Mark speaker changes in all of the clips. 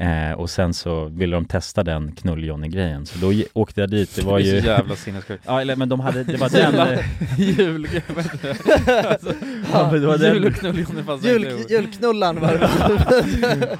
Speaker 1: Eh, och sen så ville de testa den knull-Johnny-grejen, så då ge- åkte jag dit. Det var
Speaker 2: Det är
Speaker 1: ju...
Speaker 2: så jävla sinnessjukt.
Speaker 1: Ja, eller, men de hade, det var den...
Speaker 2: Jävla
Speaker 1: eh,
Speaker 2: Jul... alltså,
Speaker 1: Ja, men det var den-
Speaker 2: Jul och knull Johnny fanns
Speaker 3: Jul,
Speaker 2: verkligen.
Speaker 3: julknullan var det. Hej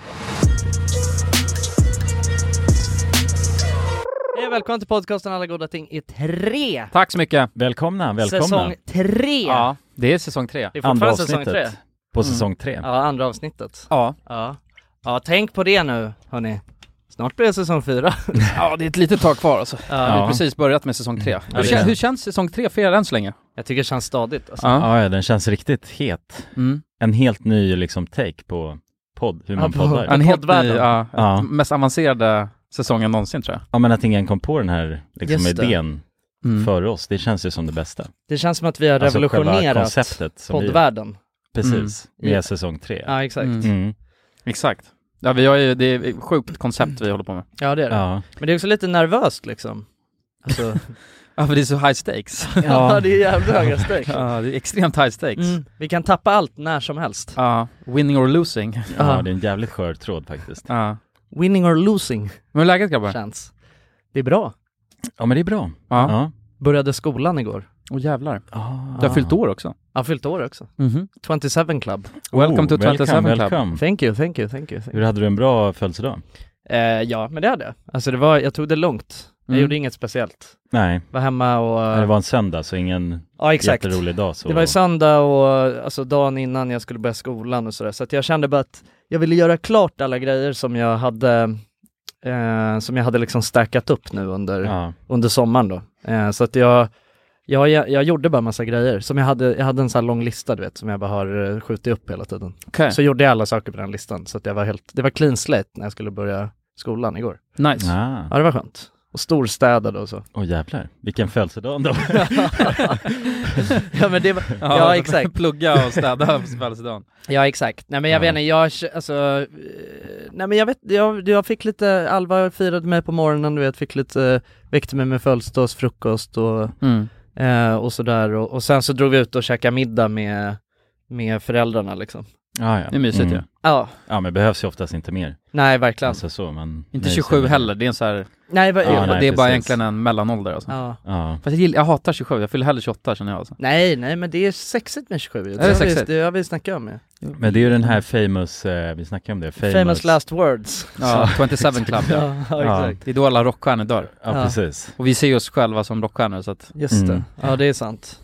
Speaker 3: Eh, välkommen till podcasten Alla goda ting i tre!
Speaker 2: Tack så mycket.
Speaker 1: Välkomna, välkomna!
Speaker 3: Säsong tre!
Speaker 2: Ja, det är säsong tre.
Speaker 3: Det är
Speaker 1: Andra
Speaker 3: fortfarande säsong tre.
Speaker 1: avsnittet. På säsong tre.
Speaker 3: Ja, andra avsnittet.
Speaker 2: Ja.
Speaker 3: Ja. ja, tänk på det nu hörni. Snart blir det säsong fyra.
Speaker 2: ja, det är ett litet tag kvar alltså. Vi har
Speaker 1: Ja.
Speaker 2: precis börjat med säsong tre.
Speaker 1: det
Speaker 2: Hur,
Speaker 1: är
Speaker 2: kän-
Speaker 1: det.
Speaker 2: hur känns säsong tre för er än så länge?
Speaker 3: Jag tycker det känns stadigt alltså.
Speaker 2: Ja.
Speaker 1: Ja, ja, den känns riktigt het.
Speaker 2: Mm.
Speaker 1: En helt ny liksom take på podd, hur man
Speaker 3: på-
Speaker 1: poddar.
Speaker 2: En helt ny,
Speaker 3: poddvärlden.
Speaker 2: ja,
Speaker 1: Ja.
Speaker 2: mest avancerade säsongen någonsin tror jag.
Speaker 1: Ja, men att ingen kom på den här liksom,
Speaker 3: Just det.
Speaker 1: idén
Speaker 2: Mm.
Speaker 1: före oss, det känns ju som det bästa.
Speaker 3: Det känns som att vi har
Speaker 1: Alltså, själva
Speaker 3: revolutionerat
Speaker 1: konceptet som vi,
Speaker 3: poddvärlden.
Speaker 1: Precis, med
Speaker 3: Ja.
Speaker 1: säsong tre.
Speaker 3: Ja, exakt.
Speaker 2: Mm.
Speaker 1: Mm.
Speaker 2: Exakt. Ja, vi har ju, det är ett sjukt koncept vi håller på med.
Speaker 3: Ja, det är det.
Speaker 1: Ja.
Speaker 3: Men det är också lite nervöst liksom. Alltså,
Speaker 2: Ja, för det är så high stakes.
Speaker 3: ja, det är jävligt höga steg.
Speaker 2: Ja, det är extremt high stakes.
Speaker 3: Mm. Vi kan tappa allt när som helst.
Speaker 2: Ja, winning or losing.
Speaker 1: ja, det är en jävligt skör tråd faktiskt.
Speaker 2: Ja.
Speaker 3: Winning or losing
Speaker 2: Men hur är läget grabbar?
Speaker 3: känns. Det är bra.
Speaker 1: Ja, men det är bra.
Speaker 2: Ja.
Speaker 1: Ja.
Speaker 3: Började skolan igår.
Speaker 2: Åh jävlar.
Speaker 1: Ah.
Speaker 2: Du har fyllt år också.
Speaker 3: Jag fyllde år också.
Speaker 2: Mhm.
Speaker 3: 27 club.
Speaker 2: Oh, Welcome to 27 Club.
Speaker 1: Oh, welcome.
Speaker 3: Thank you, thank you, thank you. Thank you.
Speaker 1: Hur hade du en bra födelsedag?
Speaker 3: Eh, ja, men det hade jag. Alltså det var, jag tog det lugnt. Jag
Speaker 2: Mm.
Speaker 3: gjorde inget speciellt.
Speaker 1: Nej,
Speaker 3: Var hemma och... eh,
Speaker 1: det var en söndag så ingen
Speaker 3: Ja, exakt.
Speaker 1: jätterolig dag. Så...
Speaker 3: Det var ju söndag och alltså dagen innan jag skulle börja skolan och sådär, så att jag kände bara att jag ville göra klart alla grejer som jag hade, eh, som jag hade liksom stackat upp nu under,
Speaker 1: Ja.
Speaker 3: under sommaren då. Eh, så att jag, jag, jag, jag gjorde bara massa grejer som jag hade, jag hade en sån här lång lista du vet, som jag bara har eh, skjutit upp hela tiden.
Speaker 2: Okej,
Speaker 3: Så gjorde jag alla saker på den listan, så att jag var helt, det var clean slate när jag skulle börja skolan igår.
Speaker 2: nice.
Speaker 1: Ah.
Speaker 3: Ja, det var skönt. Och storstädade och så.
Speaker 1: Åh jävlar, vilken födelsedag ändå.
Speaker 3: ja men det var, ja exakt.
Speaker 2: Plugga och städa på födelsedagen.
Speaker 3: Ja exakt, nej men jag
Speaker 1: Ja.
Speaker 3: vet inte, jag, k- alltså, eh, nej men jag vet, jag, jag fick lite, Alva firade mig på morgonen du vet, fick lite, eh, väckte mig med födelsedagsfrukost och,
Speaker 2: Mm.
Speaker 3: eh, och sådär och, och sen så drog vi ut och käkade middag med, med föräldrarna liksom.
Speaker 1: ah, ja.
Speaker 2: Det är mysigt ju.
Speaker 3: Ja,
Speaker 1: Ja, men behövs ju oftast inte mer.
Speaker 3: nej verkligen.
Speaker 1: Alltså så, men...
Speaker 2: Inte
Speaker 1: Nej,
Speaker 2: 27
Speaker 1: så-
Speaker 2: heller, det är en så här,
Speaker 3: Nej, va,
Speaker 1: Ja,
Speaker 3: ja,
Speaker 2: det är
Speaker 1: nej,
Speaker 2: bara
Speaker 1: precis.
Speaker 2: egentligen en mellanålder alltså.
Speaker 3: ja.
Speaker 1: Ja.
Speaker 2: Fast jag, gillar, jag hatar 27, jag fyller hellre 28 känner jag alltså.
Speaker 3: Nej, nej men det är sexigt med 27
Speaker 2: det är
Speaker 3: har vi-
Speaker 2: sexigt.
Speaker 3: Det har vi snackat om ju.
Speaker 1: Men det är ju den här famous, eh, vi snackade om det, famous...
Speaker 3: Famous, last words.
Speaker 2: Ja, 27 club ja.
Speaker 3: Ja,
Speaker 1: Ja.
Speaker 3: exakt.
Speaker 2: Det är då alla rockstjärnor dör.
Speaker 1: Ja,
Speaker 3: Ja.
Speaker 1: precis.
Speaker 2: Och vi ser oss själva som rockstjärnor så att,
Speaker 3: Just
Speaker 1: Mm.
Speaker 3: det, ja det är sant.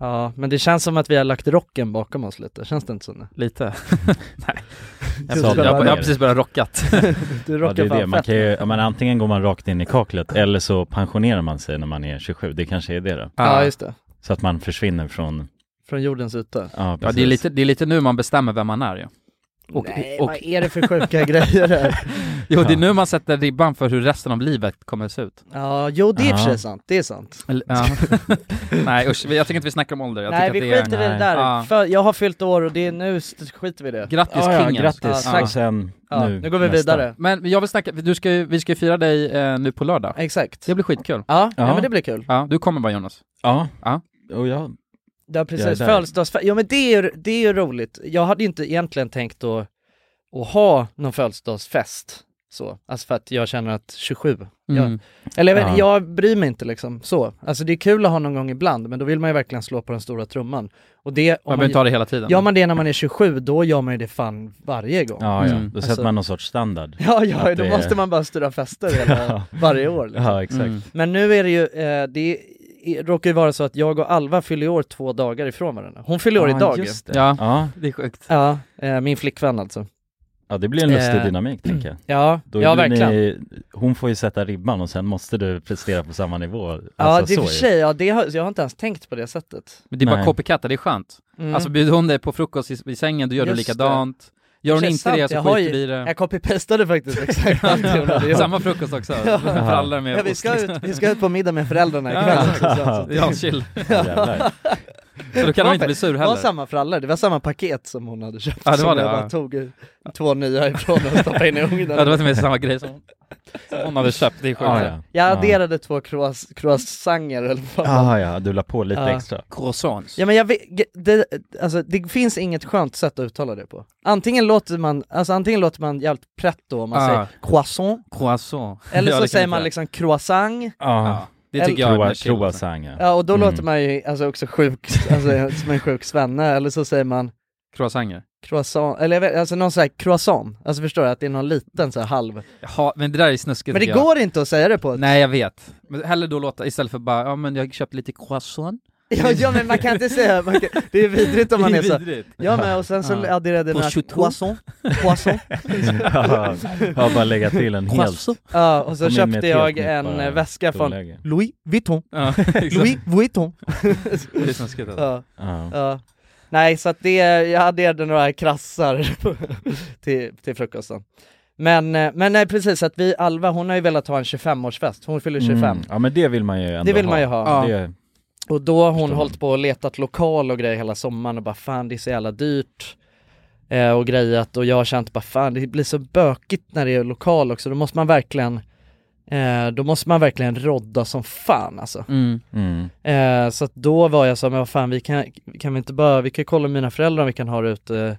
Speaker 3: Ja, men det känns som att vi har lagt rocken bakom oss lite, känns det inte så nu?
Speaker 2: lite. Nej. Jag,
Speaker 3: Så
Speaker 2: jag,
Speaker 3: det var
Speaker 2: jag, jag har
Speaker 1: ner.
Speaker 2: precis börjat rockat.
Speaker 3: Du
Speaker 1: Ja,
Speaker 3: rockar
Speaker 1: det är det.
Speaker 3: fan
Speaker 1: Man
Speaker 3: fett.
Speaker 1: kan ju, ja, men antingen går man rakt in i kaklet eller så pensionerar man sig när man är 27. Det kanske är det då.
Speaker 3: Ja, just det.
Speaker 1: Så att man försvinner från...
Speaker 3: Från jordens yta.
Speaker 1: Ja,
Speaker 2: ja
Speaker 1: precis.
Speaker 2: det, är lite, det är lite nu man bestämmer vem man är ju. Och,
Speaker 3: Nej,
Speaker 2: och,
Speaker 3: vad är det för sjuka grejer här?
Speaker 2: jo, det är nu man sätter ribban för hur resten av livet kommer se ut.
Speaker 3: Ja, jo det är i och för
Speaker 1: Ja.
Speaker 3: sig sant, det är sant.
Speaker 2: Eller- Ja. Nej usch, jag tycker inte vi snackar om ålder. Jag
Speaker 3: Nej vi
Speaker 2: tycker att
Speaker 3: skiter
Speaker 2: det
Speaker 3: i det
Speaker 1: nej.
Speaker 3: där,
Speaker 2: Ja.
Speaker 3: för jag har fyllt år och det är nu st- skiter vi i det.
Speaker 2: är... Grattis
Speaker 1: ja, ja,
Speaker 2: kingen.
Speaker 1: grattis.
Speaker 3: Ja, tack.
Speaker 1: Och sen
Speaker 3: Ja, nu,
Speaker 1: nu,
Speaker 3: går vi
Speaker 1: nästa.
Speaker 3: vidare.
Speaker 2: Men jag vill snacka, du ska ju, vi ska ju fira dig eh, nu på lördag.
Speaker 3: Exakt.
Speaker 2: Det
Speaker 3: Ja,
Speaker 2: blir skitkul.
Speaker 3: ja.
Speaker 1: Ja.
Speaker 3: men det blir kul.
Speaker 2: Ja, du kommer bara Jonas.
Speaker 1: Ja.
Speaker 2: Ja.
Speaker 1: Och jag...
Speaker 3: Ja
Speaker 1: Jag är
Speaker 3: precis,
Speaker 1: där.
Speaker 3: födelsedagsfest. Ja men det är, ju- det är ju roligt. Jag hade ju inte egentligen tänkt att, att ha någon födelsedagsfest. Så, alltså för att jag känner att 27, jag,
Speaker 2: Mm.
Speaker 3: Eller jag,
Speaker 1: Ja.
Speaker 3: vet- jag bryr mig inte liksom så. Alltså det är kul att ha någon gång ibland, men då vill man ju verkligen slå på den stora trumman. Och det, om
Speaker 2: Man
Speaker 3: man,
Speaker 2: behöver inte ha det hela tiden.
Speaker 3: gör man det när man är 27, då gör man ju det fan varje gång. Ja,
Speaker 1: Ja, ja.
Speaker 2: Mm.
Speaker 1: Då sätter
Speaker 3: Alltså-
Speaker 1: man någon sorts standard.
Speaker 3: ja,
Speaker 1: Att
Speaker 3: då
Speaker 1: det-
Speaker 3: måste man bara styra fester hela, varje år. Liksom.
Speaker 1: Ja, exakt.
Speaker 2: Mm.
Speaker 3: Men nu är det ju, eh, det är, råkar ju vara så att jag och Alva fyller i år två dagar ifrån varandra. Hon fyller år
Speaker 1: Ja,
Speaker 3: idag. ju.
Speaker 1: just det.
Speaker 2: Ja.
Speaker 1: Ja.
Speaker 2: Det är sjukt.
Speaker 3: Ja, eh, min flickvän alltså.
Speaker 1: ja, det blir en lustig
Speaker 3: Eh,
Speaker 1: dynamik tänker jag.
Speaker 3: Ja,
Speaker 1: Då
Speaker 3: ja
Speaker 1: blir
Speaker 2: alltså,
Speaker 3: verkligen.
Speaker 1: Ni, hon får ju sätta ribban och sen måste du prestera på samma nivå. Alltså,
Speaker 3: Ja, det är
Speaker 1: så
Speaker 3: för
Speaker 1: ju.
Speaker 3: sig, ja, det har, jag har inte ens tänkt på det sättet.
Speaker 2: Men det är bara
Speaker 1: Nej.
Speaker 2: copycatta, det är skönt.
Speaker 3: Mm.
Speaker 2: Alltså bjuder hon dig på frukost i, i sängen, då gör du
Speaker 3: Just det.
Speaker 2: likadant. Gör hon
Speaker 3: Det är
Speaker 2: inte
Speaker 3: sant,
Speaker 2: det så
Speaker 3: jag har
Speaker 2: skiter
Speaker 3: ju-
Speaker 2: vi i det.
Speaker 3: jag copy-pastade faktiskt exakt allt hon hade gjort.
Speaker 2: Samma frukost också. För alla med
Speaker 3: Ja, vi,
Speaker 2: ost,
Speaker 3: ska
Speaker 2: liksom.
Speaker 3: ut, vi ska ut på middag med föräldrarna
Speaker 2: Ja.
Speaker 3: ikväll också, så att-
Speaker 2: Ja, chill.
Speaker 1: Jävlar.
Speaker 2: Så då kan han inte bli sur
Speaker 3: Det var
Speaker 2: heller.
Speaker 3: samma för alla, det var samma paket som hon hade köpt.
Speaker 2: Ja, det var
Speaker 3: som
Speaker 2: det,
Speaker 3: jag
Speaker 2: ja.
Speaker 3: bara tog eh, två nya ifrån och stoppade in i ugnen.
Speaker 2: Ja, det var till och med samma grej som som hon hade köpt, det är sjukt.
Speaker 1: Ah, ja.
Speaker 3: Jag adderade två croiss, croissanger eller vad fan.
Speaker 1: Ah, ja, du la på lite
Speaker 3: Ja.
Speaker 1: extra.
Speaker 2: Croissants.
Speaker 3: Ja men jag vet, det, alltså, det finns inget skönt sätt att uttala det på. Antingen låter man, alltså antingen låter man jävligt pretto om man
Speaker 2: Ah.
Speaker 3: säger croissant,
Speaker 2: Croissant.
Speaker 3: eller
Speaker 2: Ja,
Speaker 3: så
Speaker 2: det kan
Speaker 3: säger
Speaker 2: jag
Speaker 3: man
Speaker 2: säga.
Speaker 3: liksom croissant,
Speaker 1: Ah.
Speaker 2: Ja, det tycker jag
Speaker 1: Croa,
Speaker 2: är chill.
Speaker 1: croissant, ja.
Speaker 3: ja och då
Speaker 1: Mm.
Speaker 3: låter man ju alltså också sjuk, alltså som en sjuk svenne, eller så säger man
Speaker 2: Croissanger.
Speaker 3: croissant, eller jag vet, alltså någon sån här croissant, alltså förstår du att det är någon liten så här halv.
Speaker 2: Jaha, men det där är snuskigt
Speaker 3: Men det
Speaker 2: tycker jag.
Speaker 3: går inte att säga det på ett
Speaker 2: Nej jag vet. Men hellre då låta, istället för bara, ja men jag köpte lite croissant.
Speaker 3: Ja, ja men man kan inte säga, man kan, det är vidrigt om man är så Ja men och sen så
Speaker 2: Ja.
Speaker 3: adderade jag
Speaker 2: Prosciutto.
Speaker 3: croissant, croissant,
Speaker 1: Ja, Jag har bara lägga till en hel
Speaker 2: Croissant.
Speaker 3: ja och så
Speaker 1: Kom in med ett
Speaker 3: köpte jag
Speaker 1: helt nytt
Speaker 3: en
Speaker 1: bara
Speaker 3: eh, väska från
Speaker 1: storläge.
Speaker 3: Louis Vuitton,
Speaker 2: Ja, exakt.
Speaker 3: Louis Vuitton
Speaker 2: Det är snuskigt alltså.
Speaker 3: ja,
Speaker 1: Ja.
Speaker 3: ja. Nej så att det, jag adderade några krassar till, till frukosten Men, eh, men nej precis att vi, Alva hon har ju velat ha en 25-årsfest, hon fyller 25
Speaker 1: Mm. Ja men det vill man ju ändå
Speaker 3: Det vill man ju ha
Speaker 2: Ja.
Speaker 1: Det,
Speaker 3: Och då har hon
Speaker 1: Förstår man.
Speaker 3: hållit på och letat lokal och grejer hela sommaren och bara fan det är så jävla dyrt eh, och grejat och jag har känt bara fan det blir så bökigt när det är lokal också, då måste man verkligen eh, då måste man verkligen rodda som fan alltså.
Speaker 2: Mm.
Speaker 1: mm.
Speaker 3: Eh, så att då var jag så här, men vad fan vi kan, kan vi inte bara, vi kan kolla med mina föräldrar om vi kan ha det ute eh,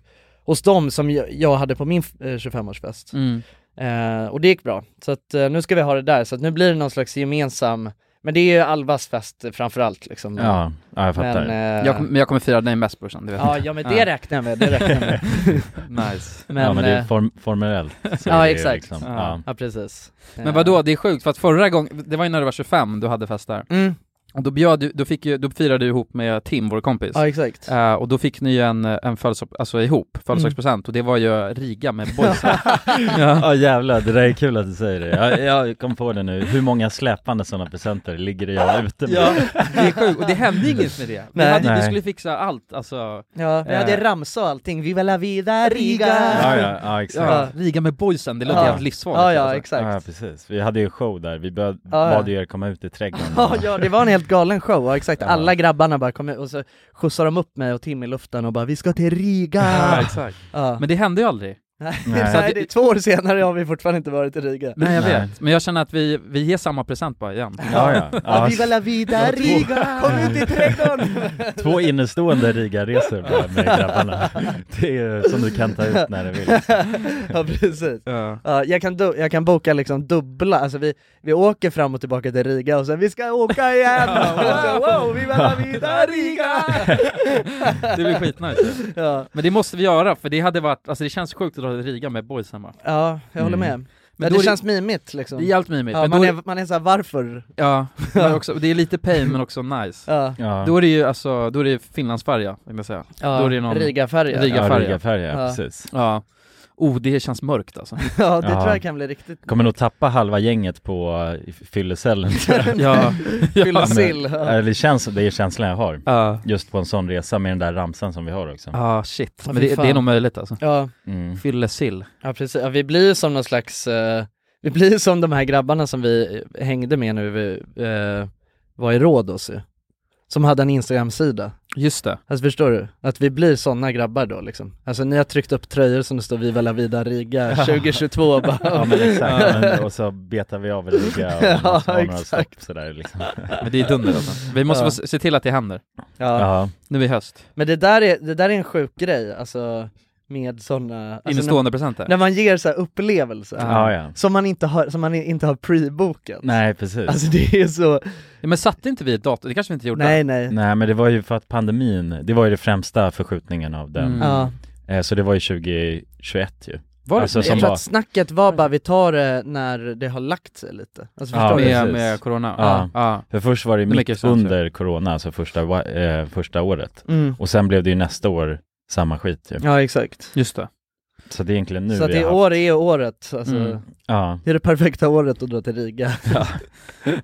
Speaker 3: hos dem som jag, jag hade på min eh, 25-årsfest.
Speaker 2: Mm.
Speaker 3: Eh, och det gick bra. Så att eh, nu ska vi ha det där, så att nu blir det någon slags gemensam men det är ju Alvas fest eh, framförallt liksom.
Speaker 1: ja, ja, jag fattar.
Speaker 3: Men, eh,
Speaker 2: Jag, kom- men jag kommer fira dig mest brorsan, det vet
Speaker 3: Ja, ja men det
Speaker 2: Ja.
Speaker 3: räknar jag med, det räknar jag med.
Speaker 2: jag. Nice.
Speaker 3: Men,
Speaker 1: ja men det är
Speaker 3: eh,
Speaker 1: form, formellt. så
Speaker 3: ja,
Speaker 1: är det ju
Speaker 3: exakt.
Speaker 1: Liksom,
Speaker 2: Ja.
Speaker 1: ja.
Speaker 3: ja precis.
Speaker 2: Men vadå, det är sjukt för att förra gången, det var ju när du var 25 du hade fest där.
Speaker 3: Mm.
Speaker 2: Och då bjöd du, då, fick ju, då firade du ihop med Tim, vår kompis.
Speaker 3: Ja exakt.
Speaker 2: Eh, och då fick ni ju en, en födelsedag, alltså ihop, födelsedagspresent,
Speaker 3: Mm.
Speaker 2: och det var ju Riga med boys. ja.
Speaker 1: Ja jävlar, det där är kul att du säger det. Jag, jag kom på det nu, hur många släpande sådana presenter ligger det jag ute med?
Speaker 2: ja, det är sjukt, och det hände inget med det. Vi,
Speaker 3: Nej.
Speaker 2: hade, vi
Speaker 1: Nej.
Speaker 2: skulle fixa allt, alltså,
Speaker 3: Ja, vi hade
Speaker 2: Eh.
Speaker 3: ramsa och allting, Viva la vida riga!
Speaker 1: Ja, ja, ja exakt.
Speaker 2: ja. Riga med boysen, det låter
Speaker 3: Ja.
Speaker 2: jävligt livsfarligt.
Speaker 3: ja, ja
Speaker 2: alltså.
Speaker 1: Ja
Speaker 3: exakt.
Speaker 1: precis, vi hade ju show där, vi bad,
Speaker 3: ja.
Speaker 1: bad ju er komma ut i trädgården
Speaker 3: Ja, ja, det var en helt galen show, ja, exakt.
Speaker 1: Ja.
Speaker 3: Alla grabbarna bara kom ut och så skjutsade de upp mig och Tim i luften och bara 'Vi ska till
Speaker 2: Ja,
Speaker 3: Riga!'
Speaker 2: exakt.
Speaker 3: Ja.
Speaker 2: Men det hände ju aldrig.
Speaker 3: Nej,
Speaker 1: Nej.
Speaker 3: nej, det är två år senare har vi fortfarande inte varit i Riga.
Speaker 2: Nej jag
Speaker 1: Nej.
Speaker 2: vet, men jag känner att vi, vi ger samma present bara igen.
Speaker 1: Ja, ja.
Speaker 3: Ja,
Speaker 1: ja.
Speaker 3: Viva la vida Riga! Kom ut i trädgården!
Speaker 1: Två innestående Riga-resor bara med grabbarna. Det är ju som du kan ta ut när du vill.
Speaker 3: ja precis.
Speaker 2: Ja.
Speaker 3: Ja, jag, kan du- jag kan boka liksom dubbla, alltså vi, vi åker fram och tillbaka till Riga och sen vi ska åka igen! och så, wow, vi la vida Riga!
Speaker 2: Det blir skitnice.
Speaker 3: Ja,
Speaker 2: Men det måste vi göra, för det hade varit, alltså det känns sjukt att dra till Riga med boysen va?
Speaker 3: ja jag håller med.
Speaker 1: Mm.
Speaker 3: Men
Speaker 2: då
Speaker 3: det
Speaker 2: är
Speaker 3: känns mimigt liksom.
Speaker 2: Det är jävligt mimigt.
Speaker 3: ja,
Speaker 2: men
Speaker 3: man,
Speaker 2: då,
Speaker 3: är, man är såhär, varför?
Speaker 2: ja, men också, det är lite pain men också nice.
Speaker 3: Ja,
Speaker 1: Ja.
Speaker 2: Då är det ju alltså, då är det Finlandsfärja, vill jag säga.
Speaker 3: ja.
Speaker 2: Då är det någon-
Speaker 3: Riga-färja.
Speaker 2: Riga-
Speaker 1: ja,
Speaker 2: färja.
Speaker 1: Riga-färja,
Speaker 3: Ja.
Speaker 1: precis.
Speaker 2: Ja. Oh, det känns mörkt alltså.
Speaker 3: Ja, det
Speaker 1: Ja.
Speaker 3: tror jag kan bli riktigt
Speaker 1: Kommer nog tappa halva gänget på eh, fyllecellen tror jag.
Speaker 2: ja.
Speaker 3: fylla sill. Ja.
Speaker 1: Eller det känns, det är känslan jag har.
Speaker 2: Ja.
Speaker 1: Just på en sån resa med den där ramsan som vi har också.
Speaker 2: Ja, shit.
Speaker 3: Ja,
Speaker 2: Men
Speaker 3: fy
Speaker 2: det,
Speaker 3: fan.
Speaker 2: det är nog möjligt alltså.
Speaker 3: Ja.
Speaker 1: Mm.
Speaker 2: Fyllesill.
Speaker 3: ja, precis. Ja, vi blir ju som någon slags, eh, vi blir ju som de här grabbarna som vi hängde med nu vi eh, var i Rhodos ju. Som hade en Instagram-sida.
Speaker 2: Just det.
Speaker 3: Alltså förstår du? Att vi blir sådana grabbar då liksom. Alltså ni har tryckt upp tröjor som det står Viva la vida Riga 2022 och bara
Speaker 1: Ja men exakt, Ja, men, och så betar vi av Riga och
Speaker 3: Ja,
Speaker 1: ja, några
Speaker 3: exakt.
Speaker 1: stopp sådär liksom.
Speaker 2: Men det är dunder alltså. Vi måste
Speaker 3: Ja.
Speaker 2: få se- se till att det händer.
Speaker 3: Ja.
Speaker 1: Ja.
Speaker 2: Nu i höst.
Speaker 3: Men det där, är, det där är en sjuk grej, alltså med sådana, alltså, när,
Speaker 2: Innestående presenter.
Speaker 3: när man ger så här upplevelser
Speaker 1: ja, ja.
Speaker 3: som man inte har, som man inte har prebokat.
Speaker 1: Nej precis.
Speaker 3: Alltså det är så,
Speaker 2: Ja, men satte inte vi ett datum? Det kanske vi inte gjorde?
Speaker 3: nej nej.
Speaker 1: Nej men det var ju för att pandemin, det var ju det främsta förskjutningen av den.
Speaker 2: Mm.
Speaker 3: Ja.
Speaker 1: Eh, Så det var ju 2021 ju.
Speaker 2: Var det
Speaker 1: Alltså,
Speaker 2: det?
Speaker 1: som var-
Speaker 3: Jag tror att snacket var bara vi tar det när det har lagt sig lite. Alltså
Speaker 1: Ja,
Speaker 3: förstår
Speaker 1: precis.
Speaker 2: med, med corona?
Speaker 1: Ja.
Speaker 2: ja.
Speaker 1: För först var det
Speaker 2: Det är
Speaker 1: mitt
Speaker 2: mycket sant,
Speaker 1: under corona, alltså första, wa- eh, första året.
Speaker 3: du? Mm.
Speaker 1: Och sen blev det ju nästa år samma skit ju.
Speaker 3: Ja exakt.
Speaker 2: Just det.
Speaker 1: Så det är egentligen nu
Speaker 3: så att
Speaker 1: vi
Speaker 3: det
Speaker 1: har haft...
Speaker 3: år är året, alltså.
Speaker 2: Mm.
Speaker 1: Ja.
Speaker 3: Det är det perfekta året att dra till Riga.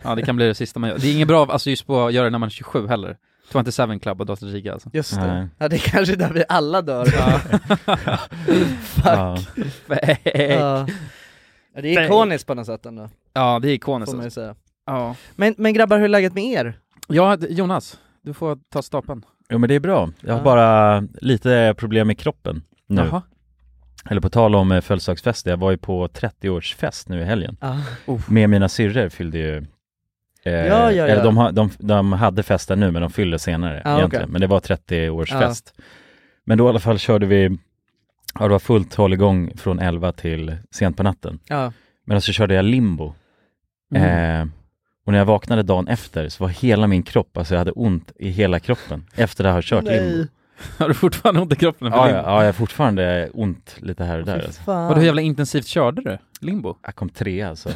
Speaker 2: Ja, det kan bli det sista man gör. Det är inget bra, alltså just på att göra det när man är 27 heller. 27 Club och Dator Riga alltså.
Speaker 3: Just det.
Speaker 1: Nej.
Speaker 3: Ja det är kanske är där vi alla dör.
Speaker 2: Ja.
Speaker 1: Ja.
Speaker 2: ja.
Speaker 3: Ja. Ja, Det är ikoniskt på något sätt ändå,
Speaker 2: ja, det är ikoniskt
Speaker 3: får man ju
Speaker 2: alltså.
Speaker 3: säga.
Speaker 2: Ja.
Speaker 3: Men, men grabbar, hur är läget med er?
Speaker 2: ja, d- Jonas, du får ta stapeln.
Speaker 1: Jo men det är bra. Jag har
Speaker 3: Ja.
Speaker 1: bara lite problem med kroppen nu. Eller på tal om eh, födelsedagsfester, jag var ju på 30-årsfest nu i helgen.
Speaker 3: Ja.
Speaker 1: Med mina syrror fyllde ju eh,
Speaker 3: Ja, ja,
Speaker 1: Eller
Speaker 3: ja.
Speaker 1: de, ha- de, de hade festen nu men de fyllde senare
Speaker 3: Ja,
Speaker 1: egentligen.
Speaker 3: okej.
Speaker 1: Men det var 30-årsfest. Men då i alla fall körde vi, ja det var fullt hålligång från 11 till sent på natten.
Speaker 3: Ja.
Speaker 1: Men så körde jag limbo.
Speaker 3: Mhm.
Speaker 2: Mm.
Speaker 1: Eh, och när jag vaknade dagen efter så var hela min kropp, alltså jag hade ont i hela kroppen efter att ha kört limbo.
Speaker 3: Nej,
Speaker 2: Har du fortfarande ont i kroppen?
Speaker 1: Ja, ja, ja, jag har fortfarande ont lite här och där.
Speaker 3: fy
Speaker 1: Alltså.
Speaker 3: fan.
Speaker 2: Vadå, hur jävla intensivt körde du? Limbo?
Speaker 1: Jag kom tre alltså.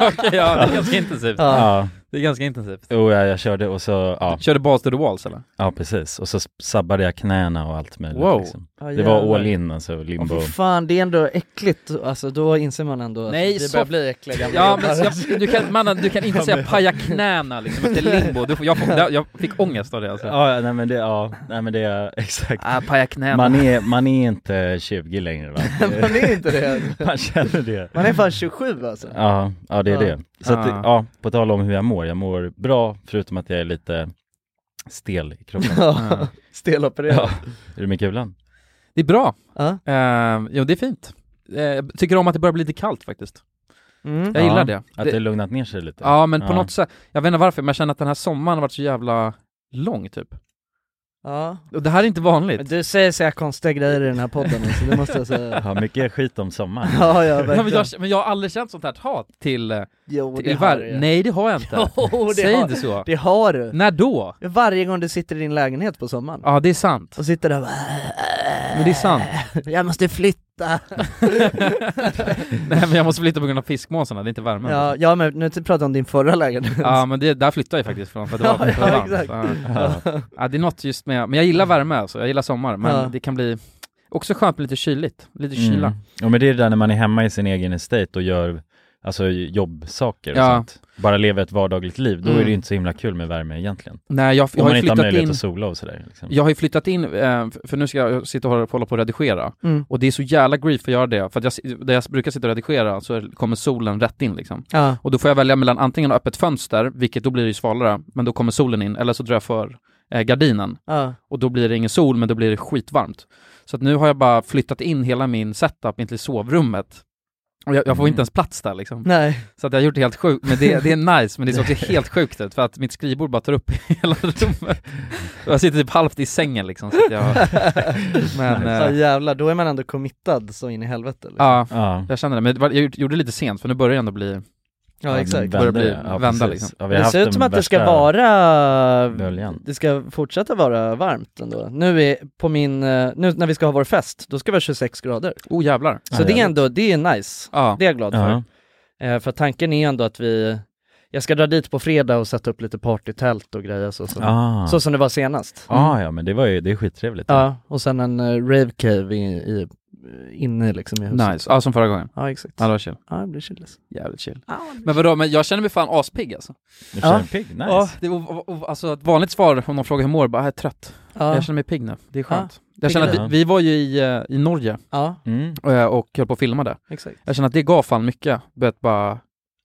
Speaker 2: Okej, ja, det är ganska intensivt.
Speaker 3: Ja.
Speaker 1: Ja,
Speaker 2: Det är ganska intensivt.
Speaker 1: och jag, jag körde och så, ja,
Speaker 2: Körde balls to the walls eller?
Speaker 1: ja precis. Och så sabbade jag knäna och allt möjligt.
Speaker 2: Wow.
Speaker 1: Liksom.
Speaker 3: Ja,
Speaker 1: Det var
Speaker 3: jävlar.
Speaker 1: all in alltså,
Speaker 3: Åh,
Speaker 1: limbo.
Speaker 3: fy fan, det är ändå äckligt, alltså då inser man ändå att
Speaker 2: Nej,
Speaker 3: vi
Speaker 2: så-
Speaker 3: börjar bli äckliga gamla
Speaker 2: Ja, men
Speaker 3: gubbar.
Speaker 2: jag, du, kan, mannen, du kan inte säga paja knäna liksom efter limbo. Du, får- jag, får- jag fick ångest av det alltså.
Speaker 1: Ja, ja, nej men det, ja, nej men det, är exakt.
Speaker 2: Ah, paja knäna.
Speaker 1: Man är, man är inte 20 längre va?
Speaker 3: Man är inte det.
Speaker 1: Man känner det.
Speaker 3: Man är fan 27 alltså.
Speaker 1: Ja, ja det är
Speaker 3: Ja.
Speaker 1: det. Så att,
Speaker 2: Ja. Ah.
Speaker 1: ja, på tal om hur jag mår, jag mår bra förutom att jag är lite stel i kroppen.
Speaker 2: Ja.
Speaker 3: Ja, stelopererad.
Speaker 1: Ja. Är du med kulan?
Speaker 2: Det är bra.
Speaker 3: Ja.
Speaker 2: Eh, jo, det är fint. Eh, jag tycker om att det börjar bli lite kallt faktiskt.
Speaker 3: Mm.
Speaker 2: Jag
Speaker 1: Ja,
Speaker 2: gillar det.
Speaker 1: Att det,
Speaker 2: det
Speaker 1: lugnat ner sig lite?
Speaker 2: ja, men på
Speaker 1: Ja.
Speaker 2: något sätt, jag vet inte varför, men jag känner att den här sommaren har varit så jävla lång typ.
Speaker 3: ja.
Speaker 2: Och det här är inte
Speaker 3: Men
Speaker 2: vanligt.
Speaker 3: du säger så här konstiga grejer i den här podden alltså, det måste jag säga.
Speaker 1: Ja, mycket skit om sommaren.
Speaker 3: Ja, ja
Speaker 2: Ja, men,
Speaker 3: verkligen.
Speaker 2: jag, men jag har aldrig känt sånt här hat till, eh,
Speaker 3: Jo, det
Speaker 2: till
Speaker 3: har
Speaker 2: världen.
Speaker 3: du.
Speaker 2: Nej, det har jag inte.
Speaker 3: Jo, det
Speaker 2: Säg
Speaker 3: har,
Speaker 2: inte så.
Speaker 3: det har du.
Speaker 2: När då?
Speaker 3: Varje gång du sitter i din lägenhet på sommaren
Speaker 2: Ja, det är sant.
Speaker 3: och sitter där och
Speaker 2: Men det är sant.
Speaker 3: bara, jag måste flytta.
Speaker 2: Nej, men jag måste flytta på grund av fiskmåsarna, det är inte värmen.
Speaker 3: Ja, ja men nu pratar jag om din förra lägenhet.
Speaker 2: Ja men det, där flyttade jag faktiskt från för att det var
Speaker 3: Ja,
Speaker 2: för
Speaker 3: ja,
Speaker 2: varmt.
Speaker 3: exakt.
Speaker 2: Ja.
Speaker 1: Ja.
Speaker 2: Ja, det är något just med, men jag gillar värme alltså, jag gillar sommar, men
Speaker 3: Ja.
Speaker 2: det kan bli också skönt med lite kyligt, lite kyla.
Speaker 1: Mm. Ja, men det är det där när man är hemma i sin egen estate och gör alltså, jobbsaker och
Speaker 2: Ja.
Speaker 1: sånt. Bara lever ett vardagligt liv, då är
Speaker 2: Mm.
Speaker 1: det ju inte så himla kul med värme egentligen.
Speaker 2: Nej, jag,
Speaker 1: Om
Speaker 2: jag har
Speaker 1: man
Speaker 2: ju
Speaker 1: inte har
Speaker 2: flyttat
Speaker 1: möjlighet
Speaker 2: in,
Speaker 1: att sola och sådär. Liksom.
Speaker 2: jag har ju flyttat in, eh, för- för nu ska jag sitta och hålla- hålla på och redigera,
Speaker 3: Mm.
Speaker 2: och det är så jävla grief för att göra det, för att jag, si- där jag brukar sitta och redigera så är- kommer solen rätt in liksom.
Speaker 3: Ja.
Speaker 2: Och då får jag välja mellan antingen öppet fönster, vilket då blir det ju svalare, men då kommer solen in, eller så drar jag för eh, gardinen.
Speaker 3: Ja.
Speaker 2: och då blir det ingen sol, men då blir det skitvarmt. Så att nu har jag bara flyttat in hela min setup in till sovrummet. Och jag, jag får
Speaker 1: Mm.
Speaker 2: inte ens plats där liksom.
Speaker 3: Nej.
Speaker 2: Så att jag har gjort det helt sjukt, men det, det är nice, men det ser också helt sjukt ut för att mitt skrivbord bara tar upp hela rummet. Och jag sitter typ halvt i sängen liksom, så att jag, men...
Speaker 3: Ja
Speaker 2: eh,
Speaker 3: jävlar, då är man ändå committad så in i helvete. Liksom.
Speaker 2: Ja,
Speaker 1: Ja,
Speaker 2: jag känner det, men det var- jag gjorde- gjorde det lite sent för nu börjar jag ändå bli...
Speaker 3: ja exakt.
Speaker 1: vända
Speaker 2: Börjar bli-
Speaker 1: det. Ja,
Speaker 2: vända,
Speaker 1: precis.
Speaker 2: liksom.
Speaker 1: Ja, vi har
Speaker 3: Det
Speaker 1: haft
Speaker 3: ser ut
Speaker 1: den
Speaker 3: som att det ska
Speaker 1: värsta
Speaker 3: vara
Speaker 1: böljan.
Speaker 3: Det ska fortsätta vara varmt ändå. Nu är på min, eh, nu när vi ska ha vår fest, då ska vi ha 26 grader.
Speaker 2: Oh jävlar.
Speaker 1: Ja,
Speaker 3: Så det är
Speaker 1: jävligt.
Speaker 3: ändå, det är nice.
Speaker 2: Ja.
Speaker 3: Det är jag glad
Speaker 1: Ja.
Speaker 3: för. Eh, För tanken är ändå att vi, jag ska dra dit på fredag och sätta upp lite partytält och grejer så som,
Speaker 1: Ah.
Speaker 3: så som det var senast.
Speaker 1: ah, ja men det var ju, det är skittrevligt.
Speaker 3: Ja, och sen en eh, rave cave i, i, inne liksom i huset.
Speaker 2: Nice, ja som förra gågen.
Speaker 3: Ja exakt.
Speaker 2: Ja det var chill.
Speaker 3: Ja det blir chillis.
Speaker 2: Jävligt chill.
Speaker 3: Ja,
Speaker 2: Men vadå, men jag känner mig fan aspigg alltså.
Speaker 1: Du
Speaker 3: Ja.
Speaker 1: känner pigg, nice.
Speaker 2: Ja, det, och, och, och, alltså ett vanligt svar om någon frågar hur jag mår, bara jag är trött.
Speaker 3: ja.
Speaker 2: Jag känner mig pigg nu, det är skönt.
Speaker 3: pigg
Speaker 2: jag känner
Speaker 1: är
Speaker 2: att vi, vi var ju i, eh, i Norge
Speaker 3: ja
Speaker 1: Mm.
Speaker 2: eh, och höll på och filmade.
Speaker 3: exakt.
Speaker 2: Jag känner att det gav fan mycket. Börjat bara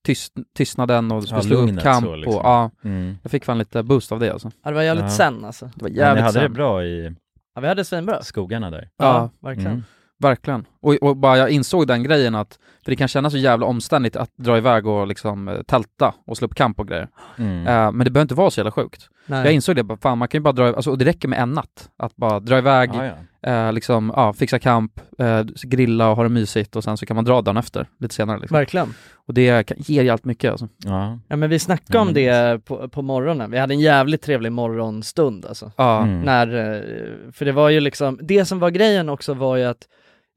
Speaker 2: tyst, tystnaden och
Speaker 1: Ja,
Speaker 2: ja, slå upp
Speaker 1: lugnet
Speaker 2: kamp
Speaker 1: så liksom.
Speaker 2: och ja,
Speaker 1: Mm.
Speaker 2: jag fick fan lite boost av det alltså.
Speaker 3: Ja, det var jävligt
Speaker 1: Ja.
Speaker 3: sen alltså.
Speaker 2: Det var
Speaker 1: Men ni
Speaker 2: jävligt
Speaker 1: hade det
Speaker 2: sen.
Speaker 1: bra i
Speaker 3: Ja vi hade svinbra.
Speaker 1: skogarna där.
Speaker 2: Ja,
Speaker 3: verkligen.
Speaker 1: Mm.
Speaker 2: Verkligen. Och, och bara jag insåg den grejen att, för det kan kännas så jävla omständigt att dra iväg och liksom eh, tälta och slå upp kamp och grejer.
Speaker 1: Mm.
Speaker 2: Eh, men det behöver inte vara så jävla sjukt.
Speaker 3: Nej.
Speaker 2: Jag insåg det, bara, fan man kan ju bara dra, alltså, och det räcker med en natt. Att bara dra iväg,
Speaker 1: Ja, ja.
Speaker 2: eh, liksom, ja, fixa kamp, eh, grilla och ha det mysigt och sen så kan man dra dagen efter, lite senare liksom.
Speaker 3: Verkligen.
Speaker 2: Och det kan, ger jävligt mycket alltså.
Speaker 1: Ja.
Speaker 3: Ja men vi snackade
Speaker 1: Ja,
Speaker 3: om
Speaker 1: men
Speaker 3: det på, på morgonen, vi hade en jävligt trevlig morgonstund alltså.
Speaker 2: Ja,
Speaker 1: Mm.
Speaker 3: När, eh, för det var ju liksom, det som var grejen också var ju att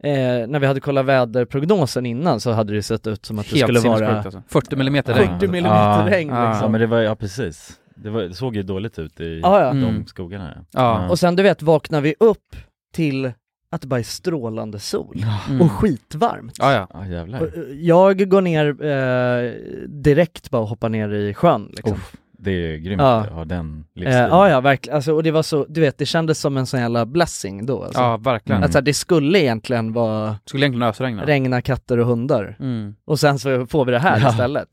Speaker 3: eh, när vi hade kollat väderprognosen innan så hade det sett ut som att det
Speaker 2: helt
Speaker 3: skulle
Speaker 2: sinnessjukt
Speaker 3: vara
Speaker 2: alltså. 40 millimeter
Speaker 1: Ja.
Speaker 2: regn.
Speaker 3: 40 millimeter
Speaker 1: Ja.
Speaker 3: regn
Speaker 2: Ja.
Speaker 1: ja
Speaker 3: liksom.
Speaker 1: men det var, ja precis. Det, var, det såg ju dåligt ut i
Speaker 3: Ja, Ah, ja.
Speaker 1: de
Speaker 2: Mm.
Speaker 1: skogarna. Ja.
Speaker 2: Ja.
Speaker 3: Och sen du vet vaknar vi upp till att det bara är strålande sol
Speaker 2: Mm.
Speaker 3: och skitvarmt.
Speaker 2: Ja, ja.
Speaker 1: Ja jävlar.
Speaker 3: Och, eh, Jag går ner eh, direkt bara och hoppar ner i sjön liksom.
Speaker 1: Uff, det är grymt
Speaker 3: Ja.
Speaker 1: att ha den
Speaker 3: Eh,
Speaker 1: livsstilen.
Speaker 3: ja, ja, verkligen. Alltså, och det var så, du vet, det kändes som en sån jävla blessing då. Alltså.
Speaker 2: ja, verkligen.
Speaker 1: Mm.
Speaker 3: Att så här, det skulle egentligen vara
Speaker 2: Skulle egentligen ösregna.
Speaker 3: regna katter och hundar
Speaker 2: Mm.
Speaker 3: och sen så får vi det här
Speaker 1: Ja.
Speaker 3: istället.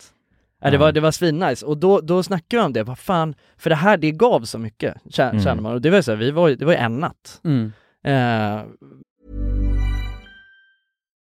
Speaker 4: Ja, det, var, det var svinnice, och då, då snackade vi om det, vad fan, för det här det gav så mycket, kä-
Speaker 1: Mm.
Speaker 4: känner man. Och det var ju så här, vi var, ju- det var ju en natt.
Speaker 5: Mm.
Speaker 4: Eh,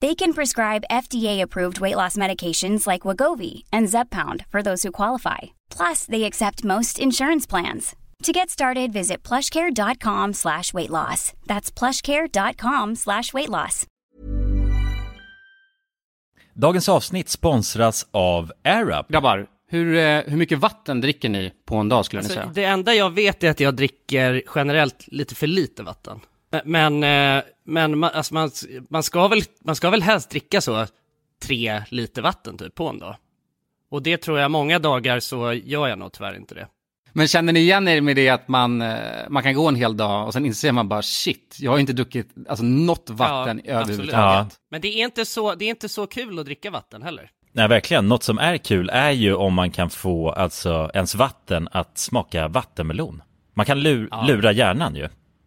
Speaker 6: They can prescribe FDA-approved weight loss medications like Wagovi and Zepbound for those who qualify. Plus, they accept most insurance plans. To get started, visit plushcare.com slash weight loss. That's plushcare.com slash weight loss.
Speaker 1: Dagens avsnitt sponsras av AirUp.
Speaker 2: Grabbar, hur, eh, hur mycket vatten dricker ni på en dag skulle ni
Speaker 3: Alltså,
Speaker 2: säga?
Speaker 3: det enda jag vet är att jag dricker generellt lite för lite vatten. Men, eh, men man, alltså man, man, ska väl, man ska väl helst dricka så tre liter vatten typ på en dag. Och det tror jag många dagar så gör jag nog tyvärr inte det.
Speaker 2: Men känner ni igen er med det att man, eh, man kan gå en hel dag och sen inser man bara shit, jag har ju inte druckit alltså, något vatten
Speaker 3: Ja,
Speaker 2: överhuvudtaget.
Speaker 1: Ja.
Speaker 3: Men det är, inte så, det är inte så kul att dricka vatten heller.
Speaker 1: Nej, verkligen. Något som är kul är ju om man kan få alltså ens vatten att smaka vattenmelon. Man kan lur, lura hjärnan ju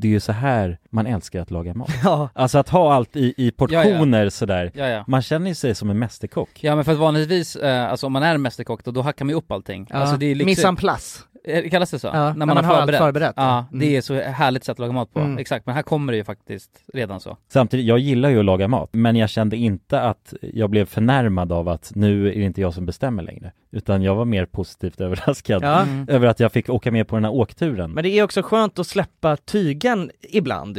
Speaker 1: det är ju så här man älskar att laga mat.
Speaker 3: Ja.
Speaker 1: Alltså att ha allt i, i portioner sådär.
Speaker 2: Ja, ja.
Speaker 1: Man känner ju sig som en mästerkock.
Speaker 2: Ja men för att vanligtvis, eh, alltså om man är en mästerkock då, då hackar man ju upp allting.
Speaker 3: Ja.
Speaker 2: Alltså det är
Speaker 3: Mise en
Speaker 2: liksom,
Speaker 3: place.
Speaker 2: Eh, kallas det så?
Speaker 3: Ja, när man har allt förberett.
Speaker 2: Ja,
Speaker 3: Mm.
Speaker 2: det är så härligt sätt att laga mat på.
Speaker 3: Mm.
Speaker 2: Exakt, men här kommer det ju faktiskt redan så.
Speaker 1: Samtidigt, jag gillar ju att laga mat, men jag kände inte att jag blev förnärmad av att nu är det inte jag som bestämmer längre. Utan jag var mer positivt överraskad
Speaker 3: Ja.
Speaker 2: Mm.
Speaker 1: över att jag fick åka med på den här åkturen.
Speaker 3: Men det är också skönt att släppa tygen ibland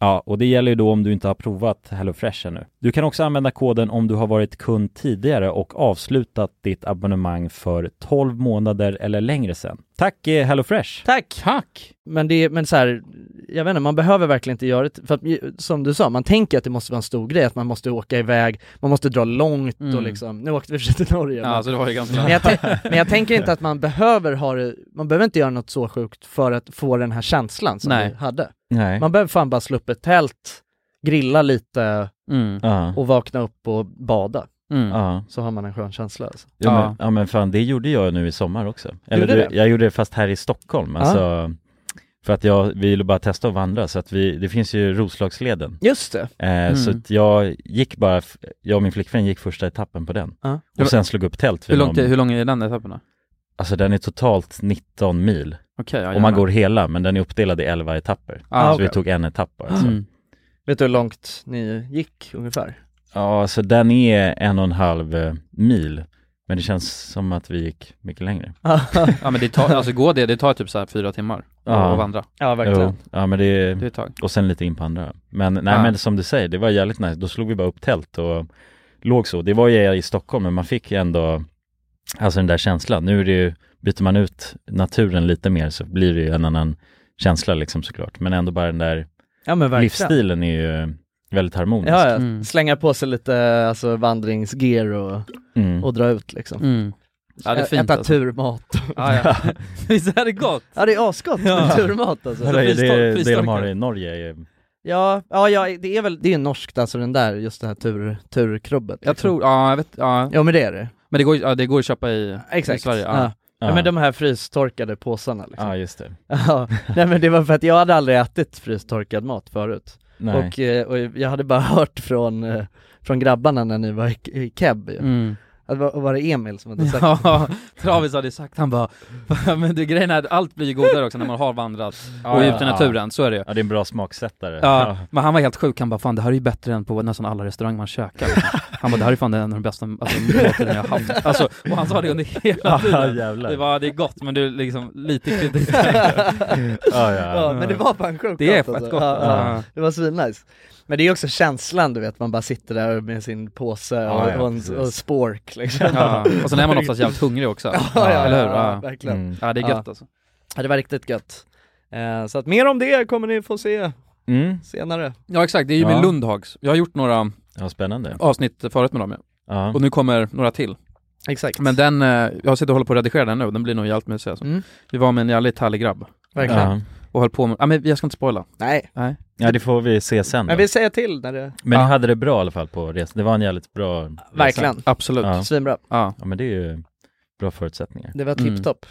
Speaker 1: Ja, och det gäller ju då om du inte har provat HelloFresh ännu. Du kan också använda koden om du har varit kund tidigare och avslutat ditt abonnemang för 12 månader eller längre sedan. Tack eh, HelloFresh!
Speaker 3: Tack!
Speaker 2: Tack!
Speaker 3: Men det är, men så här, jag vet inte, man behöver verkligen inte göra det, för att, ju- som du sa, man tänker att det måste vara en stor grej, att man måste åka iväg, man måste dra långt och
Speaker 2: Mm.
Speaker 3: liksom, nu åkte vi i och för sig till Norge. men-
Speaker 2: Ja, så det var ju ganska
Speaker 3: Men jag, tän- men jag tänker inte att man behöver ha det, man behöver inte göra något så sjukt för att få den här känslan som
Speaker 2: Nej.
Speaker 3: vi hade.
Speaker 1: Nej.
Speaker 3: Man behöver fan bara slå upp ett tält, grilla lite
Speaker 2: Mm.
Speaker 1: Ja.
Speaker 3: och vakna upp och bada.
Speaker 2: Mm.
Speaker 1: Ja.
Speaker 3: Så har man en skön känsla. Alltså.
Speaker 1: Ja,
Speaker 2: Ja.
Speaker 1: Men, ja men fan det gjorde jag nu i sommar också. Eller
Speaker 3: Gjorde
Speaker 1: det, jag gjorde det fast här i Stockholm,
Speaker 3: Ja.
Speaker 1: alltså för att jag ville bara testa att vandra så att vi, det finns ju Roslagsleden.
Speaker 3: Just det.
Speaker 1: Eh,
Speaker 2: Mm.
Speaker 1: Så att jag gick bara, f- jag och min flickvän gick första etappen på den.
Speaker 3: Ja.
Speaker 1: Och sen slog upp tält
Speaker 2: Hur,
Speaker 1: vid
Speaker 2: långt
Speaker 1: någon,
Speaker 2: är, hur lång är den etappen då?
Speaker 1: alltså den är totalt 19 mil.
Speaker 2: Okej, ja,
Speaker 1: Om man
Speaker 2: gärna.
Speaker 1: går hela, men den är uppdelad i 11 etapper.
Speaker 2: Ah,
Speaker 1: så
Speaker 2: okej.
Speaker 1: vi tog en etapp bara. Så.
Speaker 2: Mm.
Speaker 3: Vet du hur långt ni gick ungefär?
Speaker 1: Ja, så den är en och en halv eh, mil. Men det känns som att vi gick mycket längre.
Speaker 2: Ja men det tar, alltså gå det, det tar typ så här fyra timmar
Speaker 1: Ja.
Speaker 2: att vandra.
Speaker 3: ja, verkligen.
Speaker 1: Jo. Ja, men det,
Speaker 2: Det är ett tag.
Speaker 1: Och sen lite in på andra. Men nej
Speaker 2: Ja.
Speaker 1: men som du säger, det var jävligt nice. Då slog vi bara upp tält och låg så. Det var ju i Stockholm men man fick ju ändå Alltså den där känslan. Nu är det ju, byter man ut naturen lite mer så blir det ju en annan känsla liksom såklart. Men ändå bara den där
Speaker 3: Ja men verkligen.
Speaker 1: livsstilen är ju väldigt harmonisk.
Speaker 3: Ja, ja.
Speaker 2: Mm.
Speaker 3: Slänga på sig lite alltså, vandringsgear och,
Speaker 1: Mm.
Speaker 3: och dra ut liksom.
Speaker 2: Mm. Ja det är fint
Speaker 3: Äta
Speaker 2: alltså.
Speaker 3: turmat.
Speaker 2: Ja, ja. Visst är det gott?
Speaker 3: Ja det är asgott med
Speaker 2: Ja.
Speaker 3: turmat alltså.
Speaker 1: Eller är det, det de har
Speaker 2: fristolkning.
Speaker 1: i Norge är ju-
Speaker 3: Ja, ja, ja det är väl, det är ju norskt alltså den där, just det här tur, turkrubbet. liksom.
Speaker 2: Jag tror, ja jag vet, ja.
Speaker 3: Ja men det är det.
Speaker 2: Men det går, ju- ja, det går att köpa i, i
Speaker 3: Exakt.
Speaker 2: Sverige.
Speaker 3: ja. Ja.
Speaker 1: Ja,
Speaker 3: men de här frystorkade påsarna liksom.
Speaker 1: ja just det.
Speaker 3: Ja. Nej men det var för att jag hade aldrig ätit frystorkad mat förut.
Speaker 1: Nej.
Speaker 3: Och, eh, och jag hade bara hört från, eh, från grabbarna när ni var i, i keb ju.
Speaker 2: Mm.
Speaker 3: Att var, var det Emil som hade sagt ja.
Speaker 2: Ja, Travis hade sagt, han bara Men det grejen är att allt blir ju godare också när man har vandrat och är
Speaker 1: ja,
Speaker 2: ute i
Speaker 1: ja.
Speaker 2: naturen, så är det ju
Speaker 1: Ja det är en bra smaksättare.
Speaker 2: Ja, men han var helt sjuk, han bara fan det här är ju bättre än på nästan alla restauranger man käkar Han bara det här är fan en av de bästa alltså, materna jag har haft Alltså, och han sa det under hela
Speaker 1: Ja,
Speaker 2: tiden
Speaker 1: jävlar.
Speaker 2: Det var, det är gott men du liksom lite kritik
Speaker 1: Ja, ja. Mm.
Speaker 3: men det var fan sjukt
Speaker 2: Det är
Speaker 3: gott,
Speaker 2: fett gott
Speaker 3: Ja, ja.
Speaker 2: alltså.
Speaker 3: Det var svinnice. Men det är också känslan du vet, man bara sitter där med sin påse och,
Speaker 1: Ja, ja,
Speaker 3: och, en,
Speaker 1: precis.
Speaker 3: och en spork liksom.
Speaker 2: ja. Och sen är man oftast jävligt hungrig också
Speaker 3: Ja, ja,
Speaker 2: eller hur?
Speaker 3: ja,
Speaker 2: Ja,
Speaker 3: verkligen.
Speaker 1: Mm.
Speaker 2: ja det är gött alltså
Speaker 3: Ja, det var riktigt gött. Eh, så att mer om det kommer ni få se
Speaker 1: Mm.
Speaker 3: senare.
Speaker 2: Ja exakt, det är ju med
Speaker 1: Ja.
Speaker 2: Lundhags Jag har gjort några
Speaker 1: ja, spännande.
Speaker 2: avsnitt förut med dem ja.
Speaker 1: Ja.
Speaker 2: Och nu kommer några till.
Speaker 3: Exakt.
Speaker 2: Men den, eh, jag sitter och håller på att redigera den nu, den blir nog jävligt mysig alltså.
Speaker 3: Mm.
Speaker 2: Vi var med en jävligt härlig grabb
Speaker 3: Verkligen.
Speaker 1: ja.
Speaker 2: och höll på med, ja men jag ska inte spoila.
Speaker 3: Nej,
Speaker 2: Nej.
Speaker 1: ja, det får vi se sen då.
Speaker 3: men vi säger till när det...
Speaker 1: Men
Speaker 2: Ja.
Speaker 1: ni hade det bra i alla fall på resan? Det var en jävligt bra resa.
Speaker 3: Verkligen.
Speaker 2: Absolut.
Speaker 1: Ja.
Speaker 3: Svinbra.
Speaker 2: Ja.
Speaker 1: Ja, men det är ju bra förutsättningar.
Speaker 3: Det var
Speaker 2: Mm.
Speaker 3: tipptopp.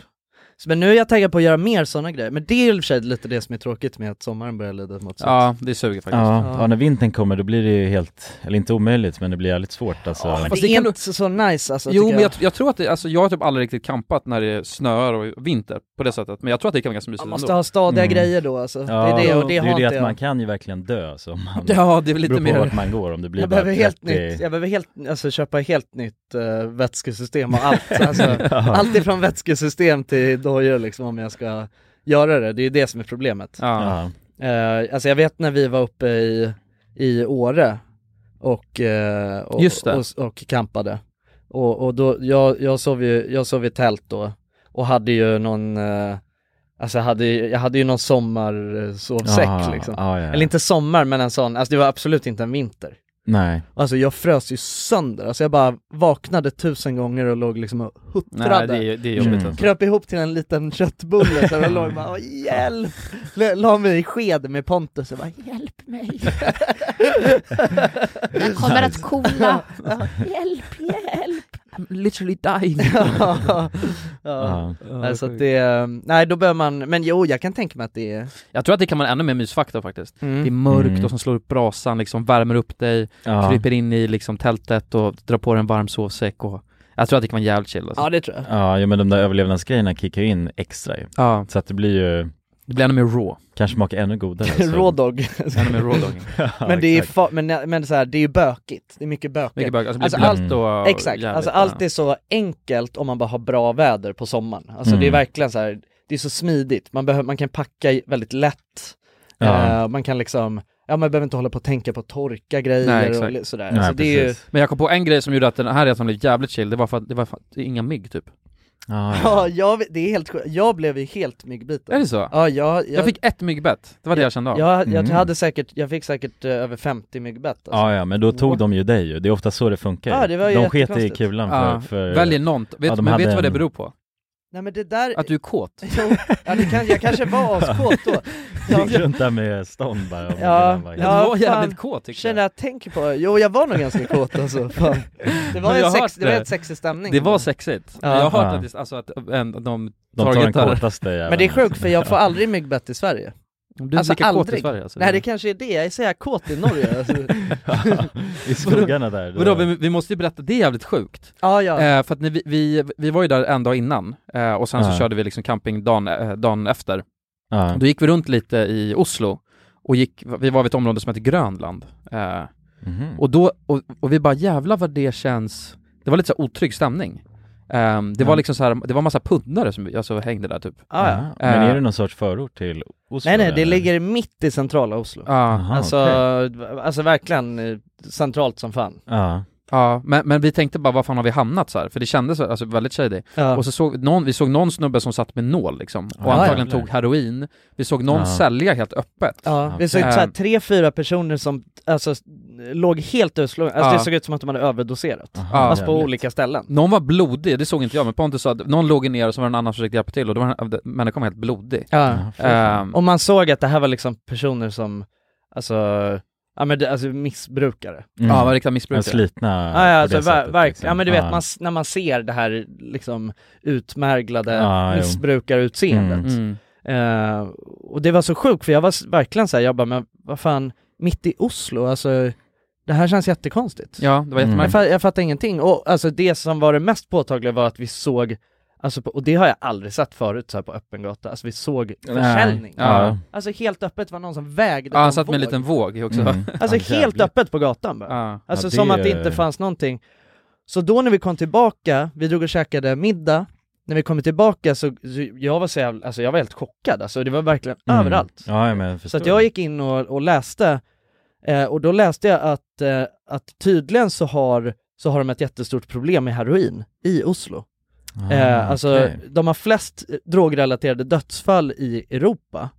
Speaker 3: Så Men nu är jag taggad på att göra mer sådana grejer, men det är i och för sig lite det som är tråkigt med att sommaren börjar lida mot sig.
Speaker 2: ja, det suger faktiskt.
Speaker 1: Ja.
Speaker 3: Ja.
Speaker 1: Ja. när vintern kommer då blir det ju helt, eller inte omöjligt, men det blir jävligt svårt alltså.
Speaker 3: Ja,
Speaker 1: Ja,
Speaker 3: fast
Speaker 2: det
Speaker 3: det är
Speaker 2: kan du-
Speaker 3: inte så nice alltså,
Speaker 2: Jo
Speaker 3: tycker
Speaker 2: men jag, jag tror att det, alltså jag har typ aldrig riktigt kampat när det snöar och vinter på det sättet, men jag tror att det kan vara ganska mysigt
Speaker 3: Man
Speaker 2: ändå.
Speaker 3: måste ha stadiga
Speaker 1: Mm.
Speaker 3: grejer då alltså. det är det, och det,
Speaker 1: det är ju
Speaker 3: har
Speaker 1: det
Speaker 3: inte
Speaker 1: att
Speaker 3: jag.
Speaker 1: man kan ju verkligen dö så man, det
Speaker 2: Ja, det är väl lite
Speaker 1: beror på vart
Speaker 2: mer...
Speaker 1: man går om det blir
Speaker 3: Jag
Speaker 1: bara
Speaker 3: behöver helt
Speaker 1: 30
Speaker 3: nytt, jag behöver helt, alltså köpa helt nytt eh, vätskesystem och allt. Alltså,
Speaker 1: Ja.
Speaker 3: allt ifrån vätskesystem till dojor liksom om jag ska göra det. Det är ju det som är problemet.
Speaker 2: Ja.
Speaker 1: Ja.
Speaker 3: Eh, alltså jag vet när vi var uppe i, i Åre och, eh, och,
Speaker 2: Just det.
Speaker 3: och, och campade. Och, och då, jag, jag, sov ju, jag sov i tält då och hade ju någon, eh, alltså jag hade, ju- jag hade ju någon sommarsovsäck
Speaker 1: Ja,
Speaker 3: liksom.
Speaker 1: ja, ja.
Speaker 3: Eller inte sommar men en sån, alltså det var absolut inte en vinter.
Speaker 1: Nej.
Speaker 3: Alltså jag frös ju sönder, alltså jag bara vaknade tusen gånger och låg liksom och huttrade.
Speaker 2: Nej, det är, det är jobbigt
Speaker 1: Mm.
Speaker 2: alltså.
Speaker 3: Kröp ihop till en liten köttbulle så jag låg och bara "Åh, hjälp! La- La mig i sked med Pontus och bara
Speaker 7: Hjälp mig. Jag kommer att kola. Hjälp, hjälp.
Speaker 2: I'm literally dying.
Speaker 3: ja.
Speaker 1: Ja.
Speaker 3: Nej, så att det, ehm, nej då behöver man, men jo jag kan tänka mig att det är
Speaker 2: Jag tror att det kan vara ännu mer mysfaktor faktiskt. Det är
Speaker 3: mm.
Speaker 2: mörkt
Speaker 1: Mm.
Speaker 2: och som slår upp brasan liksom, värmer upp dig,
Speaker 1: Ja.
Speaker 2: kryper in i liksom tältet och drar på dig en varm sovsäck och Jag tror att det kan vara jävligt chill alltså.
Speaker 3: Ja det tror jag.
Speaker 1: Ja, jo, men de där överlevnadsgrejerna kickar ju in extra ju.
Speaker 2: Ja,
Speaker 1: Så att det blir ju,
Speaker 2: det blir ännu mer raw.
Speaker 1: kanske smakar ännu godare. alltså. så-
Speaker 3: Raw dog.
Speaker 2: Ännu mer raw dogging.
Speaker 1: Ja,
Speaker 3: men det är
Speaker 1: exakt.
Speaker 3: fa- men, men så här, det är ju bökigt, det är mycket
Speaker 2: Mycket
Speaker 3: bökigt.
Speaker 2: bög, alltså, det blir
Speaker 3: Alltså,
Speaker 2: blött och
Speaker 3: Exakt,
Speaker 2: jävligt,
Speaker 3: alltså allt är så enkelt om man bara har bra väder på sommaren. Alltså det är
Speaker 1: Mm.
Speaker 3: verkligen så här, det är så smidigt, man, behöver, man kan packa i- väldigt lätt,
Speaker 1: Ja.
Speaker 3: Eh, man kan liksom, ja man behöver inte hålla på och tänka på att torka grejer
Speaker 2: Nej,
Speaker 3: och
Speaker 2: exakt.
Speaker 3: li- sådär.
Speaker 1: Nej,
Speaker 3: alltså, det är ju,
Speaker 1: precis.
Speaker 2: Men jag kom på en grej som gjorde att den här resan blev jävligt chill, det var för att det var, för att, det är inga mygg typ.
Speaker 1: Ja, ja.
Speaker 3: ja, jag, det är helt sjukt. jag blev ju helt myggbiten.
Speaker 2: Är det så?
Speaker 3: Ja, jag, jag,
Speaker 2: Jag fick ett myggbett, det var det jag kände av.
Speaker 3: jag, jag,
Speaker 1: Mm.
Speaker 3: hade säkert, jag fick säkert eh, över 50 myggbett alltså.
Speaker 1: ja, ja, men då tog de ju dig ju. Det är ofta så det funkar
Speaker 3: Ja, det var ju
Speaker 1: De sket i
Speaker 3: jättekonstigt.
Speaker 1: kulan för,
Speaker 2: Ja,
Speaker 1: för...
Speaker 2: Väljer någon, vet,
Speaker 1: Ja, de
Speaker 2: men
Speaker 1: hade
Speaker 2: vet du vad det
Speaker 1: en-
Speaker 2: beror på?
Speaker 3: Nej men det där,
Speaker 2: Att du är kåt.
Speaker 3: jo, ja, det kan, jag kanske var askåt då. Ja,
Speaker 1: Gick runt där med stånd bara och
Speaker 3: Ja.
Speaker 1: kulan bara-
Speaker 3: Ja,
Speaker 2: du var
Speaker 3: fan.
Speaker 2: jävligt kåt tycker
Speaker 3: Känner
Speaker 2: jag.
Speaker 3: jag tänker på, jo jag var nog ganska kåt alltså, fan. Det var,
Speaker 2: Men jag
Speaker 3: en
Speaker 2: har
Speaker 3: sex,
Speaker 2: hört
Speaker 3: det var
Speaker 2: det.
Speaker 3: en sexig stämning
Speaker 2: Det var sexigt.
Speaker 3: Ja.
Speaker 2: Men jag har hört
Speaker 1: Ja.
Speaker 2: att, det, alltså, att en, de
Speaker 1: De tar den
Speaker 2: targetar-
Speaker 1: kortaste jäveln. liksom.
Speaker 3: Men det är sjukt för jag får aldrig myggbett i Sverige
Speaker 2: Du är
Speaker 3: Alltså,
Speaker 2: lika kåt i
Speaker 3: aldrig.
Speaker 2: Sverige alltså.
Speaker 3: Nej det kanske är det, jag är så jävla kåt i Norge alltså.
Speaker 1: I skogarna där. då-
Speaker 2: Vadå, vi, vi måste ju berätta, det är jävligt sjukt.
Speaker 3: Ja ja,
Speaker 2: Eh, för att när vi, vi, vi var ju där en dag innan, eh, och sen
Speaker 1: Ja.
Speaker 2: så körde vi liksom camping dagen, eh, dagen efter.
Speaker 1: Ja.
Speaker 2: Då gick vi runt lite i Oslo, och gick, vi var vid ett område som heter Grönland. Eh,
Speaker 1: Mhm.
Speaker 2: och då, och, och vi bara jävlar vad det känns, det var lite så här otrygg stämning. Eh, det
Speaker 1: Ja.
Speaker 2: var liksom så här, det var massa pundare som alltså, hängde där typ.
Speaker 3: ja, ja.
Speaker 1: Ja. Men
Speaker 2: Eh.
Speaker 1: är det någon sorts förort till Oslo?
Speaker 3: Nej nej, det
Speaker 1: eller?
Speaker 3: ligger mitt i centrala Oslo
Speaker 2: Ja.
Speaker 1: Aha,
Speaker 3: Alltså,
Speaker 1: okej.
Speaker 3: alltså verkligen eh, centralt som fan
Speaker 1: Ja.
Speaker 2: Ja, men, men vi tänkte bara, var fan har vi hamnat så här? För det kändes alltså, väldigt shady.
Speaker 3: ja.
Speaker 2: Och så såg någon, vi såg någon snubbe som satt med nål liksom, och
Speaker 1: Ja,
Speaker 2: antagligen
Speaker 1: jävlar.
Speaker 2: tog heroin. Vi såg någon
Speaker 1: Ja.
Speaker 2: sälja helt öppet.
Speaker 3: Ja, vi såg
Speaker 2: Okej.
Speaker 3: såhär tre, fyra personer som alltså, s- låg helt utslagna, alltså
Speaker 2: Ja.
Speaker 3: det såg ut som att de hade överdoserat
Speaker 1: Aha,
Speaker 2: Ja.
Speaker 3: Fast på
Speaker 1: jävligt.
Speaker 3: olika ställen
Speaker 2: Någon var blodig, det såg inte jag, men Pontus sa att någon låg ner och så var det en annan som försökte hjälpa till och då var den- människan var helt blodig.
Speaker 3: Ja,
Speaker 1: Ja, fy fan.
Speaker 2: Ehm,
Speaker 3: Mm. Och man såg att det här var liksom personer som, alltså, ja men det, alltså missbrukare.
Speaker 1: Mm.
Speaker 2: Ja, var riktigt
Speaker 1: Men
Speaker 2: missbrukare.
Speaker 1: slitna
Speaker 3: Ja, ja,
Speaker 1: på
Speaker 3: alltså
Speaker 1: det
Speaker 3: ver-
Speaker 1: sättet,
Speaker 3: verkligen,
Speaker 1: liksom.
Speaker 3: ja men du vet
Speaker 1: Ja.
Speaker 3: man, s- när man ser det här liksom utmärglade
Speaker 1: Ja, jo.
Speaker 3: missbrukarutseendet.
Speaker 1: Mm.
Speaker 2: Mm.
Speaker 3: Eh, och det var så sjukt för jag var s- verkligen såhär, jag bara men vad fan, mitt i Oslo, alltså det här känns jättekonstigt.
Speaker 2: Ja, det var
Speaker 1: Mm.
Speaker 3: Jag,
Speaker 2: jättemärkligt.
Speaker 3: fa- jag fattar ingenting. Och alltså det som var det mest påtagliga var att vi såg, alltså, på, och det har jag aldrig sett förut så här på öppen gata, alltså vi såg försäljning.
Speaker 1: Ja. Mm.
Speaker 3: Alltså helt öppet var någon som vägde
Speaker 2: Ja, han
Speaker 3: på
Speaker 2: satt med en
Speaker 3: våg.
Speaker 2: liten våg också.
Speaker 1: Mm.
Speaker 3: Alltså
Speaker 1: Ja,
Speaker 3: helt
Speaker 1: jävligt.
Speaker 3: öppet på gatan bara.
Speaker 2: Ja.
Speaker 3: Alltså
Speaker 1: Ja, det
Speaker 3: som att det
Speaker 1: är-
Speaker 3: inte fanns någonting. Så då när vi kom tillbaka, vi drog och käkade middag, när vi kom tillbaka så, så jag var så jävla, alltså jag var helt chockad, alltså det var verkligen
Speaker 1: Mm.
Speaker 3: överallt.
Speaker 1: Ja, ja, men jag
Speaker 3: Så
Speaker 1: förstår.
Speaker 3: att jag gick in och, och läste, eh, och då läste jag att, eh, att tydligen så har, så har de ett jättestort problem med heroin i Oslo.
Speaker 1: Ah,
Speaker 3: eh, alltså
Speaker 1: okej.
Speaker 3: de har flest eh, drogrelaterade dödsfall i Europa.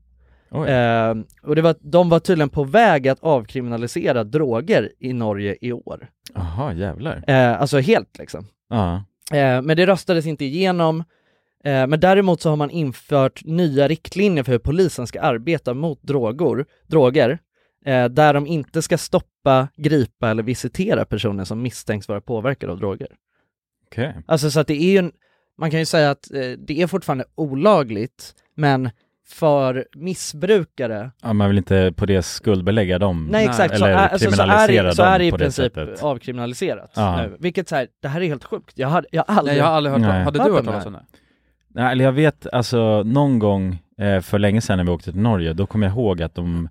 Speaker 1: Oj.
Speaker 3: Eh, och det var, de var tydligen på väg att avkriminalisera droger i Norge i år.
Speaker 1: Jaha, jävlar.
Speaker 3: Eh, alltså helt liksom.
Speaker 1: Ja.
Speaker 3: Eh, men det röstades inte igenom. Eh, men däremot så har man infört nya riktlinjer för hur polisen ska arbeta mot droger, droger eh, där de inte ska stoppa, gripa eller visitera personer som misstänks vara påverkade av droger.
Speaker 1: Okej.
Speaker 3: Alltså så att det är ju, en, man kan ju säga att eh, det är fortfarande olagligt, men för missbrukare
Speaker 1: Ja, man vill inte på det skuldbelägga dem.
Speaker 3: Nej exakt, så,
Speaker 1: Eller
Speaker 3: är- alltså, så är,
Speaker 1: kriminalisera
Speaker 3: det- så
Speaker 1: dem
Speaker 3: är det i
Speaker 1: på det
Speaker 3: princip
Speaker 1: sättet.
Speaker 3: avkriminaliserat
Speaker 1: Ja.
Speaker 3: nu. Vilket så här, det här är helt sjukt. Jag har, jag har
Speaker 2: Nej,
Speaker 3: aldrig...
Speaker 2: jag har aldrig hört
Speaker 1: Nej.
Speaker 2: talas Hade
Speaker 3: Hört
Speaker 2: du hört
Speaker 3: om det
Speaker 2: talas
Speaker 3: här?
Speaker 2: om det?
Speaker 1: Nej, eller jag vet alltså någon gång eh, för länge sedan när vi åkte till Norge, då kommer jag ihåg att de,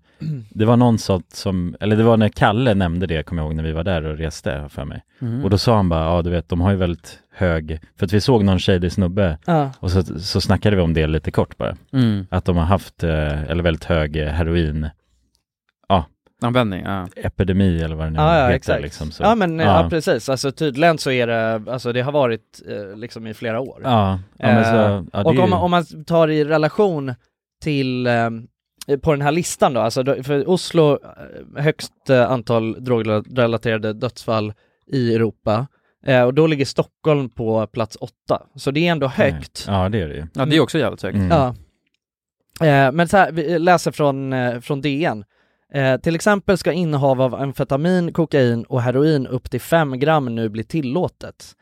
Speaker 1: det var någon som, som, eller det var när Kalle nämnde det, kommer jag ihåg, när vi var där och reste har jag för mig.
Speaker 3: Mm.
Speaker 1: Och då sa han bara, ja du vet, de har ju väldigt hög, för att vi såg någon shady snubbe
Speaker 3: Ja.
Speaker 1: och så, så snackade vi om det lite kort bara,
Speaker 2: Mm.
Speaker 1: att de har haft, eh, eller väldigt hög eh, heroin
Speaker 2: Användning, ja.
Speaker 1: epidemi eller vad det nu
Speaker 3: Ja, ja,
Speaker 1: heter
Speaker 3: exakt.
Speaker 1: liksom. Så.
Speaker 3: Ja men eh,
Speaker 1: Ja.
Speaker 3: ja, precis, alltså tydligen så är det, alltså det har varit eh, liksom i flera år.
Speaker 1: Ja, ja, men
Speaker 3: Eh,
Speaker 1: så, ja, det
Speaker 3: och
Speaker 1: är
Speaker 3: om,
Speaker 1: ju-
Speaker 3: man- om man tar i relation till, eh, på den här listan då, alltså då- för Oslo, eh, högst eh, antal drogrelaterade dödsfall i Europa, eh, och då ligger Stockholm på plats åtta. Så det är ändå högt.
Speaker 1: Ja, det är det ju.
Speaker 2: ja det är också jävligt högt.
Speaker 1: Mm.
Speaker 3: Ja. Eh, men så här, vi läser från, eh, från DN. Eh, till exempel ska innehav av amfetamin, kokain och heroin upp till 5 gram nu bli tillåtet.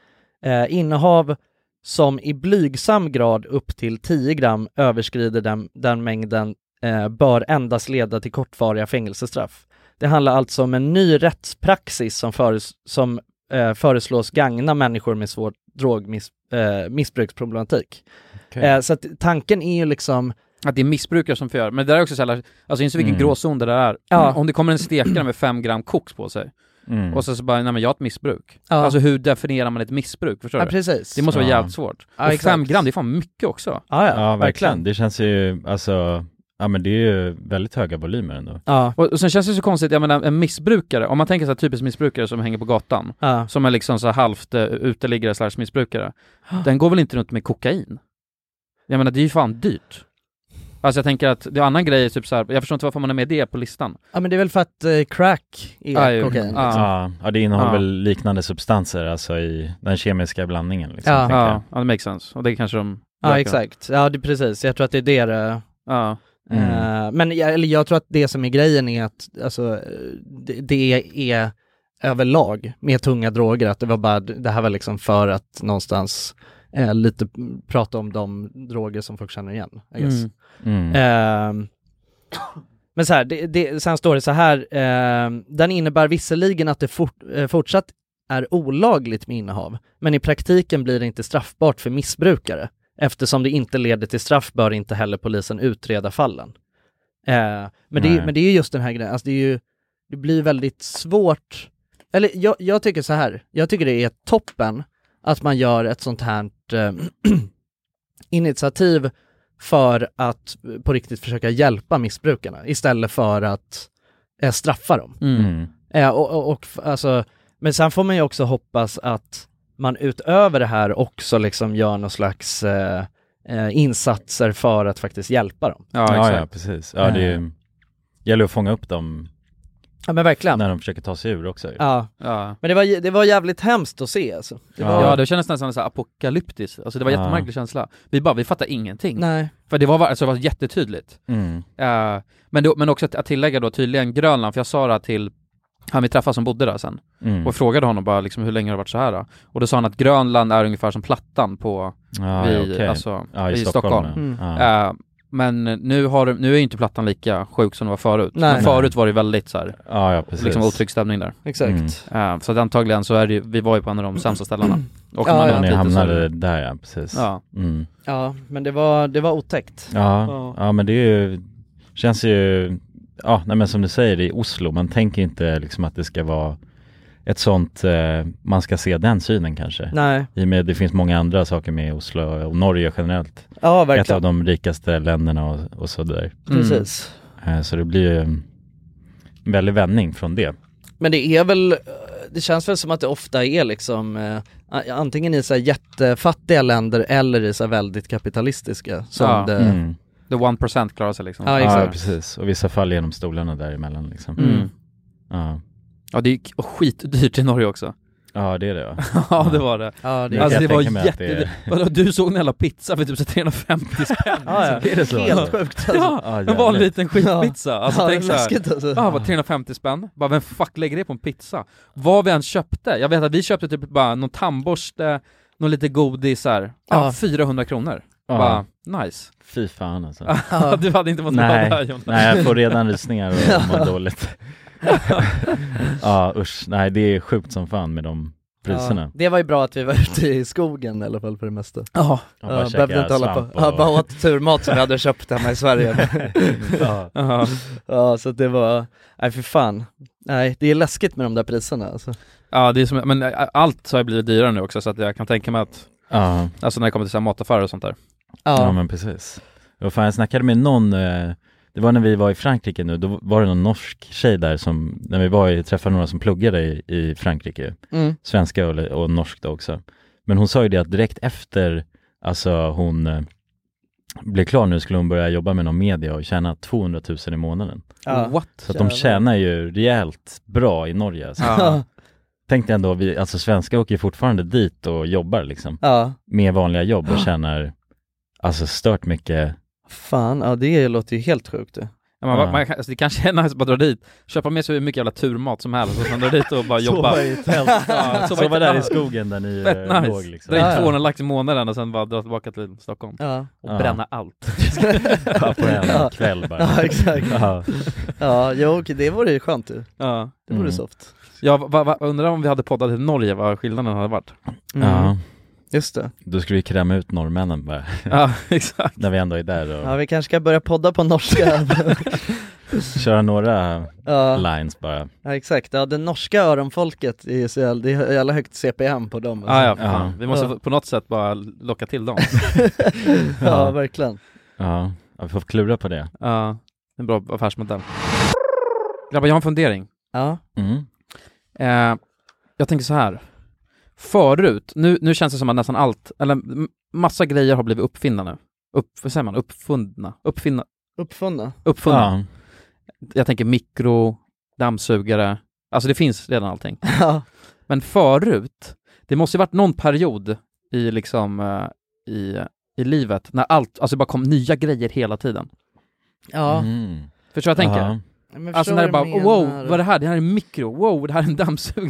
Speaker 3: Eh, innehav som i blygsam grad upp till 10 gram överskrider den, den mängden eh, bör endast leda till kortvariga fängelsestraff. Det handlar alltså om en ny rättspraxis som, föres som eh, föreslås gagna människor med svår drogmissbruksproblematik. Eh, missbruksproblematik.
Speaker 1: Okej.
Speaker 3: Eh, så att tanken är ju liksom,
Speaker 2: Att det är missbrukare som förgör. Men det där är också såhär, alltså inser vilken
Speaker 1: Mm.
Speaker 2: gråzon det där är.
Speaker 3: Ja.
Speaker 2: Om det kommer en stekare med fem gram koks på sig,
Speaker 1: Mm.
Speaker 2: och så, så bara, nej men jag har ett missbruk.
Speaker 3: Ja.
Speaker 2: Alltså hur definierar man ett missbruk? Förstår
Speaker 3: ja
Speaker 2: du?
Speaker 3: precis.
Speaker 2: Det måste vara
Speaker 1: Ja.
Speaker 2: jävligt svårt.
Speaker 3: Ja,
Speaker 2: och
Speaker 3: exakt.
Speaker 2: fem gram, det är fan mycket också.
Speaker 3: ja, ja,
Speaker 1: Ja, verkligen.
Speaker 3: verkligen.
Speaker 1: Det känns ju, alltså, ja men det är ju väldigt höga volymer ändå.
Speaker 3: Ja,
Speaker 2: Och, och sen känns det så konstigt, jag menar en missbrukare, om man tänker såhär typiskt missbrukare som hänger på gatan,
Speaker 3: ja.
Speaker 2: som är liksom så här halvt eh, uteliggare slash missbrukare, den går väl inte runt med kokain? Jag menar det är ju fan dyrt. Alltså jag tänker att, det är annan grej, typ så här, jag förstår inte varför man är med det på listan.
Speaker 3: ja, men det är väl för att eh, crack är
Speaker 2: Ja, ju.
Speaker 3: kokain.
Speaker 2: Ja.
Speaker 1: Ja, ja det innehåller
Speaker 2: Ja.
Speaker 1: väl liknande substanser, alltså i den kemiska blandningen liksom.
Speaker 3: Ja.
Speaker 1: tänker
Speaker 2: Ja,
Speaker 1: jag.
Speaker 2: ja, det makes sense. Och det kanske de...
Speaker 3: Ja, exakt. Ja, det, precis. Jag tror att det är det det
Speaker 2: Ja.
Speaker 1: Mm.
Speaker 3: eh, Men jag, eller jag tror att det som är grejen är att alltså, eh, det, det är överlag med tunga droger, att det var bara, det här var liksom för att någonstans eh, lite prata om de droger som folk känner igen. I guess.
Speaker 2: Mm.
Speaker 1: Mm.
Speaker 3: Ehm, men så här, det, det, sen står det så här, ehm, den innebär visserligen att det fort, eh, fortsatt är olagligt med innehav, men i praktiken blir det inte straffbart för missbrukare. Eftersom det inte leder till straff bör inte heller polisen utreda fallen. Eh, men, det,
Speaker 1: Nej.
Speaker 3: men det är ju just den här grejen, alltså det, är ju, det blir väldigt svårt, eller jag, jag tycker så här, jag tycker det är toppen att man gör ett sånt här eh, initiativ för att på riktigt försöka hjälpa missbrukarna istället för att eh, straffa dem.
Speaker 1: Mm.
Speaker 3: Eh, och, och, och, f- alltså, men sen får man ju också hoppas att man utöver det här också liksom gör någon slags eh, eh, insatser för att faktiskt hjälpa dem.
Speaker 2: Ja,
Speaker 1: Ja,
Speaker 2: exakt. Eh.
Speaker 1: ja, precis. Ja, det är ju, gäller att fånga upp dem
Speaker 3: Ja men verkligen.
Speaker 1: när de försöker ta sig ur också. ju.
Speaker 3: Ja.
Speaker 2: Ja.
Speaker 3: Men det var, jä- det var jävligt hemskt att se alltså. Det var,
Speaker 2: Ja, det kändes nästan så här apokalyptiskt, alltså det var en
Speaker 1: Ja.
Speaker 2: jättemärklig känsla. Vi bara, vi fattar ingenting.
Speaker 3: Nej.
Speaker 2: För det var, alltså, det var jättetydligt.
Speaker 1: Mm.
Speaker 2: Eh, men, det, men också att, att tillägga då tydligen Grönland, för jag sa det här till han vi träffade som bodde där sen,
Speaker 1: Mm.
Speaker 2: och frågade honom bara liksom hur länge har det varit så här då? Och då sa han att Grönland är ungefär som Plattan på,
Speaker 1: Ja,
Speaker 2: vid,
Speaker 1: Ah, ja, okej.
Speaker 2: alltså,
Speaker 1: ja,
Speaker 2: i Stockholm.
Speaker 3: Mm.
Speaker 1: Ja. Ja.
Speaker 2: Eh, men nu, har, nu är ju inte Plattan lika sjuk som det var förut.
Speaker 3: Nej.
Speaker 2: Men förut var det väldigt så här,
Speaker 1: ja, ja, precis.
Speaker 2: liksom otrygg stämning där.
Speaker 3: Exakt.
Speaker 1: Mm.
Speaker 2: Eh, så att antagligen så är det ju, vi var ju på en av de sämsta ställena. Och
Speaker 3: Ja,
Speaker 2: när man åkte
Speaker 3: ja.
Speaker 1: När ni
Speaker 2: dit så-
Speaker 1: hamnade där, ja, precis.
Speaker 2: Ja.
Speaker 1: Mm.
Speaker 3: Ja, men det var, det var otäckt.
Speaker 1: Ja,
Speaker 2: Ja.
Speaker 1: ja men det är ju, känns ju, ja nej men som du säger i Oslo, man tänker inte liksom att det ska vara ett sånt, eh, man ska se den synen kanske.
Speaker 3: Nej,
Speaker 1: I och med det finns många andra saker med Oslo och Norge generellt.
Speaker 3: ja
Speaker 1: Ett av
Speaker 3: verkligen.
Speaker 1: de rikaste länderna och, och sådär.
Speaker 2: Mm.
Speaker 3: Precis.
Speaker 1: Eh, så det blir ju en väldig vändning från det.
Speaker 3: Men det är väl, det känns väl som att det ofta är liksom eh, a- antingen i så här jättefattiga länder eller i så här väldigt kapitalistiska som
Speaker 2: Ja.
Speaker 3: det,
Speaker 1: Mm.
Speaker 2: The 1% klarar sig liksom.
Speaker 3: Eh, Ja,
Speaker 1: Ja,
Speaker 3: exakt. Mm.
Speaker 1: precis. Och vissa fall genom stolarna däremellan liksom.
Speaker 2: Mm.
Speaker 1: Ja.
Speaker 2: Ja det är ju k- och skitdyrt i Norge också.
Speaker 1: Ja det är det ja.
Speaker 2: ja det var det.
Speaker 3: Ja, det
Speaker 1: Jag
Speaker 3: är...
Speaker 1: kan
Speaker 2: Alltså det var
Speaker 1: tänka mig att det är-
Speaker 2: jätte... Vadå du såg en jävla pizza för typ så 350 spänn?
Speaker 3: ja,
Speaker 1: Är det så?
Speaker 3: Helt sjukt alltså.
Speaker 2: Ja,
Speaker 1: Ja,
Speaker 2: en vanlig
Speaker 1: jävligt.
Speaker 2: liten skitpizza. Alltså
Speaker 3: ja, det är
Speaker 2: tänk såhär,
Speaker 3: läskigt alltså.
Speaker 2: Ja, bara 350 spänn. Bara vem fuck lägger det på en pizza? Vad vi än köpte, jag vet att vi köpte typ bara någon tandborste, någon lite godis här. Ja,
Speaker 3: Ja.
Speaker 2: 400 kronor.
Speaker 1: Ja,
Speaker 2: Bara, nice.
Speaker 1: fy fan alltså.
Speaker 3: Ja.
Speaker 2: du hade inte mått bra
Speaker 1: Nej.
Speaker 2: där Jonas.
Speaker 1: Nej, jag får redan rysningar och mår dåligt. ja, usch. Nej, det är sjukt som fan med de priserna.
Speaker 3: Ja, det var ju bra att vi var ute i skogen i alla fall för det mesta.
Speaker 2: Ja,
Speaker 1: Ja.
Speaker 3: Ja, behövde inte hålla på. Ja, bara åt turmat som vi hade köpt hemma i Sverige.
Speaker 1: ja.
Speaker 2: ja.
Speaker 3: ja, så att det var, nej för fan. Nej, det är läskigt med de där priserna alltså.
Speaker 2: ja det är som, men ä, allt har ju blivit dyrare nu också så att jag kan tänka mig att,
Speaker 1: Ja.
Speaker 2: alltså när det kommer till så här mataffärer och sånt där.
Speaker 1: ja, men precis. Och fan, jag snackade med någon, eh, det var när vi var i Frankrike nu, då var det någon norsk tjej där som, när vi var i, träffade några som pluggade i, i Frankrike,
Speaker 3: Mm.
Speaker 1: svenska och, och norsk då också. Men hon sa ju det att direkt efter, alltså hon eh, blev klar nu skulle hon börja jobba med någon media och tjäna 200 000 i månaden.
Speaker 3: Ja.
Speaker 2: What?
Speaker 1: Så att de
Speaker 3: Jävlar.
Speaker 1: tjänar ju rejält bra i Norge. Alltså.
Speaker 2: Ja.
Speaker 1: Tänk dig ändå, vi, alltså svenskar åker ju fortfarande dit och jobbar liksom,
Speaker 3: Ja,
Speaker 1: med vanliga jobb och tjänar alltså stört mycket.
Speaker 3: fan, ja det låter ju helt sjukt du.
Speaker 2: Ja, man,
Speaker 1: Ja.
Speaker 2: man, alltså, det kanske är nice att bara dra dit, köpa med sig hur mycket jävla turmat som helst och sen dra dit och bara jobba.
Speaker 1: i tält. Sova,
Speaker 2: Ja, sova i
Speaker 1: där i
Speaker 2: tält.
Speaker 1: skogen där ni
Speaker 2: Fett
Speaker 1: eh,
Speaker 2: nice.
Speaker 1: låg
Speaker 2: Dra
Speaker 1: liksom.
Speaker 2: in
Speaker 3: Ja, ja.
Speaker 2: 200 lax i månaden och sen bara dra tillbaka till Stockholm.
Speaker 3: Ja,
Speaker 2: Och
Speaker 1: Ja.
Speaker 2: bränna allt.
Speaker 1: Ja, på en
Speaker 3: Ja.
Speaker 1: kväll bara.
Speaker 3: ja exakt.
Speaker 1: Ja.
Speaker 3: Ja, jo, okej, det vore ju skönt du.
Speaker 2: Ja.
Speaker 3: Det vore
Speaker 1: Mm.
Speaker 3: soft.
Speaker 2: Jag va, va, undrar om vi hade poddat i Norge, vad skillnaden hade varit?
Speaker 3: Mm.
Speaker 1: Ja,
Speaker 3: Just det.
Speaker 1: då skulle vi kräma ut norrmännen bara,
Speaker 2: Ja, exakt.
Speaker 1: när vi ändå är där och
Speaker 3: Ja, vi kanske ska börja podda på norska.
Speaker 1: köra några
Speaker 3: ja,
Speaker 1: lines bara.
Speaker 3: ja, exakt. Ja, det norska öronfolket är ju så jävla, det är jävla högt CPM på dem.
Speaker 2: Ah, ja,
Speaker 1: Ja.
Speaker 2: fan. Vi måste
Speaker 3: Ja.
Speaker 2: på något sätt bara locka till dem.
Speaker 3: ja, verkligen.
Speaker 1: Ja, ja vi får klura på det.
Speaker 2: Ja, en bra affärsmodell. Grabbar, jag har en fundering.
Speaker 3: Ja.
Speaker 1: Mm.
Speaker 2: Eh, jag tänker så här. Förut, nu, nu känns det som att nästan allt, eller m- massa grejer har blivit uppfinna nu. Upp, vad säger man? Uppfundna? Uppfinna?
Speaker 3: Uppfunna?
Speaker 2: Uppfunna.
Speaker 1: Ja.
Speaker 2: Jag tänker mikro, dammsugare. Alltså det finns redan allting.
Speaker 3: Ja,
Speaker 2: Men förut, det måste ju varit någon period i liksom eh, i, i livet när allt, alltså det bara kom nya grejer hela tiden.
Speaker 3: ja.
Speaker 1: Mm.
Speaker 2: Förstår jag tänker?
Speaker 1: Ja.
Speaker 3: Men jag
Speaker 2: Alltså
Speaker 3: förstår
Speaker 2: när det bara,
Speaker 3: vad du
Speaker 2: wow,
Speaker 3: menar.
Speaker 2: vad är det här? Det här är en mikro, wow, det här är en dammsugare.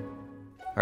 Speaker 8: All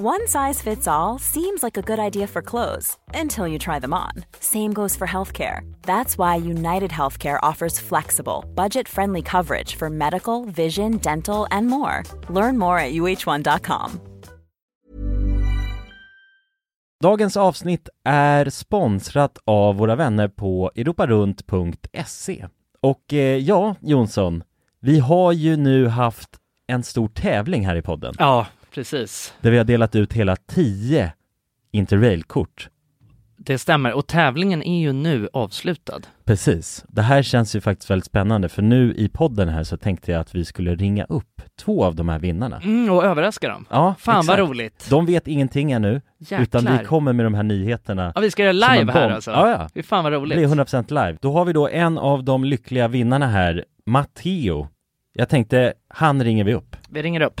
Speaker 7: One size fits all seems like a good idea for clothes until you try them on. Same goes for healthcare. That's why United Healthcare offers flexible, budget friendly coverage for medical, vision, dental, and more. Learn more at uh1.com.
Speaker 1: Dagens avsnitt är sponsrat av våra vänner på europarunt.se. Och eh, ja, Jonsson, vi har ju nu haft en stor tävling här i podden
Speaker 9: Ja, precis.
Speaker 1: där vi har delat ut hela 10 Interrail-kort.
Speaker 9: Det stämmer. Och tävlingen är ju nu avslutad.
Speaker 1: Precis. Det här känns ju faktiskt väldigt spännande för nu i podden här så tänkte jag att vi skulle ringa upp två av de här vinnarna.
Speaker 9: Mm, och överraska dem.
Speaker 1: Ja,
Speaker 9: Fan
Speaker 1: exakt.
Speaker 9: vad roligt.
Speaker 1: De vet ingenting ännu,
Speaker 9: Jäklar.
Speaker 1: utan vi kommer med de här nyheterna
Speaker 9: Ja, vi ska göra
Speaker 1: som en
Speaker 9: live här
Speaker 1: bomb.
Speaker 9: alltså.
Speaker 1: Ja, ja.
Speaker 9: Fy fan vad
Speaker 1: Det
Speaker 9: roligt.
Speaker 1: blir 100% live. Då har vi då en av de lyckliga vinnarna här, Matteo. Jag tänkte, han ringer vi upp.
Speaker 9: Vi ringer upp.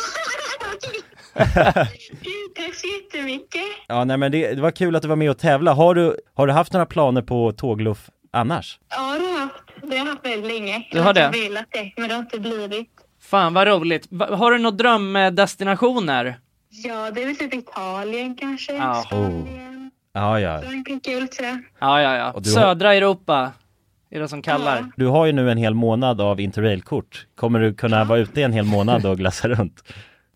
Speaker 10: Tack så jättemycket.
Speaker 1: Ja nej men det, det var kul att du var med och tävla. Har du, har du haft några planer på tågluff annars?
Speaker 10: Ja, det har jag haft. Det har jag haft väldigt länge.
Speaker 9: Du har det?
Speaker 10: Jag har velat det, men det har inte blivit.
Speaker 9: Fan vad roligt. Va- har du några drömdestinationer?
Speaker 10: Ja, det är väl typ Italien kanske.
Speaker 9: Ja.
Speaker 10: Spanien.
Speaker 1: Ja, ja.
Speaker 10: Frankrike, tror jag.
Speaker 9: Ja, ja, ja.
Speaker 1: Och du har-
Speaker 9: Södra Europa är det som kallar.
Speaker 1: Du har ju nu en hel månad av interrailkort. Kommer du kunna vara ute en hel månad och glassa runt?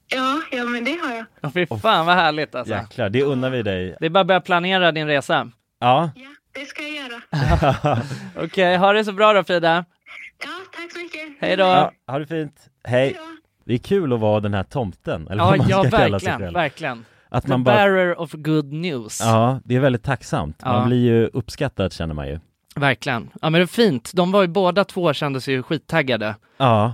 Speaker 10: Ja, ja, men det har jag.
Speaker 9: Ja. Fy fan vad härligt alltså.
Speaker 1: Jäklar, det unnar vi dig.
Speaker 9: Det är bara att börja planera din resa.
Speaker 1: Ja,
Speaker 10: Det ska jag göra.
Speaker 9: Okej, ha det så bra då Frida.
Speaker 10: Ja, tack så mycket.
Speaker 9: Hej då.
Speaker 1: ja ha det fint. Hej. Det är kul att vara den här tomten, eller
Speaker 9: Ja,
Speaker 1: vad man
Speaker 9: ja
Speaker 1: ska kalla sig
Speaker 9: verkligen,
Speaker 1: själv.
Speaker 9: verkligen.
Speaker 1: Att
Speaker 9: The
Speaker 1: man bara,
Speaker 9: bearer of good news.
Speaker 1: ja, det är väldigt tacksamt.
Speaker 9: Ja.
Speaker 1: Man blir ju uppskattad känner man ju.
Speaker 9: Verkligen. Ja men det är fint. De var ju båda två kändes ju skittaggade
Speaker 1: Ja,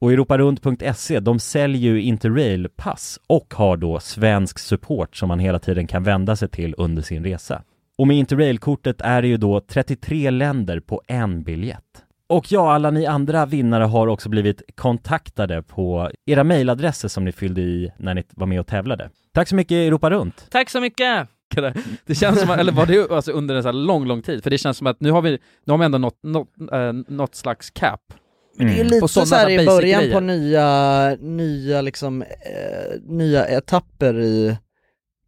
Speaker 1: Och europarunt.se, E, de säljer ju Interrail-pass och har då svensk support som man hela tiden kan vända sig till under sin resa. Och med Interrail-kortet är det ju då 33 länder på en biljett. Och ja, alla ni andra vinnare har också blivit kontaktade på era mejladresser som ni fyllde i när ni var med och tävlade. Tack så mycket Europa Runt!
Speaker 9: Tack så mycket!
Speaker 2: Det känns som, att- eller var det ju, alltså under en sån här lång, lång tid? För det känns som att nu har vi, nu har vi ändå nått, nått, eh, något slags cap.
Speaker 3: Men det är ju
Speaker 2: Mm. På
Speaker 3: lite
Speaker 2: sådana
Speaker 3: så
Speaker 2: här
Speaker 3: här i
Speaker 2: basic
Speaker 3: början
Speaker 2: grejer.
Speaker 3: på nya, nya liksom, eh, nya etapper i,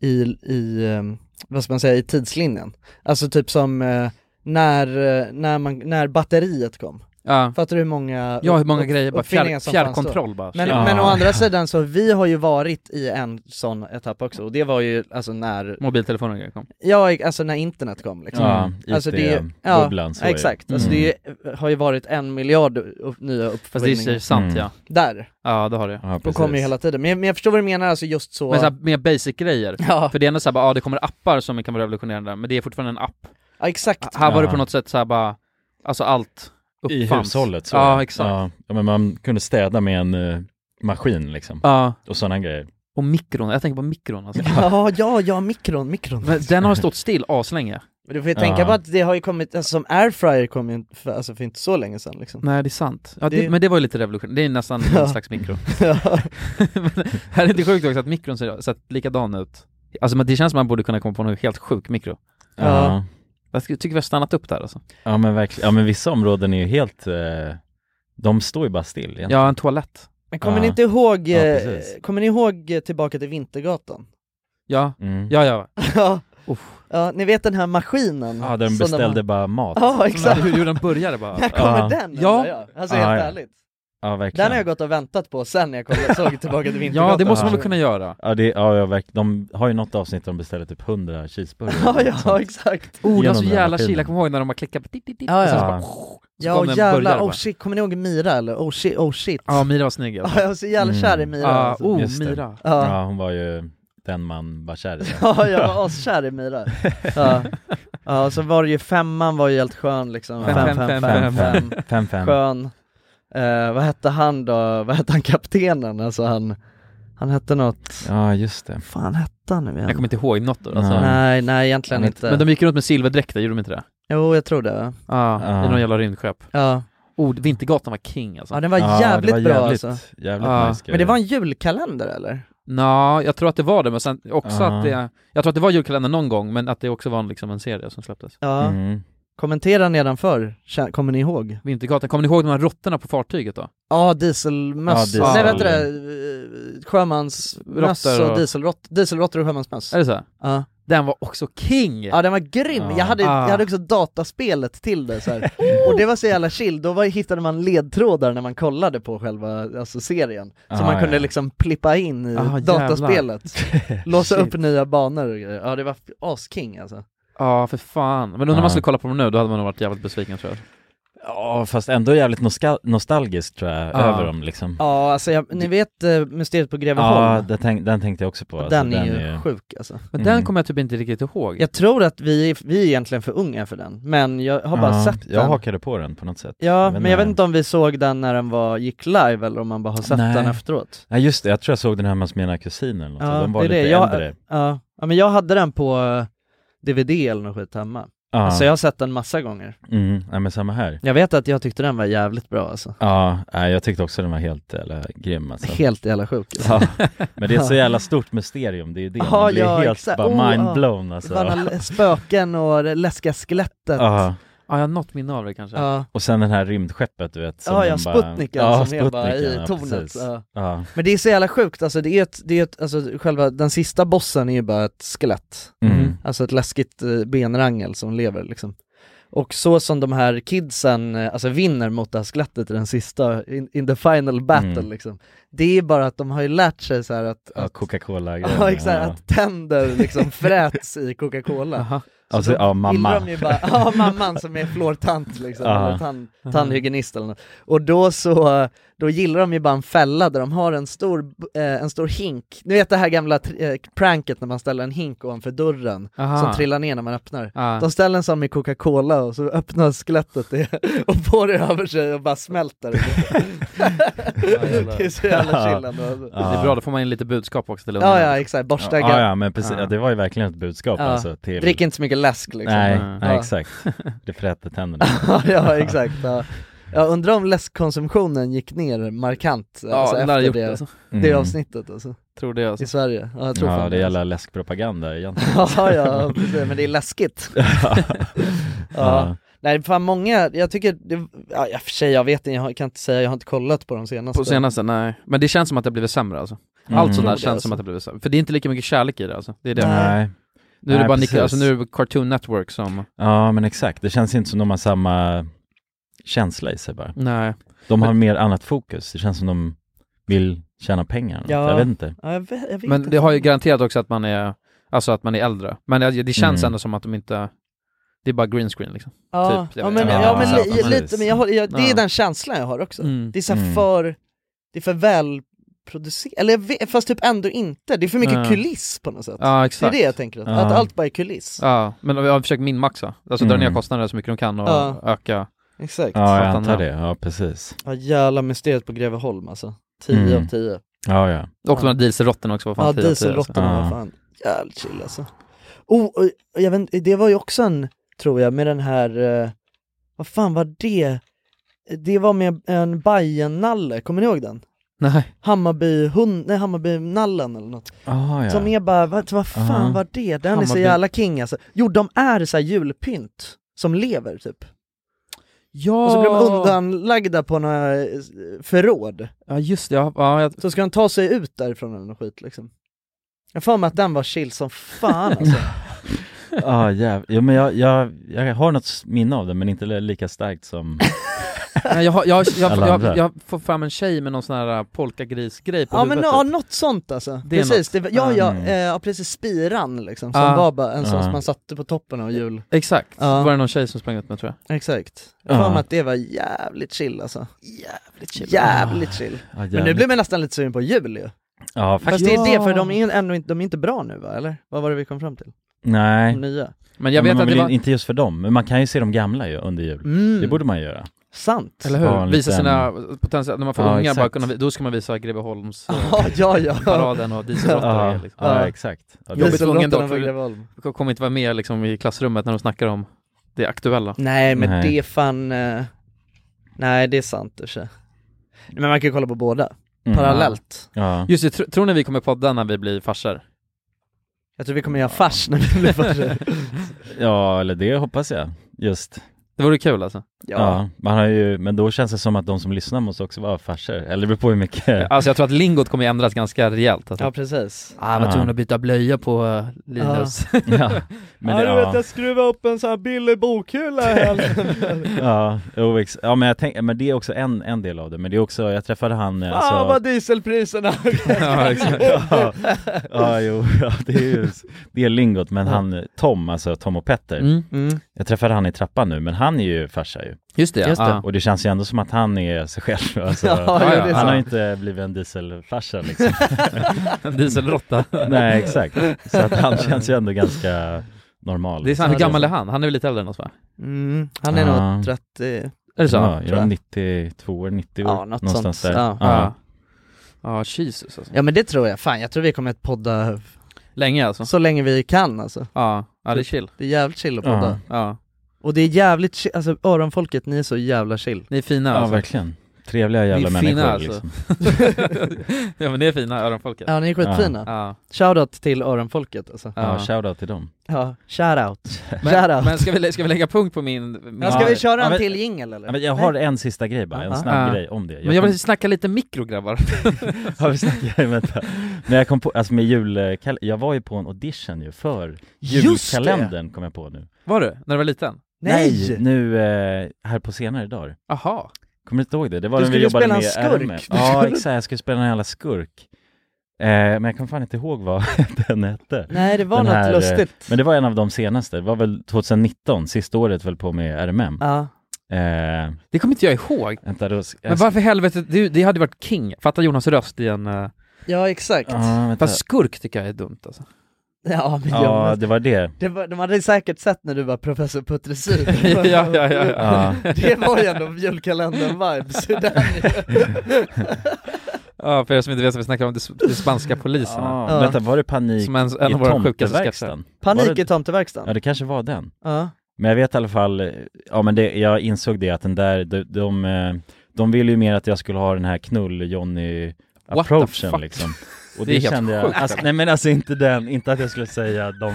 Speaker 3: i, i, eh, vad ska man säga, i tidslinjen. Alltså typ som eh, när, eh, när, man, när batteriet kom.
Speaker 2: Ja,
Speaker 3: Fattar du hur många
Speaker 2: ja hur många
Speaker 3: upp-
Speaker 2: grejer bara,
Speaker 3: uppfinningar
Speaker 2: fjärr,
Speaker 3: som fanns då?
Speaker 2: fjärrkontroll bara.
Speaker 3: Men,
Speaker 2: Ja.
Speaker 3: men å andra sidan så, vi har ju varit i en sån etapp också, och det var ju alltså när,
Speaker 2: Mobiltelefoner och grejer kom.
Speaker 3: ja alltså när internet kom liksom.
Speaker 1: Ja,
Speaker 3: Alltså det är- ja,
Speaker 1: IT-bubblan, så är det. Mm.
Speaker 3: Exakt, alltså det är- har ju varit en miljard upp, nya
Speaker 2: Fast det är i och
Speaker 3: uppfinningar.
Speaker 2: för sig sant
Speaker 1: Mm.
Speaker 2: ja.
Speaker 3: Där.
Speaker 2: Ja, det har det.
Speaker 1: Ja,
Speaker 3: De
Speaker 1: precis.
Speaker 3: kommer ju hela tiden, men jag, men jag förstår vad du menar, alltså just så...
Speaker 2: Men så här, mer basic-grejer.
Speaker 3: ja.
Speaker 2: För det är ändå såhär bara, ja det kommer appar som kan vara revolutionerande, men det är fortfarande en app.
Speaker 3: ja, exakt.
Speaker 2: Här var det
Speaker 1: Ja.
Speaker 2: på något sätt såhär bara, alltså allt
Speaker 1: I
Speaker 2: uppfanns.
Speaker 1: hushållet så.
Speaker 2: Ja, exakt. Ja.
Speaker 1: Ja, ja, men man kunde städa med en eh, maskin liksom, och sådana grejer.
Speaker 2: Och mikron, jag tänker på mikron alltså.
Speaker 3: Ja, ja, ja, mikron, mikron.
Speaker 2: Men den har stått still aslänge.
Speaker 3: Men du får ju tänka
Speaker 1: Ja.
Speaker 3: på att det har ju kommit, alltså som airfryer kom ju inte för, alltså för inte så länge sedan liksom.
Speaker 2: Nej det är sant. Ja, det,
Speaker 3: Det-
Speaker 2: Men det var ju lite revolution, det är nästan
Speaker 3: Ja.
Speaker 2: en slags mikro.
Speaker 3: Ja.
Speaker 2: men här är det sjukt också att mikron ser, sett likadan ut. Alltså men det känns som man borde kunna komma på någon helt sjuk mikro.
Speaker 3: Ja.
Speaker 2: Jag tycker vi har stannat upp där alltså.
Speaker 1: Ja men verkligen, ja men vissa områden är ju helt, eh, de står ju bara still egentligen.
Speaker 2: Ja, en toalett.
Speaker 3: Men kommer
Speaker 1: Ja.
Speaker 3: ni inte ihåg,
Speaker 1: Ja,
Speaker 3: eh,
Speaker 1: precis.
Speaker 3: kommer ni ihåg eh, Tillbaka till Vintergatan?
Speaker 2: Ja,
Speaker 1: Mm.
Speaker 2: ja, ja.
Speaker 3: ja.
Speaker 2: Uff.
Speaker 3: ja, ni vet den här maskinen?
Speaker 1: Ja, där de
Speaker 3: som
Speaker 1: beställde
Speaker 3: har-
Speaker 1: bara mat.
Speaker 3: Ja,
Speaker 2: Exakt.
Speaker 3: exakt.
Speaker 2: Hur, hur den började bara.
Speaker 3: När kommer
Speaker 1: Ja.
Speaker 3: den
Speaker 2: Ja.
Speaker 3: undrar jag? Alltså
Speaker 1: Ja,
Speaker 3: helt
Speaker 1: ja.
Speaker 3: ärligt.
Speaker 1: Ja, verkligen.
Speaker 3: Den har jag gått och väntat på sen när jag kollade, såg Tillbaka till Vintergatan
Speaker 2: Ja, det måste man väl kunna göra?
Speaker 1: Ja, det, ja, ja verkligen. De har ju något avsnitt där de beställer typ 100 cheeseburgare.
Speaker 3: Ja, ja exakt
Speaker 2: Oh, det var så jävla chilla, kommer ihåg när de har klickat på dit, dit, dit,
Speaker 3: Ja,
Speaker 2: och sen
Speaker 3: ja.
Speaker 2: så bara-
Speaker 3: Ja
Speaker 2: kom
Speaker 3: och
Speaker 2: en
Speaker 3: jävlar,
Speaker 2: burgare
Speaker 3: oh
Speaker 2: bara.
Speaker 3: shit, kommer ni ihåg Mira eller? Oh shit, oh shit
Speaker 2: Ja, Mira var snygg i alla
Speaker 3: Ja,
Speaker 2: fall.
Speaker 3: jag var så jävla kär i Mira
Speaker 2: Ja,
Speaker 3: alltså.
Speaker 2: oh,
Speaker 1: Just det.
Speaker 2: Mira.
Speaker 1: Ja.
Speaker 3: Ja.
Speaker 1: hon var ju den man var kär i.
Speaker 3: Ja, jag var askär i Mira. Ja. ja, och så var det ju femman var ju helt skön liksom.
Speaker 1: Fem,
Speaker 3: Fem,
Speaker 1: fem,
Speaker 3: fem,
Speaker 1: fem,
Speaker 3: fem,
Speaker 1: fem.
Speaker 3: fem.
Speaker 1: Fem, fem.
Speaker 3: Skön. Eh, vad hette han då? Vad hette han kaptenen? Alltså han, han hette något...
Speaker 1: Ja, just det.
Speaker 3: Fan hette han nu igen?
Speaker 2: Jag kommer inte ihåg något då, alltså.
Speaker 3: Nej, nej egentligen
Speaker 2: Men-
Speaker 3: inte.
Speaker 2: Men de gick runt med silverdräkter, gjorde de inte det?
Speaker 3: Jo, jag tror det. va?
Speaker 2: Ja,
Speaker 1: Ja.
Speaker 2: i någon jävla rymdskepp
Speaker 3: Ja.
Speaker 2: Oh, Vintergatan var king alltså
Speaker 3: Ja, den var
Speaker 1: Ja,
Speaker 3: jävligt
Speaker 1: det var
Speaker 3: bra
Speaker 1: jävligt-
Speaker 3: alltså.
Speaker 1: jävligt
Speaker 2: Ja.
Speaker 1: nice
Speaker 3: Men det var en julkalender eller?
Speaker 2: Nå, jag tror att det var det, men sen också
Speaker 1: Ja.
Speaker 2: att det Jag tror att det var julkalendern någon gång, men att det också var en, liksom en serie som släpptes
Speaker 3: Ja.
Speaker 1: Mm.
Speaker 3: Kommentera nedanför, Kä- kommer ni ihåg?
Speaker 2: Vintergatan, kommer ni ihåg de här råttorna på fartyget då?
Speaker 3: Ja, dieselmöss.
Speaker 2: Ja, diesel-
Speaker 3: Nej, vänta det. eh, Sjömansmöss
Speaker 2: Råttor
Speaker 3: och,
Speaker 2: och-
Speaker 3: dieselrott, dieselråttor och sjömansmöss.
Speaker 2: Är det så?
Speaker 3: Ja.
Speaker 2: Den var också king!
Speaker 3: Ja den var grym,
Speaker 2: Ja.
Speaker 3: jag, hade,
Speaker 2: Ah.
Speaker 3: jag hade också dataspelet till det så här. och det var så jävla chill, då var, hittade man ledtrådar när man kollade på själva alltså, serien, så
Speaker 1: Ah,
Speaker 3: man kunde
Speaker 1: ja.
Speaker 3: liksom plippa in i
Speaker 2: Ah,
Speaker 3: dataspelet, låsa
Speaker 2: Shit.
Speaker 3: upp nya banor och grejer. Ja det var f- asking alltså.
Speaker 2: Ja, för fan. Men undrar om
Speaker 1: Ja.
Speaker 2: man skulle kolla på dem nu, då hade man nog varit jävligt besviken tror jag
Speaker 1: Ja, fast ändå jävligt noska- nostalgiskt tror jag,
Speaker 2: Ja.
Speaker 1: över dem liksom.
Speaker 3: Ja alltså jag, ni vet eh, Mysteriet på
Speaker 1: Ja,
Speaker 3: Greveholm?
Speaker 1: det tänk, den tänkte jag också på. alltså,
Speaker 3: den, är ju sjuk alltså.
Speaker 2: Men
Speaker 1: Mm.
Speaker 2: den kommer jag typ inte riktigt ihåg
Speaker 3: Jag tror att vi, vi är egentligen för unga för den, men jag har bara
Speaker 1: Ja,
Speaker 3: sett
Speaker 1: Jag
Speaker 3: den.
Speaker 1: hakade på den på något sätt.
Speaker 3: Ja, men jag
Speaker 1: nej.
Speaker 3: vet inte om vi såg den när den var, gick live eller om man bara har sett
Speaker 1: Nej.
Speaker 3: den efteråt.
Speaker 1: Nej just det, jag tror jag såg den hemma hos mina kusiner eller något, så de var lite
Speaker 3: Jag,
Speaker 1: äldre.
Speaker 3: ja, ja, men jag hade den på eh, DVD eller något skit hemma.
Speaker 1: Ja.
Speaker 3: Så jag har sett den massa gånger.
Speaker 1: Mm, nej men samma här.
Speaker 3: Jag vet att jag tyckte den var jävligt bra alltså.
Speaker 1: Ja, nej, jag tyckte också den var helt jävla grym alltså.
Speaker 3: Helt jävla sjuk.
Speaker 1: Ja, men det är ett så jävla stort mysterium, det är ju det. Man
Speaker 3: Ja,
Speaker 1: blir
Speaker 3: ja,
Speaker 1: helt
Speaker 3: exakt.
Speaker 1: bara
Speaker 3: Oh, ja.
Speaker 1: mindblown alltså.
Speaker 3: Fan, Spöken och det läskiga skelettet.
Speaker 1: Ja.
Speaker 2: Ja, jag har något minne av det kanske
Speaker 3: Ja.
Speaker 1: Och sen den här rymdskeppet du vet. som
Speaker 3: Ja, ja,
Speaker 1: den bara-
Speaker 3: Sputniken
Speaker 1: ja,
Speaker 3: som är bara
Speaker 1: Sputniken,
Speaker 3: i
Speaker 1: ja,
Speaker 3: tornet.
Speaker 1: precis.
Speaker 3: Ja.
Speaker 1: Ja.
Speaker 3: Men det är så jävla sjukt, alltså det är ett, det är ett, alltså själva den sista bossen är ju bara ett skelett.
Speaker 1: Mm.
Speaker 3: Alltså ett läskigt eh, benrangel som lever liksom. Och så som de här kidsen eh, alltså, vinner mot det här skelettet i den sista, in, in the final battle
Speaker 1: Mm.
Speaker 3: liksom. Det är bara att de har ju lärt sig så här att,
Speaker 1: Ja,
Speaker 3: att
Speaker 1: Coca-Cola
Speaker 3: Ja exakt, att tänder liksom fräts i Coca-Cola.
Speaker 2: Aha.
Speaker 3: Så
Speaker 1: Alltså,
Speaker 3: då
Speaker 1: ja, mamma.
Speaker 3: gillar de ju bara, ja mamman som är fluortant liksom,
Speaker 1: Ja.
Speaker 3: eller tand, tandhygienist eller något. Och då så, då gillar de ju bara en fälla där de har en stor, eh, en stor hink, ni vet det här gamla tr- eh, pranket när man ställer en hink ovanför dörren
Speaker 2: Aha.
Speaker 1: Ah.
Speaker 3: som trillar ner när man öppnar.
Speaker 2: Ja.
Speaker 3: De ställer en sån med Coca-Cola och så öppnar skelettet det och får det över sig och bara smälter. det är så jävla chillande. alltså.
Speaker 2: Det är bra, då får man in lite budskap också till
Speaker 3: Ja, ja exakt, borsta
Speaker 1: ja, ja, men precis,
Speaker 2: Ja.
Speaker 1: Ja, det var ju verkligen ett budskap
Speaker 3: Ja.
Speaker 1: alltså till...
Speaker 3: Drick inte så mycket läsk liksom.
Speaker 1: Nej, nej
Speaker 3: Ja.
Speaker 1: exakt. Det fräter tänderna.
Speaker 3: Ja, ja exakt. Ja. Jag undrar om läskkonsumtionen gick ner markant
Speaker 2: Ja,
Speaker 3: alltså,
Speaker 2: den lär ha
Speaker 3: efter
Speaker 2: gjort
Speaker 3: det,
Speaker 2: det alltså.
Speaker 3: det
Speaker 1: Mm.
Speaker 3: avsnittet alltså,
Speaker 2: Tror det alltså
Speaker 3: i Sverige. Ja, jag tror
Speaker 1: Ja,
Speaker 3: fan
Speaker 1: det är
Speaker 3: det.
Speaker 1: jävla läskpropaganda egentligen.
Speaker 3: Ja, ja, precis, men det är läskigt.
Speaker 1: Ja.
Speaker 3: ja. Nej, fan många, jag tycker, det, ja, i och för sig jag vet inte, jag har- kan inte säga, jag har inte kollat på de senaste.
Speaker 2: På senaste, nej. Men det känns som att det har blivit sämre alltså.
Speaker 1: Mm.
Speaker 2: Allt sånt där
Speaker 3: Jo, det
Speaker 2: känns som
Speaker 3: alltså.
Speaker 2: att det har blivit sämre. För det är inte lika mycket kärlek i det alltså. Det är det.
Speaker 1: Nej.
Speaker 2: Nu är det
Speaker 1: Nej,
Speaker 2: bara
Speaker 1: precis.
Speaker 2: Nick, alltså nu är det Cartoon Network som...
Speaker 1: Ja, men exakt. Det känns inte som de har samma känsla i sig bara.
Speaker 2: Nej.
Speaker 1: De har mer annat fokus. Det känns som de vill tjäna pengar.
Speaker 3: Ja.
Speaker 1: Jag vet inte.
Speaker 3: Ja, jag vet, jag vet
Speaker 2: Men
Speaker 3: inte.
Speaker 2: det har ju garanterat också att man är, alltså att man är äldre. Men det, det känns
Speaker 1: Mm.
Speaker 2: ändå som att de inte, det är bara green screen liksom.
Speaker 3: ja,
Speaker 2: typ, jag
Speaker 3: ja,
Speaker 2: vet
Speaker 3: men,
Speaker 1: inte.
Speaker 3: ja, men
Speaker 1: Ja,
Speaker 3: li,
Speaker 1: precis.
Speaker 3: lite, men jag, har- jag, det är
Speaker 2: Ja.
Speaker 3: den känslan jag har också.
Speaker 2: Mm.
Speaker 3: Det är så här
Speaker 1: Mm.
Speaker 3: för, det är för välproducerat, eller jag vet, fast typ ändå inte, det är för mycket
Speaker 2: Ja.
Speaker 3: kuliss på något sätt.
Speaker 2: Ja,
Speaker 3: Det är
Speaker 2: exakt.
Speaker 3: det jag tänker, att,
Speaker 1: Ja.
Speaker 3: att allt bara är kuliss.
Speaker 2: Ja, men jag har försökt minmaxa. Alltså dra
Speaker 1: Mm.
Speaker 2: ner kostnaderna så mycket de kan och
Speaker 3: Ja.
Speaker 2: öka.
Speaker 3: Exakt.
Speaker 1: Ja, jag
Speaker 2: Fattar
Speaker 1: antar
Speaker 2: ni?
Speaker 1: det. Ja, precis.
Speaker 3: Ja jävla mysteriet på Greveholm alltså. 10
Speaker 1: Mm.
Speaker 3: av 10.
Speaker 1: Ja, ja.
Speaker 2: Och de här dieselråttorna också, vad fan
Speaker 3: Ja
Speaker 2: tio av tio, alltså.
Speaker 3: dieselråttorna
Speaker 1: Ja.
Speaker 3: var fan jävligt chill alltså. Oh, och, och jag vet, inte, det var ju också en, tror jag, med den här, eh, vad fan var det? Det var med en Bajen-nalle, kommer ni ihåg den?
Speaker 2: alltså. Nej.
Speaker 3: Hammarby hund, nej Hammarby-nallen eller något.
Speaker 1: Ah, ja.
Speaker 3: Som är bara, vad, vad fan
Speaker 1: Aha.
Speaker 3: var det? Den är så
Speaker 2: Hammarby.
Speaker 3: jävla king alltså. Jo, de är så här julpynt som lever typ.
Speaker 2: Ja!
Speaker 3: Och så blir de undanlagda på några eh, förråd.
Speaker 2: Ja just det, ja, ja jag...
Speaker 3: Så ska han ta sig ut därifrån eller något skit liksom. Jag får mig att den var chill som fan alltså.
Speaker 1: Ah, Ja, jäv... jo, men jag, jag, jag har något minne av det, men inte lika starkt som
Speaker 2: Nej, jag, har- jag, har- jag,
Speaker 1: Alla
Speaker 2: jag,
Speaker 1: andra.
Speaker 2: jag, får fram en tjej med någon sån här äh, polkagrisgrej på
Speaker 3: Ja men
Speaker 2: huvudet. typ.
Speaker 3: ja, något sånt alltså,
Speaker 2: Det är
Speaker 3: precis,
Speaker 2: något.
Speaker 3: det, var- ja, ja,
Speaker 2: Mm.
Speaker 3: eh, ja precis, spiran liksom, som
Speaker 2: Ah.
Speaker 3: var bara en sån
Speaker 2: Ah.
Speaker 3: som man satte på toppen av jul
Speaker 2: typ. Exakt,
Speaker 3: Ja.
Speaker 2: var det någon tjej som sprang ut med tror jag.
Speaker 3: Exakt.
Speaker 2: Ja.
Speaker 3: Jag har för mig att det var jävligt chill alltså. Jävligt
Speaker 2: Ah. chill.
Speaker 3: Jävligt
Speaker 2: Ah.
Speaker 3: chill.
Speaker 1: Ja,
Speaker 3: Men nu
Speaker 1: jävligt.
Speaker 3: blir man nästan lite sugen på jul ju.
Speaker 1: Ja,
Speaker 3: Fast
Speaker 1: faktiskt.
Speaker 3: det är det,
Speaker 1: Ja.
Speaker 3: för de är ju ändå inte, de är inte bra nu va, eller? Vad var det vi kom fram till?
Speaker 1: Nej.
Speaker 3: De nya.
Speaker 2: Men jag vet
Speaker 1: man
Speaker 2: att det
Speaker 1: vill
Speaker 2: var-
Speaker 1: Inte just för dem, men man kan ju se de gamla ju under jul.
Speaker 3: Mm.
Speaker 1: Det borde man göra.
Speaker 3: Sant.
Speaker 2: Eller hur?
Speaker 1: Ja, en
Speaker 2: visa
Speaker 1: liten-
Speaker 2: sina potentiella, när man får
Speaker 1: Ja,
Speaker 2: unga bara
Speaker 1: exakt.
Speaker 2: kunna, då ska man visa Greveholms
Speaker 3: Ja, ja, ja.
Speaker 2: paraden och dieselråttor
Speaker 1: Ja,
Speaker 2: och liksom.
Speaker 1: ja, exakt. Ja, det-
Speaker 2: Jobbigt för ungen dock,
Speaker 3: Dieselråttorna på
Speaker 2: för
Speaker 3: Greveholm.
Speaker 2: jag kommer inte vara med liksom i klassrummet när de snackar om det aktuella.
Speaker 3: Nej men det är fan, eh, nej det är sant i och för sig. Men man kan ju kolla på båda,
Speaker 2: Mm.
Speaker 3: parallellt.
Speaker 1: Ja.
Speaker 2: Just det, tr- tror ni vi kommer podda när vi blir farsor?
Speaker 3: Jag tror vi kommer göra fars när vi blir farsor.
Speaker 1: Ja, eller det hoppas jag. Just.
Speaker 2: Det vore kul alltså.
Speaker 1: Ja. man har ju, men då känns det som att de som lyssnar måste också vara farsor. Eller det beror på hur mycket...
Speaker 2: Alltså jag tror att lingot kommer ändras ganska rejält alltså.
Speaker 3: Ja precis.
Speaker 2: Ah, jag var
Speaker 1: Ja.
Speaker 2: tvungen att byta blöja på eh, Linus.
Speaker 1: Ja. Ja, men det- ja.
Speaker 3: skruvade upp en sån här billig bokhula i helgen.
Speaker 1: Ja, jo, ex- ja men, jag tänk, men det är också en, en del av det. Men det är också, jag träffade han... eh,
Speaker 3: Fan
Speaker 1: alltså-
Speaker 3: vad dieselpriserna
Speaker 1: ja, exakt. ja, ja, jo, ja, det är ju det är lingot, men han Tom, alltså Tom och Petter,
Speaker 2: Mm.
Speaker 3: Mm.
Speaker 1: jag träffade han i trappan nu, men han är ju farsa ju.
Speaker 2: Just det, ja. Just det.
Speaker 1: Och det känns ju ändå som att han är sig själv. Alltså,
Speaker 2: Ja, ja, det är
Speaker 1: han har
Speaker 2: sant.
Speaker 1: inte blivit en dieselfarsa liksom.
Speaker 2: En dieselrotta.
Speaker 1: Nej, exakt. Så att han känns ju ändå ganska normal.
Speaker 2: Det är sant, hur gammal är han? Han är väl lite äldre än oss va?
Speaker 3: Mm, han är
Speaker 1: Ja.
Speaker 3: nog 30 Är
Speaker 2: Är det så?
Speaker 1: Ja, är
Speaker 2: Tror jag.
Speaker 1: de 92 år, 90 år?
Speaker 3: Ja, något
Speaker 1: någonstans
Speaker 3: sånt.
Speaker 1: där.
Speaker 3: Ja.
Speaker 2: Ja. Ja, Jesus alltså.
Speaker 3: Ja men det tror jag, fan jag tror vi kommer att podda
Speaker 2: Länge alltså?
Speaker 3: så länge vi kan alltså
Speaker 2: Ja, ja det är chill.
Speaker 3: Det är jävligt chill att podda
Speaker 2: Ja.
Speaker 3: Och det är jävligt chill, alltså öronfolket, ni är så jävla chill
Speaker 2: Ni är fina
Speaker 1: Ja,
Speaker 2: alltså.
Speaker 1: verkligen. Trevliga
Speaker 2: Ni
Speaker 1: jävla
Speaker 2: är
Speaker 1: människor
Speaker 2: fina alltså.
Speaker 1: liksom.
Speaker 2: ja men ni är fina, öronfolket.
Speaker 3: Ja ni är skitfina
Speaker 2: Ja.
Speaker 3: Shoutout till öronfolket alltså
Speaker 1: Ja, shoutout till dem.
Speaker 3: Ja, shoutout
Speaker 2: Men,
Speaker 3: Shoutout
Speaker 2: men ska, vi, lä- ska vi lägga punkt på min... min
Speaker 3: ja, Ska vi köra
Speaker 1: Ja,
Speaker 3: en
Speaker 1: men-
Speaker 3: till jingel
Speaker 1: Ja,
Speaker 3: eller?
Speaker 1: men jag har en sista grej bara, en
Speaker 3: Ja.
Speaker 1: snabb
Speaker 2: Ja.
Speaker 1: grej om det.
Speaker 2: Men jag
Speaker 1: kom-
Speaker 2: vill snacka lite mikro grabbar.
Speaker 1: Ja, vi snackar, vänta. När jag kom på, alltså med julkalendern, jag var ju på en audition ju för
Speaker 3: Just det!
Speaker 1: julkalendern kom jag på nu.
Speaker 2: Var du? När du var liten?
Speaker 3: Nej!
Speaker 1: nu eh, här på senare dagar.
Speaker 2: Aha.
Speaker 1: Kommer du inte ihåg det? Det var
Speaker 3: Du
Speaker 1: när vi
Speaker 3: skulle
Speaker 1: jobbade
Speaker 3: spela en
Speaker 1: med
Speaker 3: skurk.
Speaker 1: RMF.
Speaker 3: Du
Speaker 1: Ja
Speaker 3: skulle-
Speaker 1: exakt, jag skulle spela en jävla skurk. Eh, men jag kommer fan inte ihåg vad den hette.
Speaker 3: Nej det var
Speaker 1: Den
Speaker 3: något
Speaker 1: här, eh,
Speaker 3: lustigt
Speaker 1: Men det var en av de senaste, det var väl 2019, sista året väl på med RMM.
Speaker 3: Ja,
Speaker 1: Eh,
Speaker 2: Det kommer inte jag ihåg.
Speaker 1: vänta då,
Speaker 2: Men varför i helvete, det, det hade varit king. Fatta Jonas röst i en... eh,
Speaker 3: ja exakt
Speaker 1: Ja, vänta.
Speaker 2: Fast skurk tycker jag är dumt alltså.
Speaker 3: Ja men
Speaker 1: ja
Speaker 3: jag
Speaker 1: det var det.
Speaker 3: det var, de hade säkert sett när du var professor Puttresin
Speaker 2: ja, ja, ja, ja.
Speaker 3: Det var ju ändå julkalendern-vibes
Speaker 2: Ja, för er som inte vet så vi snackar om det, det spanska polisen.
Speaker 1: Ja,
Speaker 3: Ja.
Speaker 1: Vänta, var det panik
Speaker 2: Som en, en
Speaker 1: i
Speaker 2: av våra sjukaste sketcher.
Speaker 1: tomteverkstan? Var
Speaker 3: Panik
Speaker 1: det-
Speaker 3: i tomteverkstan
Speaker 1: Ja det kanske var den.
Speaker 3: Ja,
Speaker 1: Men jag vet i alla fall, eh, ja men det, jag insåg det att den där, de, de, eh, de ville ju mer att jag skulle ha den här knull-Johnny
Speaker 2: What the
Speaker 1: approachen
Speaker 2: fuck?
Speaker 1: liksom. Och
Speaker 2: Det är
Speaker 1: det,
Speaker 2: helt
Speaker 1: kände jag,
Speaker 2: sjukt.
Speaker 1: alltså, nej men alltså inte den, inte att jag skulle säga de,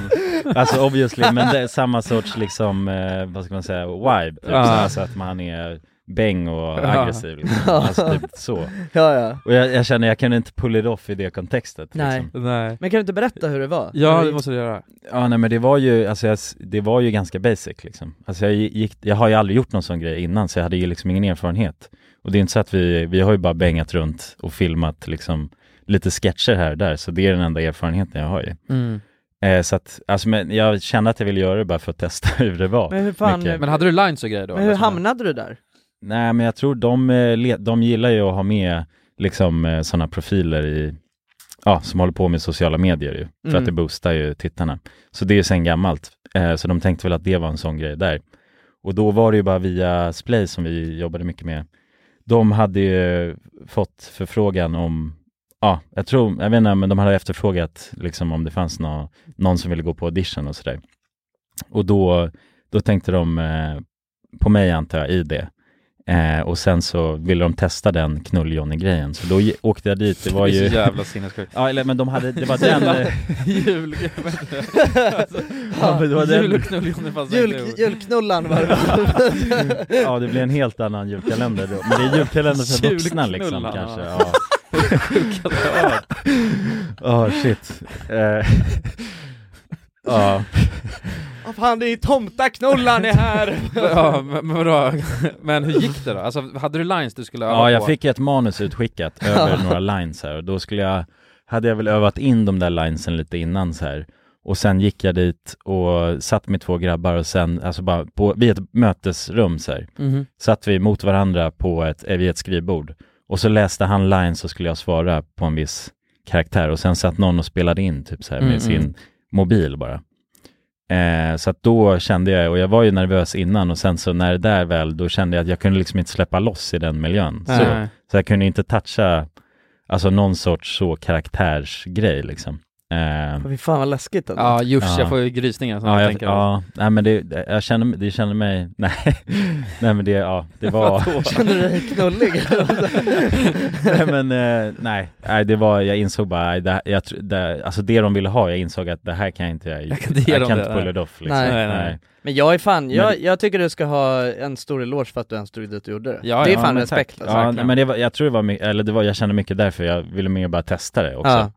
Speaker 1: alltså obviously, men det är samma sorts liksom, eh, vad ska man säga, vibe, typ,
Speaker 2: Ja.
Speaker 1: alltså att man är bäng och
Speaker 2: Ja.
Speaker 1: aggressiv liksom. alltså typ så.
Speaker 3: ja, ja.
Speaker 1: Och jag, jag känner jag kan inte pull it off i det kontextet
Speaker 3: Nej.
Speaker 1: liksom.
Speaker 2: Nej.
Speaker 3: Men kan du inte berätta hur det var?
Speaker 2: Ja,
Speaker 3: Hur
Speaker 2: det måste du göra.
Speaker 1: Ja nej men det var ju, alltså jag, s- det var ju ganska basic liksom. Alltså jag gick, jag har ju aldrig gjort någon sån grej innan så jag hade ju liksom ingen erfarenhet. Och det är inte så att vi, vi har ju bara bängat runt och filmat liksom lite sketcher här och där så det är den enda erfarenheten jag har ju.
Speaker 2: Mm.
Speaker 1: Eh, så att, alltså men jag kände att jag ville göra det bara för att testa hur det var.
Speaker 3: Men hur fan-
Speaker 1: mycket.
Speaker 2: Men hade du lines och grejer då?
Speaker 3: Men hur
Speaker 2: Eller så?
Speaker 3: hamnade du där?
Speaker 1: Nej men jag tror de, eh, le- de gillar ju att ha med liksom sådana profiler i, ja som håller på med sociala medier ju, för
Speaker 3: Mm.
Speaker 1: att det boostar ju tittarna. Så det är ju sen gammalt, eh, så de tänkte väl att det var en sån grej där. Och då var det ju bara via Splay som vi jobbade mycket med. De hade ju fått förfrågan om, ja jag tror, jag vet inte, men de hade efterfrågat liksom om det fanns nå, någon som ville gå på audition och sådär. Och då, då tänkte de eh, på mig antar jag i det. Eh, och sen så ville de testa den knull-Johnny-grejen, så då ge- åkte jag dit, det var
Speaker 2: Det är
Speaker 1: ju...
Speaker 2: så jävla sinnessjukt.
Speaker 1: Ja, eller men de hade, det var den... eh,
Speaker 2: Jul...
Speaker 3: Alltså,
Speaker 1: ja, men det var den
Speaker 2: Julknull, fast
Speaker 3: Jul, julknullan var det
Speaker 1: ja, det blir en helt annan julkalender då. Men det är julkalender för vuxna liksom
Speaker 2: Julknullarna.
Speaker 1: kanske. Ja, ja shit. Eh, Ja,
Speaker 3: Åh fan det är tomtaknollan är här!
Speaker 2: ja, men, men, vadå? men hur gick det då? Alltså, hade du lines du skulle öva
Speaker 1: Ja, jag
Speaker 2: på?
Speaker 1: fick ett manus utskickat över några lines här och då skulle jag, hade jag väl övat in de där linesen lite innan så här. Och sen gick jag dit och satt med två grabbar och sen, alltså bara på, vid ett mötesrum så här,
Speaker 2: Mhm.
Speaker 1: satt vi mot varandra på ett, eh, vid ett skrivbord. Och så läste han lines och skulle jag svara på en viss karaktär och sen satt någon och spelade in typ så här med
Speaker 2: Mm,
Speaker 1: sin
Speaker 2: mm.
Speaker 1: mobil bara. Eh, så att då kände jag, och jag var ju nervös innan och sen så när det där väl, då kände jag att jag kunde liksom inte släppa loss i den miljön. Så,
Speaker 2: Nej.
Speaker 1: så jag kunde inte toucha, alltså någon sorts så karaktärsgrej liksom. Eh,
Speaker 3: Fy fan vad läskigt ändå.
Speaker 2: Ja, just jag får ju grysningar så när
Speaker 1: ja,
Speaker 2: jag
Speaker 1: jag,
Speaker 2: tänker
Speaker 1: ja, nej men det, jag känner, mig- det känner mig, nej, nej men det, ja, det var...
Speaker 3: Känner du dig knullig?
Speaker 1: nej men, eh, nej, nej det var, jag insåg bara, nej, det, här- jag, tr- det, alltså det de ville ha, jag insåg att det här kan jag inte, jag,
Speaker 2: Jag kan inte ge dem det,
Speaker 1: inte pull
Speaker 2: nej.
Speaker 1: it off liksom.
Speaker 3: Nej.
Speaker 2: Nej, nej.
Speaker 3: Men jag är fan, jag,
Speaker 1: Men-
Speaker 3: jag tycker du ska ha en stor eloge för att du ens drog dit och gjorde det.
Speaker 2: Ja,
Speaker 3: det är
Speaker 2: ja,
Speaker 3: fan
Speaker 2: men
Speaker 3: respekt
Speaker 2: tack.
Speaker 3: alltså.
Speaker 1: Ja, men det var, jag tror det var, my- eller det var, jag kände mycket därför, jag ville mer bara testa det också.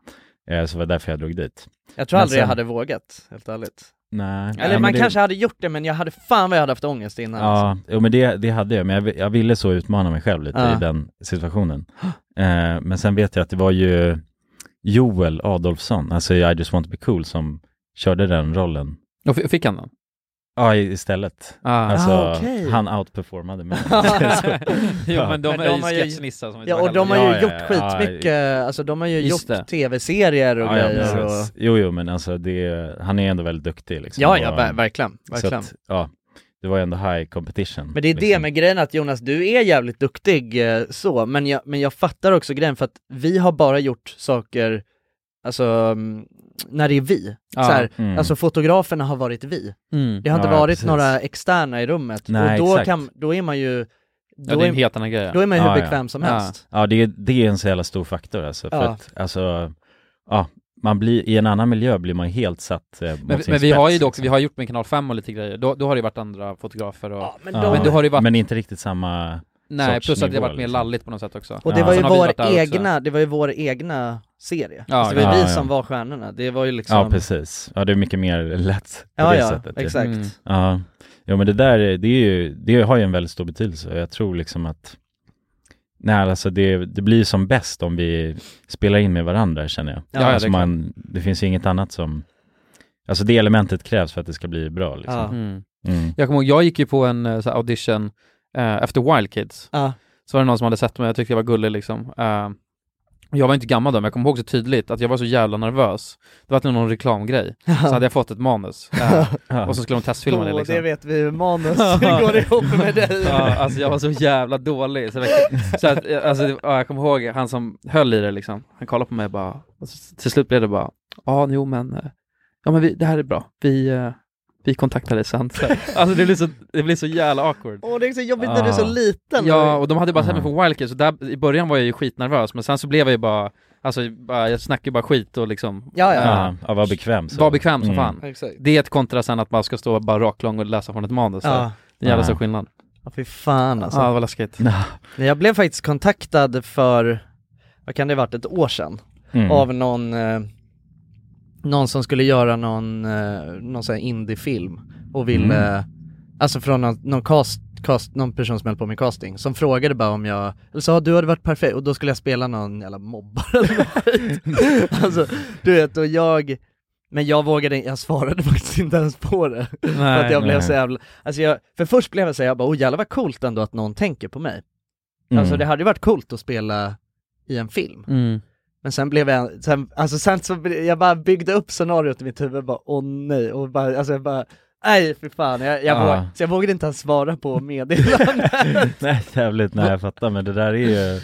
Speaker 1: Eh, Så det var därför jag drog dit.
Speaker 3: Jag tror
Speaker 1: Men
Speaker 3: aldrig jag
Speaker 1: sen-
Speaker 3: hade vågat, helt ärligt.
Speaker 1: Nej.
Speaker 3: Eller
Speaker 1: nej,
Speaker 3: man
Speaker 1: men det-
Speaker 3: kanske hade gjort det men jag hade fan vad jag hade haft ångest innan. alltså.
Speaker 1: Ja, jo, men det, det hade jag, men jag, vi- jag ville så utmana mig själv lite
Speaker 3: Ja.
Speaker 1: i den situationen. Eh, men sen vet jag att det var ju Joel Adolfsson, alltså i I just want to be cool, som körde den rollen.
Speaker 2: Och f- fick han den?
Speaker 1: Ja, i- istället.
Speaker 2: Ah.
Speaker 1: Alltså,
Speaker 3: Ah, okej.
Speaker 1: han outperformade mig.
Speaker 2: jo men de
Speaker 3: Men
Speaker 2: är
Speaker 3: de har ju-
Speaker 2: ju sketchnissar som inte
Speaker 3: alltså.
Speaker 2: var
Speaker 3: Ja, och de har ju
Speaker 2: helvete.
Speaker 1: Ja, ja,
Speaker 3: gjort
Speaker 1: ja, ja.
Speaker 3: skitmycket, alltså de har ju
Speaker 2: Just
Speaker 3: gjort
Speaker 2: det.
Speaker 3: tv-serier och
Speaker 1: Ja, ja,
Speaker 3: grejer och...
Speaker 1: precis. Jo, jo, men alltså det, han är ändå väldigt duktig liksom.
Speaker 3: Ja, ja,
Speaker 1: Och-
Speaker 3: ver- verkligen,
Speaker 1: så att,
Speaker 3: verkligen.
Speaker 1: ja, det var ju ändå high competition.
Speaker 3: Men det är det
Speaker 1: liksom.
Speaker 3: med grejen att Jonas, du är jävligt duktig eh, så, men jag, men jag fattar också grejen för att vi har bara gjort saker, alltså mm, när det är vi.
Speaker 2: Ja,
Speaker 3: så här,
Speaker 1: mm.
Speaker 3: Alltså fotograferna har varit vi.
Speaker 2: Mm.
Speaker 3: Det har inte
Speaker 1: Ja, ja,
Speaker 3: varit
Speaker 1: precis.
Speaker 3: några externa i rummet
Speaker 1: Nej,
Speaker 3: och då,
Speaker 1: exakt.
Speaker 3: kan, då är man ju,
Speaker 2: Ja,
Speaker 3: då
Speaker 2: det är en
Speaker 3: är,
Speaker 2: helt annan grej.
Speaker 3: då är man ju hur
Speaker 1: Ja, ja.
Speaker 3: bekväm som
Speaker 2: Ja.
Speaker 3: helst.
Speaker 1: Ja, det är, det är en så jävla stor faktor alltså. För
Speaker 3: Ja.
Speaker 1: att, alltså, ja, man blir, i en annan miljö blir man helt satt eh, mot
Speaker 2: Men,
Speaker 1: sin
Speaker 2: men vi
Speaker 1: spets,
Speaker 2: har ju dock,
Speaker 1: liksom.
Speaker 2: vi har gjort med Kanal 5 och lite grejer, då, då har det ju varit andra fotografer och...
Speaker 3: Ja, men
Speaker 1: Ja,
Speaker 3: de-
Speaker 2: Men du har ju varit-
Speaker 1: men inte riktigt samma...
Speaker 2: Nej,
Speaker 1: sorts
Speaker 2: plus att det har
Speaker 1: nivå,
Speaker 2: varit mer
Speaker 1: liksom.
Speaker 2: lalligt på något sätt också.
Speaker 3: Och det
Speaker 1: Ja.
Speaker 3: var ju
Speaker 2: Sen har vi
Speaker 3: vår
Speaker 2: varit där också.
Speaker 3: egna, det var ju vår egna serie.
Speaker 2: Ja,
Speaker 3: alltså det var
Speaker 1: ja.
Speaker 3: ju vi
Speaker 1: Ja, ja.
Speaker 3: som var stjärnorna, det var ju liksom...
Speaker 1: Ja, precis. Ja, det är mycket mer lätt på
Speaker 3: Ja,
Speaker 1: det
Speaker 3: ja,
Speaker 1: sättet. ju.
Speaker 3: exakt.
Speaker 2: Mm.
Speaker 1: Ja, jo, men det där, är- det, är ju, det har ju en väldigt stor betydelse och jag tror liksom att Nej, alltså det, det blir som bäst om vi spelar in med varandra känner jag.
Speaker 2: Ja, ja, det
Speaker 1: alltså
Speaker 2: är klart.
Speaker 1: man, det finns ju inget annat som, alltså det elementet krävs för att det ska bli bra liksom.
Speaker 3: Ja.
Speaker 2: Mm.
Speaker 1: Mm.
Speaker 2: Jag kommer ihåg, jag gick ju på en eh, så här, audition eh, efter Wild Kids.
Speaker 3: Ja.
Speaker 2: Så var det någon som hade sett mig, jag tyckte jag var gullig liksom. Eh, jag var inte gammal då, men jag kommer ihåg så tydligt att jag var så jävla nervös. Det var nog någon reklamgrej. Så hade jag fått ett manus. Eh, och så skulle de testfilma det
Speaker 3: Åh,
Speaker 2: liksom.
Speaker 3: det vet vi hur manus går ihop med dig.
Speaker 2: Ja, alltså jag var så jävla dålig. Så, verkligen- så att, eh, alltså, det- ja, jag kommer ihåg han som höll i det liksom. Han kollade på mig bara, och så, till slut blev det bara, ja, jo men, eh, ja men vi, det här är bra. Vi, eh, vi kontaktar dig sen. Så, här. alltså det blir så, det blir så jävla awkward.
Speaker 3: Åh, det är så jobbigt när du är så
Speaker 1: Ah.
Speaker 3: liten.
Speaker 2: Ja, och de hade bara sett mig
Speaker 1: Mm.
Speaker 2: från Wildcat, så där, i början var jag ju skitnervös, men sen så blev jag ju bara, alltså bara, jag snackade ju bara skit och liksom
Speaker 3: Ja, ja.
Speaker 1: Ja, ja, var bekväm. Så.
Speaker 2: var bekväm som
Speaker 1: Mm.
Speaker 2: fan.
Speaker 3: Exakt.
Speaker 2: Det är ett kontra sen att man ska stå bara raklång och läsa från ett manus. så här.
Speaker 3: Ja,
Speaker 2: Det är jävla stor
Speaker 1: Ja.
Speaker 2: skillnad.
Speaker 3: ja fy fan alltså.
Speaker 2: Ja, det var läskigt.
Speaker 3: Nej, Jag blev faktiskt kontaktad för, vad kan det ha varit, ett år sedan
Speaker 1: Mm.
Speaker 3: av någon, eh, någon som skulle göra någon, eh, någon sån här indiefilm och ville,
Speaker 1: Mm.
Speaker 3: alltså från någon, någon cast, cast, någon person som höll på med casting, som frågade bara om jag, eller sa "Ah, du hade varit perfekt, och då skulle jag spela någon jävla mobbare eller något skit. Alltså, du vet, och jag, men jag vågade jag svarade faktiskt inte ens på det. för att jag blev
Speaker 1: nej.
Speaker 3: så jävla, alltså jag, för först blev jag så här, jag bara, oh jävlar vad coolt ändå att någon tänker på mig.
Speaker 1: Mm.
Speaker 3: Alltså det hade ju varit coolt att spela i en film.
Speaker 2: Mm.
Speaker 3: Men sen blev jag, sen, alltså sen så, bli- jag bara byggde upp scenariot i mitt huvud, bara åh nej, och bara, alltså jag bara, nej för fan, jag, jag,
Speaker 1: Ja.
Speaker 3: våg, så jag vågade inte ens svara på meddelandet.
Speaker 1: Nej, jävligt, nej jag fattar, men det där är ju...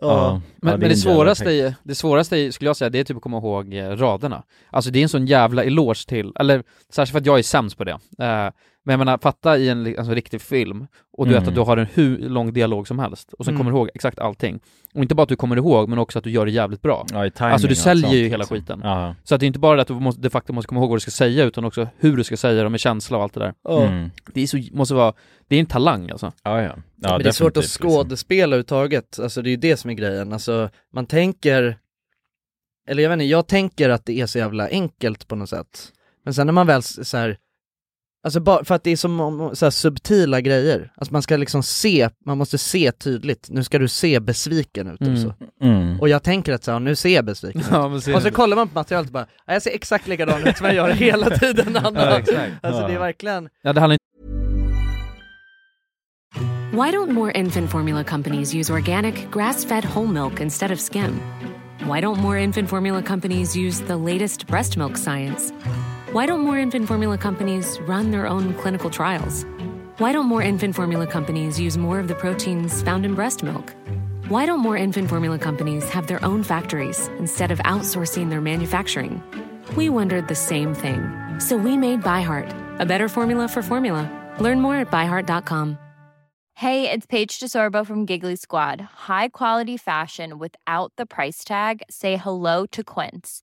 Speaker 3: ja.
Speaker 1: Ja,
Speaker 2: Men, men
Speaker 1: är
Speaker 2: det,
Speaker 1: en jävla
Speaker 2: svåraste,
Speaker 1: effekt.
Speaker 2: är- det svåraste är, skulle jag säga, det är typ att komma ihåg eh, raderna. Alltså det är en sån jävla eloge till, eller särskilt för att jag är sämst på det. Eh, men jag menar, fatta i en li- alltså, riktig film och du vet
Speaker 1: Mm.
Speaker 2: att du har en hur lång dialog som helst och sen
Speaker 3: Mm.
Speaker 2: kommer du ihåg exakt allting. Och inte bara att du kommer ihåg, men också att du gör det jävligt bra.
Speaker 1: Ja, i timing
Speaker 2: Alltså, du
Speaker 1: och
Speaker 2: säljer
Speaker 1: sånt, liksom.
Speaker 2: ju hela skiten.
Speaker 1: Ja.
Speaker 2: Så att det är inte bara det att du måste, de facto måste komma ihåg vad du ska säga, utan också hur du ska säga det med känsla och allt det där.
Speaker 1: Mm.
Speaker 2: Det är så, måste vara, det är en talang alltså.
Speaker 1: ja, ja. ja
Speaker 3: men det är svårt att
Speaker 1: definitivt, liksom.
Speaker 3: skådespela överhuvudtaget, alltså det är ju det som är grejen, alltså man tänker, eller jag vet inte, jag tänker att det är så jävla enkelt på något sätt. Men sen när man väl s- så här Alltså bara för att det är som om- så här subtila grejer. Alltså man ska liksom se, man måste se tydligt. Nu ska du se besviken ut alltså.
Speaker 2: Mm.
Speaker 3: också.
Speaker 1: liksom.
Speaker 2: Mm.
Speaker 3: Och jag tänker att så här, nu ser jag besviken ut.
Speaker 2: Ja, men ser
Speaker 3: och så
Speaker 2: du.
Speaker 3: kollar man på materialet och bara, "Ja, jag ser exakt likadan ut som jag gör hela tiden Anna.
Speaker 2: Ja, exakt.
Speaker 3: alltså det är verkligen,
Speaker 2: Ja, det handlar inte
Speaker 11: Why don't more infant formula companies use organic, grass fed whole milk instead of skim? Why don't more infant formula companies use the latest breast milk science? Why don't more infant formula companies run their own clinical trials? Why don't more infant formula companies use more of the proteins found in breast milk? Why don't more infant formula companies have their own factories instead of outsourcing their manufacturing? We wondered the same thing. So we made ByHeart, a better formula for formula. Learn more at byheart.com.
Speaker 12: Hey, it's Paige DeSorbo from Giggly Squad. High quality fashion without the price tag. Say hello to Quince.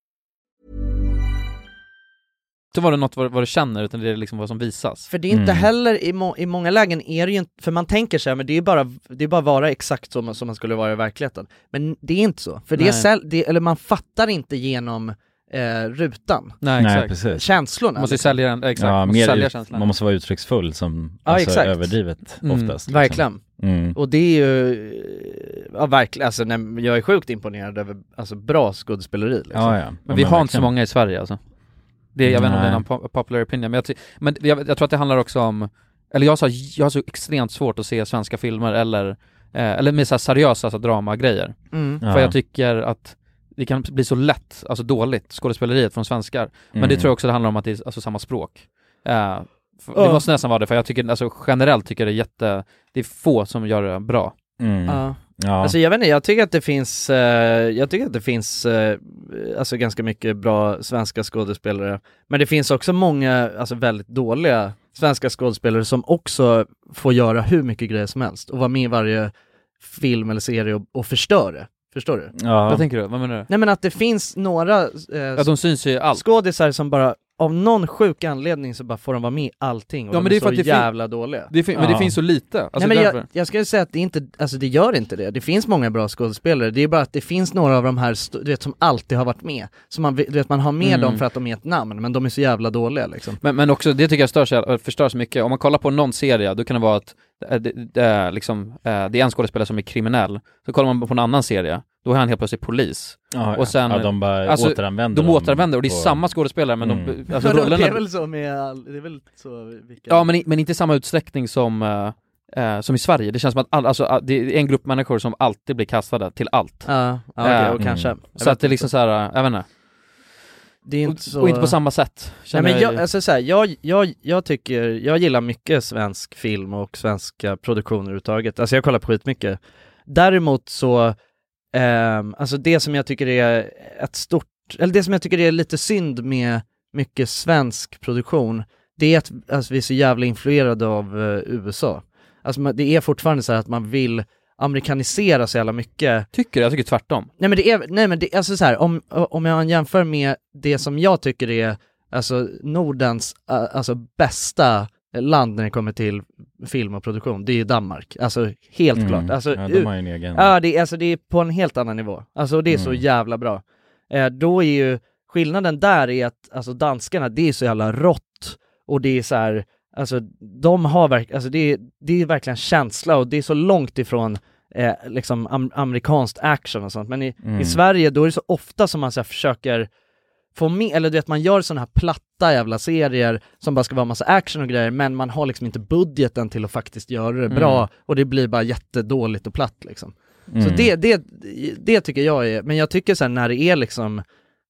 Speaker 2: var det något vad, vad du känner, utan det är liksom vad som visas.
Speaker 3: för det är
Speaker 2: Mm.
Speaker 3: inte heller, i, må, i många lägen är det ju inte, för man tänker sig men det är ju bara, det är bara vara exakt som, som man skulle vara i verkligheten. Men det är inte så, för det är
Speaker 2: Nej.
Speaker 3: säl, det, eller man fattar inte genom eh, rutan.
Speaker 2: Nej,
Speaker 1: Nej,
Speaker 2: exakt.
Speaker 1: precis.
Speaker 3: Känslorna.
Speaker 2: Måste ju
Speaker 3: liksom.
Speaker 2: sälja den, exakt.
Speaker 1: Ja,
Speaker 2: måste
Speaker 1: mer
Speaker 2: sälja
Speaker 1: ut,
Speaker 2: känslan.
Speaker 1: man måste vara uttrycksfull som
Speaker 3: Ja,
Speaker 1: alltså,
Speaker 3: exakt.
Speaker 1: överdrivet
Speaker 3: Mm,
Speaker 1: oftast. liksom.
Speaker 3: Verkligen.
Speaker 1: Mm.
Speaker 3: Och det är ju, eh, ja verkligen, alltså nej, men jag är sjukt imponerad över alltså, bra skådespeleri liksom.
Speaker 1: Ja, ja.
Speaker 2: Men vi har inte så många i Sverige alltså. Det, jag vet inte om det är någon po- popular opinion, men, jag, ty- men jag, jag tror att det handlar också om, eller jag, har så, jag har så extremt svårt att se svenska filmer eller, eh, eller med så här seriösa alltså, dramagrejer.
Speaker 3: Mm.
Speaker 2: För
Speaker 3: Ja.
Speaker 2: jag tycker att det kan bli så lätt, alltså dåligt, skådespeleriet från svenskar. Men det
Speaker 1: Mm.
Speaker 2: tror jag också det handlar om att det är alltså, samma språk. Eh, för,
Speaker 3: Ja.
Speaker 2: Det måste nästan vara det, för jag tycker alltså, generellt tycker jag det är jätte, det är få som gör det bra.
Speaker 1: Mm.
Speaker 3: Ja. Alltså jag vet inte, jag tycker att det finns, eh, jag tycker att det finns eh, alltså ganska mycket bra svenska skådespelare. Men det finns också många, alltså väldigt dåliga svenska skådespelare som också får göra hur mycket grejer som helst och vara med i varje film eller serie och, och förstör det. Förstår du?
Speaker 1: Ja.
Speaker 2: Vad tänker du? Vad menar du?
Speaker 3: Nej men att det finns några eh,
Speaker 2: Mm. Ja, de syns ju i allt.
Speaker 3: skådisar som bara av någon sjuk anledning så bara får de vara med i allting och
Speaker 2: Ja,
Speaker 3: de
Speaker 2: men
Speaker 3: är,
Speaker 2: det är för
Speaker 3: så
Speaker 2: att det fin-
Speaker 3: jävla dåliga.
Speaker 2: det fin- men det Ja. finns så lite. Alltså,
Speaker 3: Nej, men jag,
Speaker 2: därför.
Speaker 3: jag skulle säga att det inte, alltså det gör inte det. Det finns många bra skådespelare, det är bara att det finns några av de här, st- du vet, som alltid har varit med. Så man, vet- du vet, man har med
Speaker 2: Mm.
Speaker 3: dem för att de är ett namn, men de är så jävla dåliga liksom.
Speaker 2: Men, men också, det tycker jag stör sig, förstör så mycket. Om man kollar på någon serie, då kan det vara att eh, det, det, är liksom, eh, det är en skådespelare som är kriminell. Så kollar man på en annan serie, då är han helt plötsligt polis.
Speaker 1: Ja, ja. Ja, de bara återanvänder
Speaker 2: De
Speaker 1: dem
Speaker 2: återanvänder, och det är
Speaker 1: på-
Speaker 2: samma skådespelare, men
Speaker 1: Mm.
Speaker 2: de, alltså
Speaker 3: det är
Speaker 2: rollerna...
Speaker 3: väl så med all, det är väl så vilka...
Speaker 2: Ja, men, i- men inte i samma utsträckning som, eh, eh, som i Sverige. Det känns som att all, alltså, all- det är en grupp människor som alltid blir kastade till allt.
Speaker 3: Ja, ja, okej,
Speaker 2: Eh,
Speaker 3: och kanske. Jag
Speaker 2: Så
Speaker 3: vet
Speaker 2: att det är liksom så här, eh, jag vet inte.
Speaker 3: Det är inte
Speaker 2: och,
Speaker 3: så...
Speaker 2: och inte på samma sätt.
Speaker 3: Nej,
Speaker 2: känner
Speaker 3: men
Speaker 2: jag
Speaker 3: jag,
Speaker 2: ju.
Speaker 3: alltså så här, jag, jag, jag tycker, jag gillar mycket svensk film och svenska produktioner överhuvudtaget. Alltså jag kollar på skitmycket. Däremot så, ehm, alltså det som jag tycker är ett stort, eller det som jag tycker är lite synd med mycket svensk produktion, det är att alltså, vi är så jävla influerade av eh, USA. Alltså man, det är fortfarande så här att man vill amerikanisera så jävla mycket.
Speaker 2: Tycker du? Jag tycker tvärtom.
Speaker 3: Nej men det är, nej men det, alltså så här, om, om jag jämför med det som jag tycker är alltså Nordens äh, alltså bästa land när det kommer till film och produktion, det är ju Danmark. Alltså helt
Speaker 1: Mm.
Speaker 3: klart. Alltså,
Speaker 1: Ja, de
Speaker 3: u-
Speaker 1: har ju en egen-
Speaker 3: Ja, det, är- alltså, det är på en helt annan nivå. Alltså och det är så
Speaker 1: Mm.
Speaker 3: jävla bra. Eh, då är ju skillnaden där är att alltså danskarna, det är så jävla rått och det är så här Alltså de har verkligen, alltså det, är- det är verkligen känsla och det är så långt ifrån eh, liksom am- amerikanskt action och sånt. Men i,
Speaker 9: Mm.
Speaker 3: i Sverige då är det så ofta som man så här, försöker få med, eller du vet man gör sådana här platta jävla serier som bara ska vara massa action och grejer men man har liksom inte budgeten till att faktiskt göra det
Speaker 9: Mm.
Speaker 3: bra och det blir bara jättedåligt och platt liksom. Så
Speaker 9: Mm.
Speaker 3: det, det, det tycker jag är, men jag tycker sen när det är liksom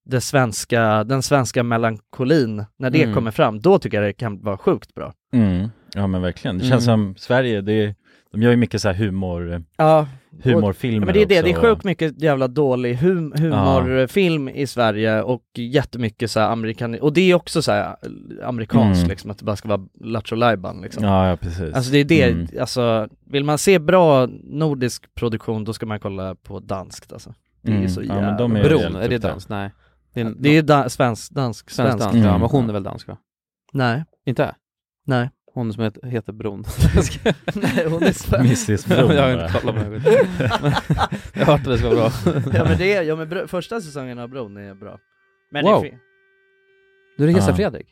Speaker 3: det svenska, den svenska melankolin, när det
Speaker 1: Mm.
Speaker 3: kommer fram, då tycker jag det kan vara sjukt bra.
Speaker 1: Mm. Ja men verkligen, det känns
Speaker 3: Mm.
Speaker 1: som Sverige, det är, de gör ju mycket så här humor,
Speaker 3: Ja.
Speaker 1: humorfilmer
Speaker 3: Ja, Men det är det,
Speaker 1: också.
Speaker 3: det är sjukt mycket jävla dålig hum humorfilm i Sverige och jättemycket så här amerikan och det är också så här amerikanskt
Speaker 1: Mm.
Speaker 3: liksom, att det bara ska vara lattjo lajban liksom.
Speaker 1: Ja, ja, precis.
Speaker 3: Alltså det är det,
Speaker 1: Mm.
Speaker 3: alltså vill man se bra nordisk produktion då ska man kolla på danskt alltså. Det är ju
Speaker 1: Mm.
Speaker 3: så
Speaker 1: Ja,
Speaker 3: jävla
Speaker 1: men de är
Speaker 2: Bron,
Speaker 1: helt
Speaker 2: är det
Speaker 1: uppe.
Speaker 2: dans? Nej. Det är,
Speaker 3: Det är ju da- svensk, dansk,
Speaker 2: svensk
Speaker 3: svensk.
Speaker 2: dans, ja men hon är väl dansk va?
Speaker 3: Nej.
Speaker 2: Inte?
Speaker 3: Nej.
Speaker 2: Hon som heter, heter Bron.
Speaker 3: Nej, hon är svensk. Mrs. Bron,
Speaker 2: jag har inte
Speaker 3: va?
Speaker 2: kollat på den skiten. Jag hörde det ska vara bra.
Speaker 3: ja men det är, ja men bro, första säsongen av Bron är bra. Men
Speaker 2: Wow.
Speaker 3: det fin-
Speaker 2: Du ringer Hesa
Speaker 1: Ja.
Speaker 2: Fredrik?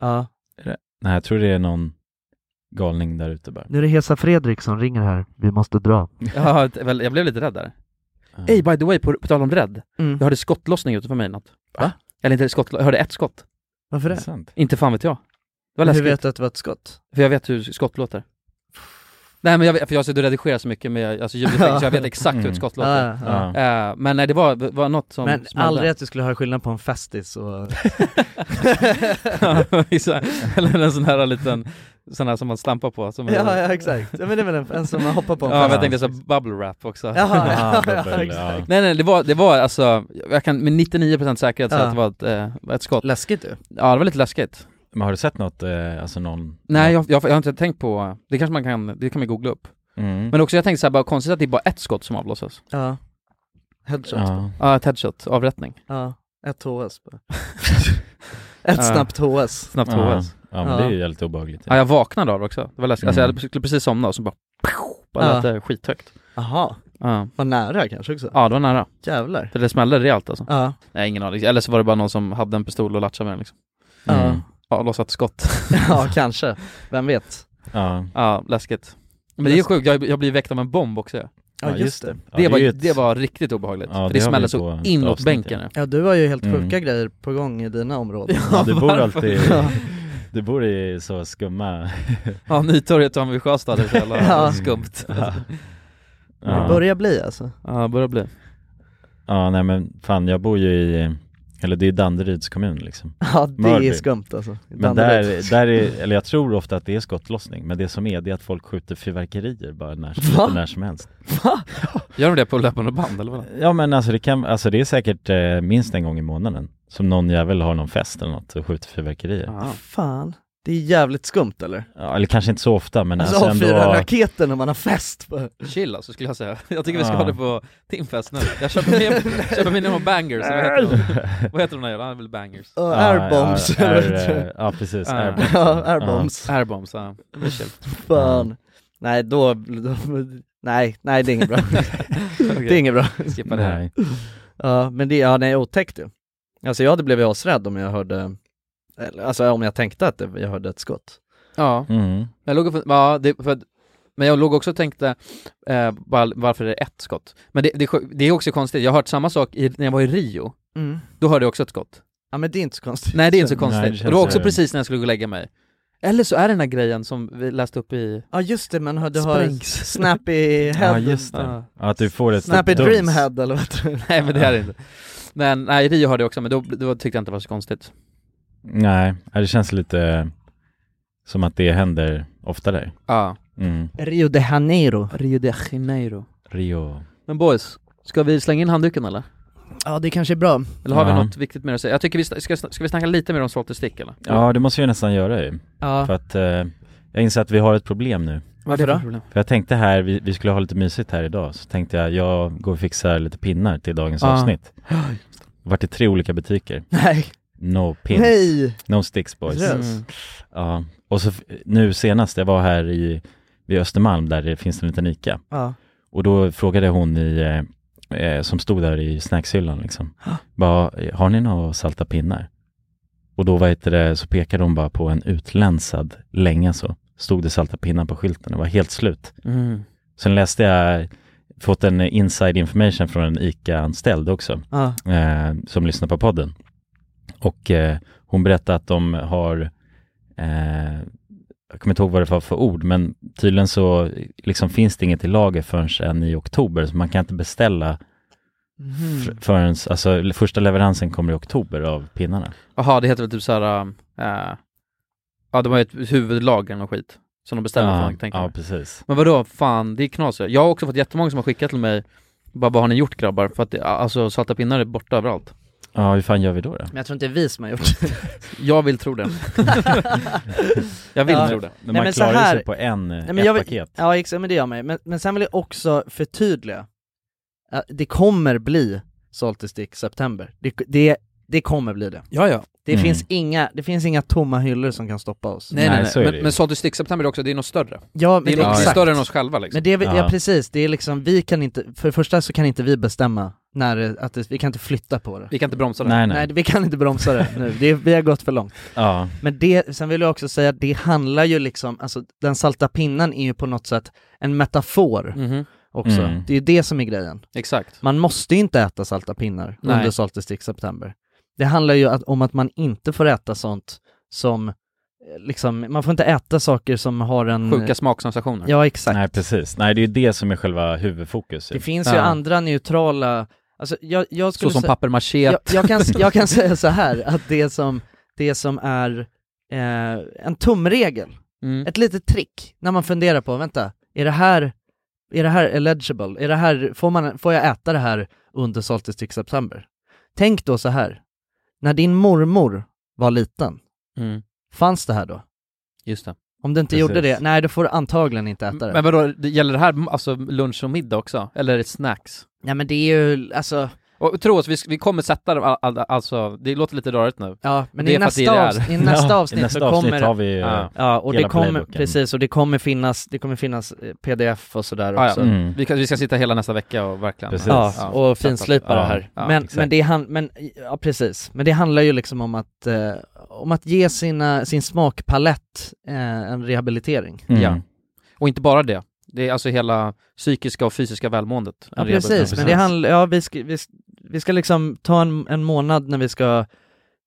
Speaker 3: Ja.
Speaker 1: Är det- Nej, jag tror det är någon galning där ute bara.
Speaker 3: Nu är det Hesa Fredrik som ringer här, vi måste dra.
Speaker 2: Ja, det- väl, jag blev lite rädd där. Ey, by the way, på, på tal om rädd.
Speaker 3: Mm.
Speaker 2: Jag hörde skottlossning utanför mig i natt. Va? Eller inte skott, jag hörde ett skott.
Speaker 3: Varför det?
Speaker 2: Inte fan vet jag. Det var
Speaker 3: Men hur
Speaker 2: läskigt.
Speaker 3: vet du att det var ett skott?
Speaker 2: För jag vet hur skott låter. Nej men jag vet, för jag sitter och redigerar så mycket med alltså, ljudeffekter så jag vet exakt hur ett skott
Speaker 3: Mm.
Speaker 2: låter.
Speaker 3: Ja,
Speaker 2: Eh, men nej, det var, var något som
Speaker 3: Men
Speaker 2: smällde.
Speaker 3: aldrig att du skulle höra skillnad på en festis och...
Speaker 2: Ja, exakt. Eller en sån här liten, sån här som man stampar på. Som
Speaker 3: Ja, ja exakt. Ja, men det är väl en, en som hoppar på en
Speaker 2: Ja, men jag
Speaker 3: fest.
Speaker 2: tänkte så här bubble wrap också.
Speaker 3: Jaha, ja, Ja, ja, bubble, exakt. ja.
Speaker 2: Nej, nej, det var, det var alltså, jag kan med 99% säkerhet säga
Speaker 1: Ja.
Speaker 2: att det var ett, eh, ett skott.
Speaker 3: Läskigt du.
Speaker 2: Ja, det var lite läskigt.
Speaker 1: Men har du sett något, eh, alltså någon?
Speaker 2: Nej, jag, jag, jag har inte tänkt på, det kanske man kan, det kan man googla upp.
Speaker 1: Mm.
Speaker 2: Men också jag tänkte så här, bara konstigt att det är bara ett skott som avlossas.
Speaker 3: Ja. Headshot.
Speaker 1: Ja.
Speaker 2: Ja, ett headshot, avrättning.
Speaker 3: Ja, ett HS bara. ett
Speaker 2: Ja.
Speaker 3: snabbt HS.
Speaker 2: Snabbt
Speaker 1: Ja.
Speaker 2: HS.
Speaker 1: Ja, men det är ju jävligt obehagligt.
Speaker 2: Ja, jag vaknade av det också. Det var läskigt. Alltså jag
Speaker 1: Mm.
Speaker 2: hade- skulle precis somna och så bara, bara
Speaker 3: Ja.
Speaker 2: lät det skithögt.
Speaker 3: Jaha,
Speaker 2: Ja.
Speaker 3: var nära kanske också.
Speaker 2: Ja, det var nära.
Speaker 3: Jävlar.
Speaker 2: För det smällde rejält alltså.
Speaker 3: Ja.
Speaker 2: Nej, ingen aning. Eller så var det bara någon som hade en pistol och latchade med den liksom.
Speaker 3: Ja. Mm.
Speaker 2: Ja, lossat skott.
Speaker 3: Ja, kanske. Vem vet?
Speaker 1: Ja.
Speaker 2: Ja, läskigt. Men det är ju sjukt, jag, jag blir väckt av en bomb också. Ja,
Speaker 3: Ja, just just det. det.
Speaker 1: Ja,
Speaker 2: det,
Speaker 1: det
Speaker 2: var,
Speaker 1: är ju ett-
Speaker 2: det var riktigt obehagligt.
Speaker 1: Ja,
Speaker 2: för
Speaker 1: det
Speaker 2: det
Speaker 1: har vi
Speaker 2: smällde
Speaker 1: på
Speaker 2: så
Speaker 1: ett
Speaker 2: inåt
Speaker 1: avsnitt,
Speaker 2: bänken. nu.
Speaker 3: Ja, du har ju helt
Speaker 1: Mm.
Speaker 3: sjuka grejer på gång i dina områden.
Speaker 1: Ja, du bor
Speaker 2: varför?
Speaker 1: alltid,
Speaker 2: Ja.
Speaker 1: du bor i så skumma...
Speaker 2: Ja, Nytorget och vid Sjöstad är så jävla
Speaker 3: Ja.
Speaker 2: skumt. Ja.
Speaker 1: Ja.
Speaker 3: Det börjar bli alltså.
Speaker 2: det börjar bli.
Speaker 1: Ja, nej men fan jag bor ju i, eller det är Danderyds kommun liksom
Speaker 3: Ja, det är skumt, alltså.
Speaker 1: Men
Speaker 3: Danderyd.
Speaker 1: där, där är, eller jag tror ofta att det är skottlossning Men det som är, det är att folk skjuter fyrverkerier bara när,
Speaker 2: Va?
Speaker 1: lite när som helst
Speaker 2: Gör de det på löpande band eller vad?
Speaker 1: Ja men alltså det kan, alltså det är säkert eh, minst en gång i månaden Som någon jävel har någon fest eller något och skjuter fyrverkerier
Speaker 2: ja.
Speaker 3: Fan, det är jävligt skumt eller?
Speaker 1: Eller kanske inte så ofta men
Speaker 3: Alltså
Speaker 1: alltså,
Speaker 3: ha
Speaker 1: ändå
Speaker 3: fyra raketer när man har fest. bara.
Speaker 2: Chill alltså skulle jag säga. Jag tycker vi ska
Speaker 1: Ja.
Speaker 2: ha det på Timfest nu. Jag köper med, köper med några bangers, eller vad heter de? Vad heter de där jävla? Han är väl bangers?
Speaker 3: Ja, airbombs,
Speaker 1: ja,
Speaker 3: eller vad
Speaker 1: air,
Speaker 3: heter det?
Speaker 1: eh, ja, precis,
Speaker 2: Ja.
Speaker 1: airbombs.
Speaker 3: Ja, airbombs.
Speaker 2: Ja. Airbombs, ja. Det är chill.
Speaker 3: Fan. Nej, då, då... Nej, nej det är inget bra. Det är inget bra.
Speaker 2: Skippa det.
Speaker 1: Nej.
Speaker 3: Ja, men det, ja nej otäckt ju. Alltså jag hade blivit asrädd om jag hörde, eller, alltså om jag tänkte att det, jag hörde ett skott.
Speaker 2: Ja.
Speaker 1: Mm.
Speaker 2: Jag låg och fun- ja, det, för, att- men jag låg också och tänkte eh, var, varför är det ett skott? Men det, det, är sjuk- det är också konstigt, jag har hört samma sak i, när jag var i Rio.
Speaker 3: Mm.
Speaker 2: Då hörde jag också ett skott.
Speaker 3: Ja men det är inte så konstigt.
Speaker 2: Nej det är inte så
Speaker 1: Nej,
Speaker 2: konstigt.
Speaker 1: det
Speaker 2: och det var
Speaker 1: känns-
Speaker 2: också precis när jag skulle gå och lägga mig. Eller så är det den här grejen som vi läste upp i...
Speaker 3: Ja just det, man hörde har
Speaker 2: Sprängs.
Speaker 3: snappy head.
Speaker 1: Ja just det,
Speaker 2: Ja.
Speaker 1: ja. att du får ett
Speaker 3: Snappy
Speaker 1: duns.
Speaker 3: dream head eller vad tror du?
Speaker 2: Nej men det är det inte. Men nej, i Rio hörde jag också, men då, då tyckte jag inte det var så konstigt.
Speaker 1: Nej, ja, det känns lite som att det händer oftare
Speaker 2: Ja.
Speaker 1: mm.
Speaker 3: Rio de Janeiro.
Speaker 2: Rio de Janeiro.
Speaker 1: Rio
Speaker 2: Men boys, ska vi slänga in handduken eller?
Speaker 3: Ja det kanske är bra.
Speaker 2: Eller har vi
Speaker 1: Ja.
Speaker 2: något viktigt mer att säga? Jag tycker vi sn- ska, ska vi snacka lite mer om Salt och Stick eller?
Speaker 1: Ja, det måste vi nästan göra ju.
Speaker 3: Ja.
Speaker 1: För att eh, jag inser att vi har ett problem nu.
Speaker 3: Varför då?
Speaker 1: För jag tänkte här, vi, vi skulle ha lite mysigt här idag, så tänkte jag, jag går och fixar lite pinnar till dagens
Speaker 3: Ja.
Speaker 1: avsnitt. Vart i tre olika butiker.
Speaker 3: Nej.
Speaker 1: No pins.
Speaker 3: Nej.
Speaker 1: No sticks boys.
Speaker 3: Yes. Mm.
Speaker 1: Ja. Och så f- nu senast, jag var här i, vid Östermalm där det finns en liten ICA.
Speaker 3: Ja.
Speaker 1: Och då frågade hon i, eh, eh, som stod där i snackshyllan liksom, bara, har ni några salta pinnar? Och då vad heter det, så pekade hon bara på en utlänsad länga så. Stod det salta pinnar på skylten och var helt slut.
Speaker 2: Mm.
Speaker 1: Sen läste jag, fått en inside information från en ICA-anställd också,
Speaker 2: Ja.
Speaker 1: eh, som lyssnar på podden. Och eh, hon berättade att de har, eh, jag kommer inte ihåg vad det var för ord, men tydligen så liksom, finns det inget i lager förrän i oktober, så man kan inte beställa
Speaker 2: Mm.
Speaker 1: fr- förrän, alltså första leveransen kommer i oktober av pinnarna.
Speaker 2: Jaha, det heter väl typ såhär, äh, ja de har ju ett huvudlager och skit som de bestämmer
Speaker 1: Ja,
Speaker 2: från, tänker
Speaker 1: ja,
Speaker 2: jag.
Speaker 1: precis.
Speaker 2: Men vadå, fan det är knas ju. Jag har också fått jättemånga som har skickat till mig, bara vad har ni gjort grabbar? För att det, alltså salta pinnar är borta överallt.
Speaker 1: Ja, hur fan gör vi då? då?
Speaker 3: Men jag tror inte det är vi som har gjort det.
Speaker 2: Jag vill tro det. jag vill
Speaker 3: Ja.
Speaker 2: tro det.
Speaker 1: Men man klarar ju sig på en,
Speaker 3: Nej,
Speaker 1: ett
Speaker 3: jag vill-
Speaker 1: paket.
Speaker 3: Ja exakt, men det gör man ju. Men, men sen vill jag också förtydliga. Ja, Det kommer bli Salty Stick September. Det, det, det kommer bli det.
Speaker 2: Ja, ja.
Speaker 3: Det,
Speaker 2: Mm.
Speaker 3: finns inga, det finns inga tomma hyllor som kan stoppa oss.
Speaker 2: Nej, nej, nej. Men, men Salty Stick September är också, det är något större.
Speaker 3: Ja, men
Speaker 2: det är
Speaker 3: det-
Speaker 2: något
Speaker 3: exakt.
Speaker 2: större än oss själva liksom.
Speaker 3: Men det, är väl- ja
Speaker 2: Ja.
Speaker 3: precis, det är liksom, vi kan inte, för det första så kan inte vi bestämma när det, att det, vi kan inte flytta på det.
Speaker 2: Vi kan inte bromsa det.
Speaker 3: Nej, nej. vi kan inte bromsa det nu, det, vi har gått för långt.
Speaker 1: Ja.
Speaker 3: Men det, sen vill jag också säga, det handlar ju liksom, alltså den salta pinnan är ju på något sätt en metafor
Speaker 2: Mhm.
Speaker 3: också.
Speaker 2: Mm.
Speaker 3: Det är ju det som är grejen.
Speaker 2: Exakt.
Speaker 3: Man måste ju inte äta salta pinnar
Speaker 2: Nej.
Speaker 3: under Salty Stick September. Det handlar ju att, om att man inte får äta sånt som, eh, liksom, man får inte äta saker som har en...
Speaker 2: Sjuka smaksensationer.
Speaker 3: Ja, exakt.
Speaker 1: Nej, precis. Nej, det är ju det som är själva huvudfokus.
Speaker 3: Det finns ju andra neutrala, alltså jag, jag skulle
Speaker 1: Så som
Speaker 3: säga-
Speaker 1: papier-maché.
Speaker 3: Jag, jag, kan, jag kan säga så här att det som, det som är eh, en tumregel,
Speaker 2: Mm.
Speaker 3: ett litet trick, när man funderar på, vänta, är det här, är det här eligible? Är det här, får, man, får jag äta det här under Salty Stick September? Tänk då så här, när din mormor var liten,
Speaker 2: Mm.
Speaker 3: fanns det här då?
Speaker 2: Just det.
Speaker 3: Om du inte
Speaker 2: Precis.
Speaker 3: gjorde det, nej då får du antagligen inte äta det.
Speaker 2: Men vadå, det- gäller det här m- alltså lunch och middag också? Eller är det snacks?
Speaker 3: Nej men det är ju, alltså...
Speaker 2: Och tro oss, vi, sk- vi kommer sätta dem, all- all- alltså, det låter lite rörigt nu.
Speaker 3: Ja, men
Speaker 2: Det
Speaker 3: i
Speaker 2: är för att
Speaker 3: nästa,
Speaker 2: det är det
Speaker 3: avs-
Speaker 2: här.
Speaker 3: i nästa
Speaker 2: Ja.
Speaker 3: avsnitt så kommer det-
Speaker 2: Ja.
Speaker 3: ja, och det kommer,
Speaker 2: playbooken.
Speaker 3: precis, och det kommer finnas, det kommer finnas eh, pdf och
Speaker 2: Ah,
Speaker 3: sådär
Speaker 2: Ja, Mm,
Speaker 3: också.
Speaker 2: ja.
Speaker 1: Mm.
Speaker 2: Vi, kan, vi ska sitta hela nästa vecka och verkligen...
Speaker 3: Ja, och finslipa det här.
Speaker 2: Ja,
Speaker 3: men,
Speaker 2: exakt.
Speaker 3: men, det han, men, ja, precis. men det handlar ju liksom om att, eh, om att ge sina, sin smakpalett eh, en rehabilitering.
Speaker 1: Mm.
Speaker 2: Ja. Och inte bara det. Det är alltså hela psykiska och fysiska välmåendet.
Speaker 3: Ja, precis, men det handlar, ja vi ska, vi, ska- vi ska liksom ta en, en månad när vi ska,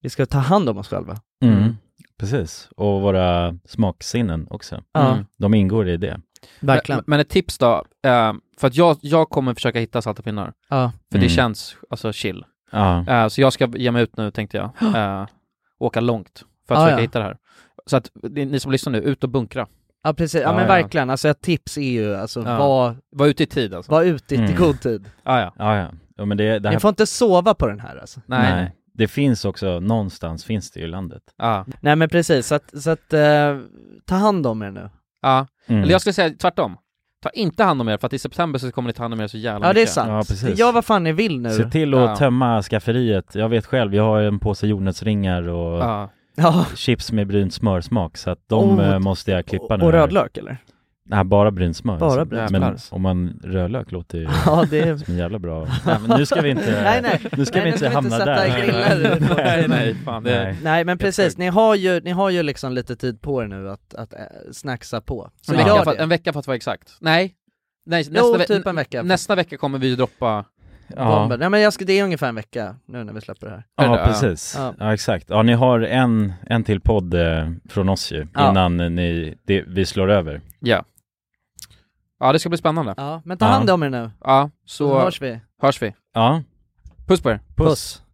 Speaker 3: vi ska ta hand om oss själva.
Speaker 1: Mm. Precis, och våra smaksinnen också.
Speaker 3: Ja. Mm.
Speaker 1: De ingår i det.
Speaker 3: Verkligen.
Speaker 2: Men, men ett tips då, eh, för att jag, jag kommer försöka hitta salta pinnar.
Speaker 3: Ja.
Speaker 2: För
Speaker 1: Mm.
Speaker 2: det känns alltså chill.
Speaker 1: Ja.
Speaker 2: Eh, så jag ska ge mig ut nu tänkte jag. Eh, åka långt för att
Speaker 3: Ah, Ja,
Speaker 2: försöka
Speaker 3: ja.
Speaker 2: hitta det här. Så att ni ni som lyssnar nu, ut och bunkra.
Speaker 3: Ja precis, ja,
Speaker 2: Ja,
Speaker 3: men
Speaker 2: ja.
Speaker 3: verkligen, alltså ett tips är ju alltså
Speaker 2: Ja.
Speaker 3: var,
Speaker 2: Var ute i tid alltså. Ah,
Speaker 3: var ute i
Speaker 1: Mm.
Speaker 3: god tid.
Speaker 2: Ja, ja.
Speaker 1: Ja, ja. ja men det, det här...
Speaker 3: Ni får inte sova på den här alltså.
Speaker 1: nej, nej. Det finns också, någonstans finns det ju i landet.
Speaker 2: Ah.
Speaker 3: Nej men precis, så att, så att eh, ta hand om er nu.
Speaker 2: Ja.
Speaker 1: Mm.
Speaker 2: Eller jag skulle säga tvärtom. Ta inte hand om er för att i september så kommer ni ta hand om er så jävla
Speaker 3: Ja det är
Speaker 2: mycket.
Speaker 3: sant.
Speaker 1: Ja, precis.
Speaker 3: Gör vad fan ni vill nu.
Speaker 1: Se till att tömma skafferiet. Jag vet själv, jag har en påse jordnötsringar och
Speaker 2: Ja.
Speaker 3: Ja.
Speaker 1: chips med brynt smörsmak, så att de
Speaker 3: Oh,
Speaker 1: eh, måste jag klippa nu.
Speaker 3: och rödlök eller?
Speaker 1: Nej, bara brynt smör.
Speaker 3: Bara
Speaker 1: alltså.
Speaker 3: brynt
Speaker 1: Men
Speaker 3: smör.
Speaker 1: om man rödlök låter ju
Speaker 3: Ja, det är-
Speaker 1: som en jävla bra... Nej, men nu ska vi inte,
Speaker 3: Nej, nej.
Speaker 1: Nu ska vi
Speaker 3: Nej, nu
Speaker 1: inte
Speaker 3: ska vi
Speaker 1: hamna
Speaker 3: inte sätta
Speaker 1: där.
Speaker 3: griller.
Speaker 1: nej,
Speaker 2: nej, fan, det-
Speaker 1: Nej.
Speaker 3: Nej men precis, ni har, ju, ni har ju liksom lite tid på er nu att, att eh, snacksa på. Så
Speaker 2: En vecka,
Speaker 3: gör
Speaker 2: för,
Speaker 3: det.
Speaker 2: att- en vecka för att vara exakt. Nej. Nej
Speaker 3: Jo,
Speaker 2: nästa, ve-
Speaker 3: typ en vecka.
Speaker 2: nästa vecka kommer vi ju droppa...
Speaker 3: Bomber. Nej men jag ska, det är ungefär en vecka nu när vi släpper det här.
Speaker 1: Ja, precis.
Speaker 3: Ja.
Speaker 1: Ja. exakt. Ja, ni har en, en till podd eh, från oss ju,
Speaker 2: Ja.
Speaker 1: innan ni, det, vi slår över.
Speaker 2: Ja. Ja, det ska bli spännande.
Speaker 3: Ja, men ta hand
Speaker 1: Ja.
Speaker 3: om er nu.
Speaker 2: Ja, så
Speaker 3: Så hörs vi.
Speaker 2: Hörs vi.
Speaker 1: Ja.
Speaker 2: Puss på er.
Speaker 1: Puss.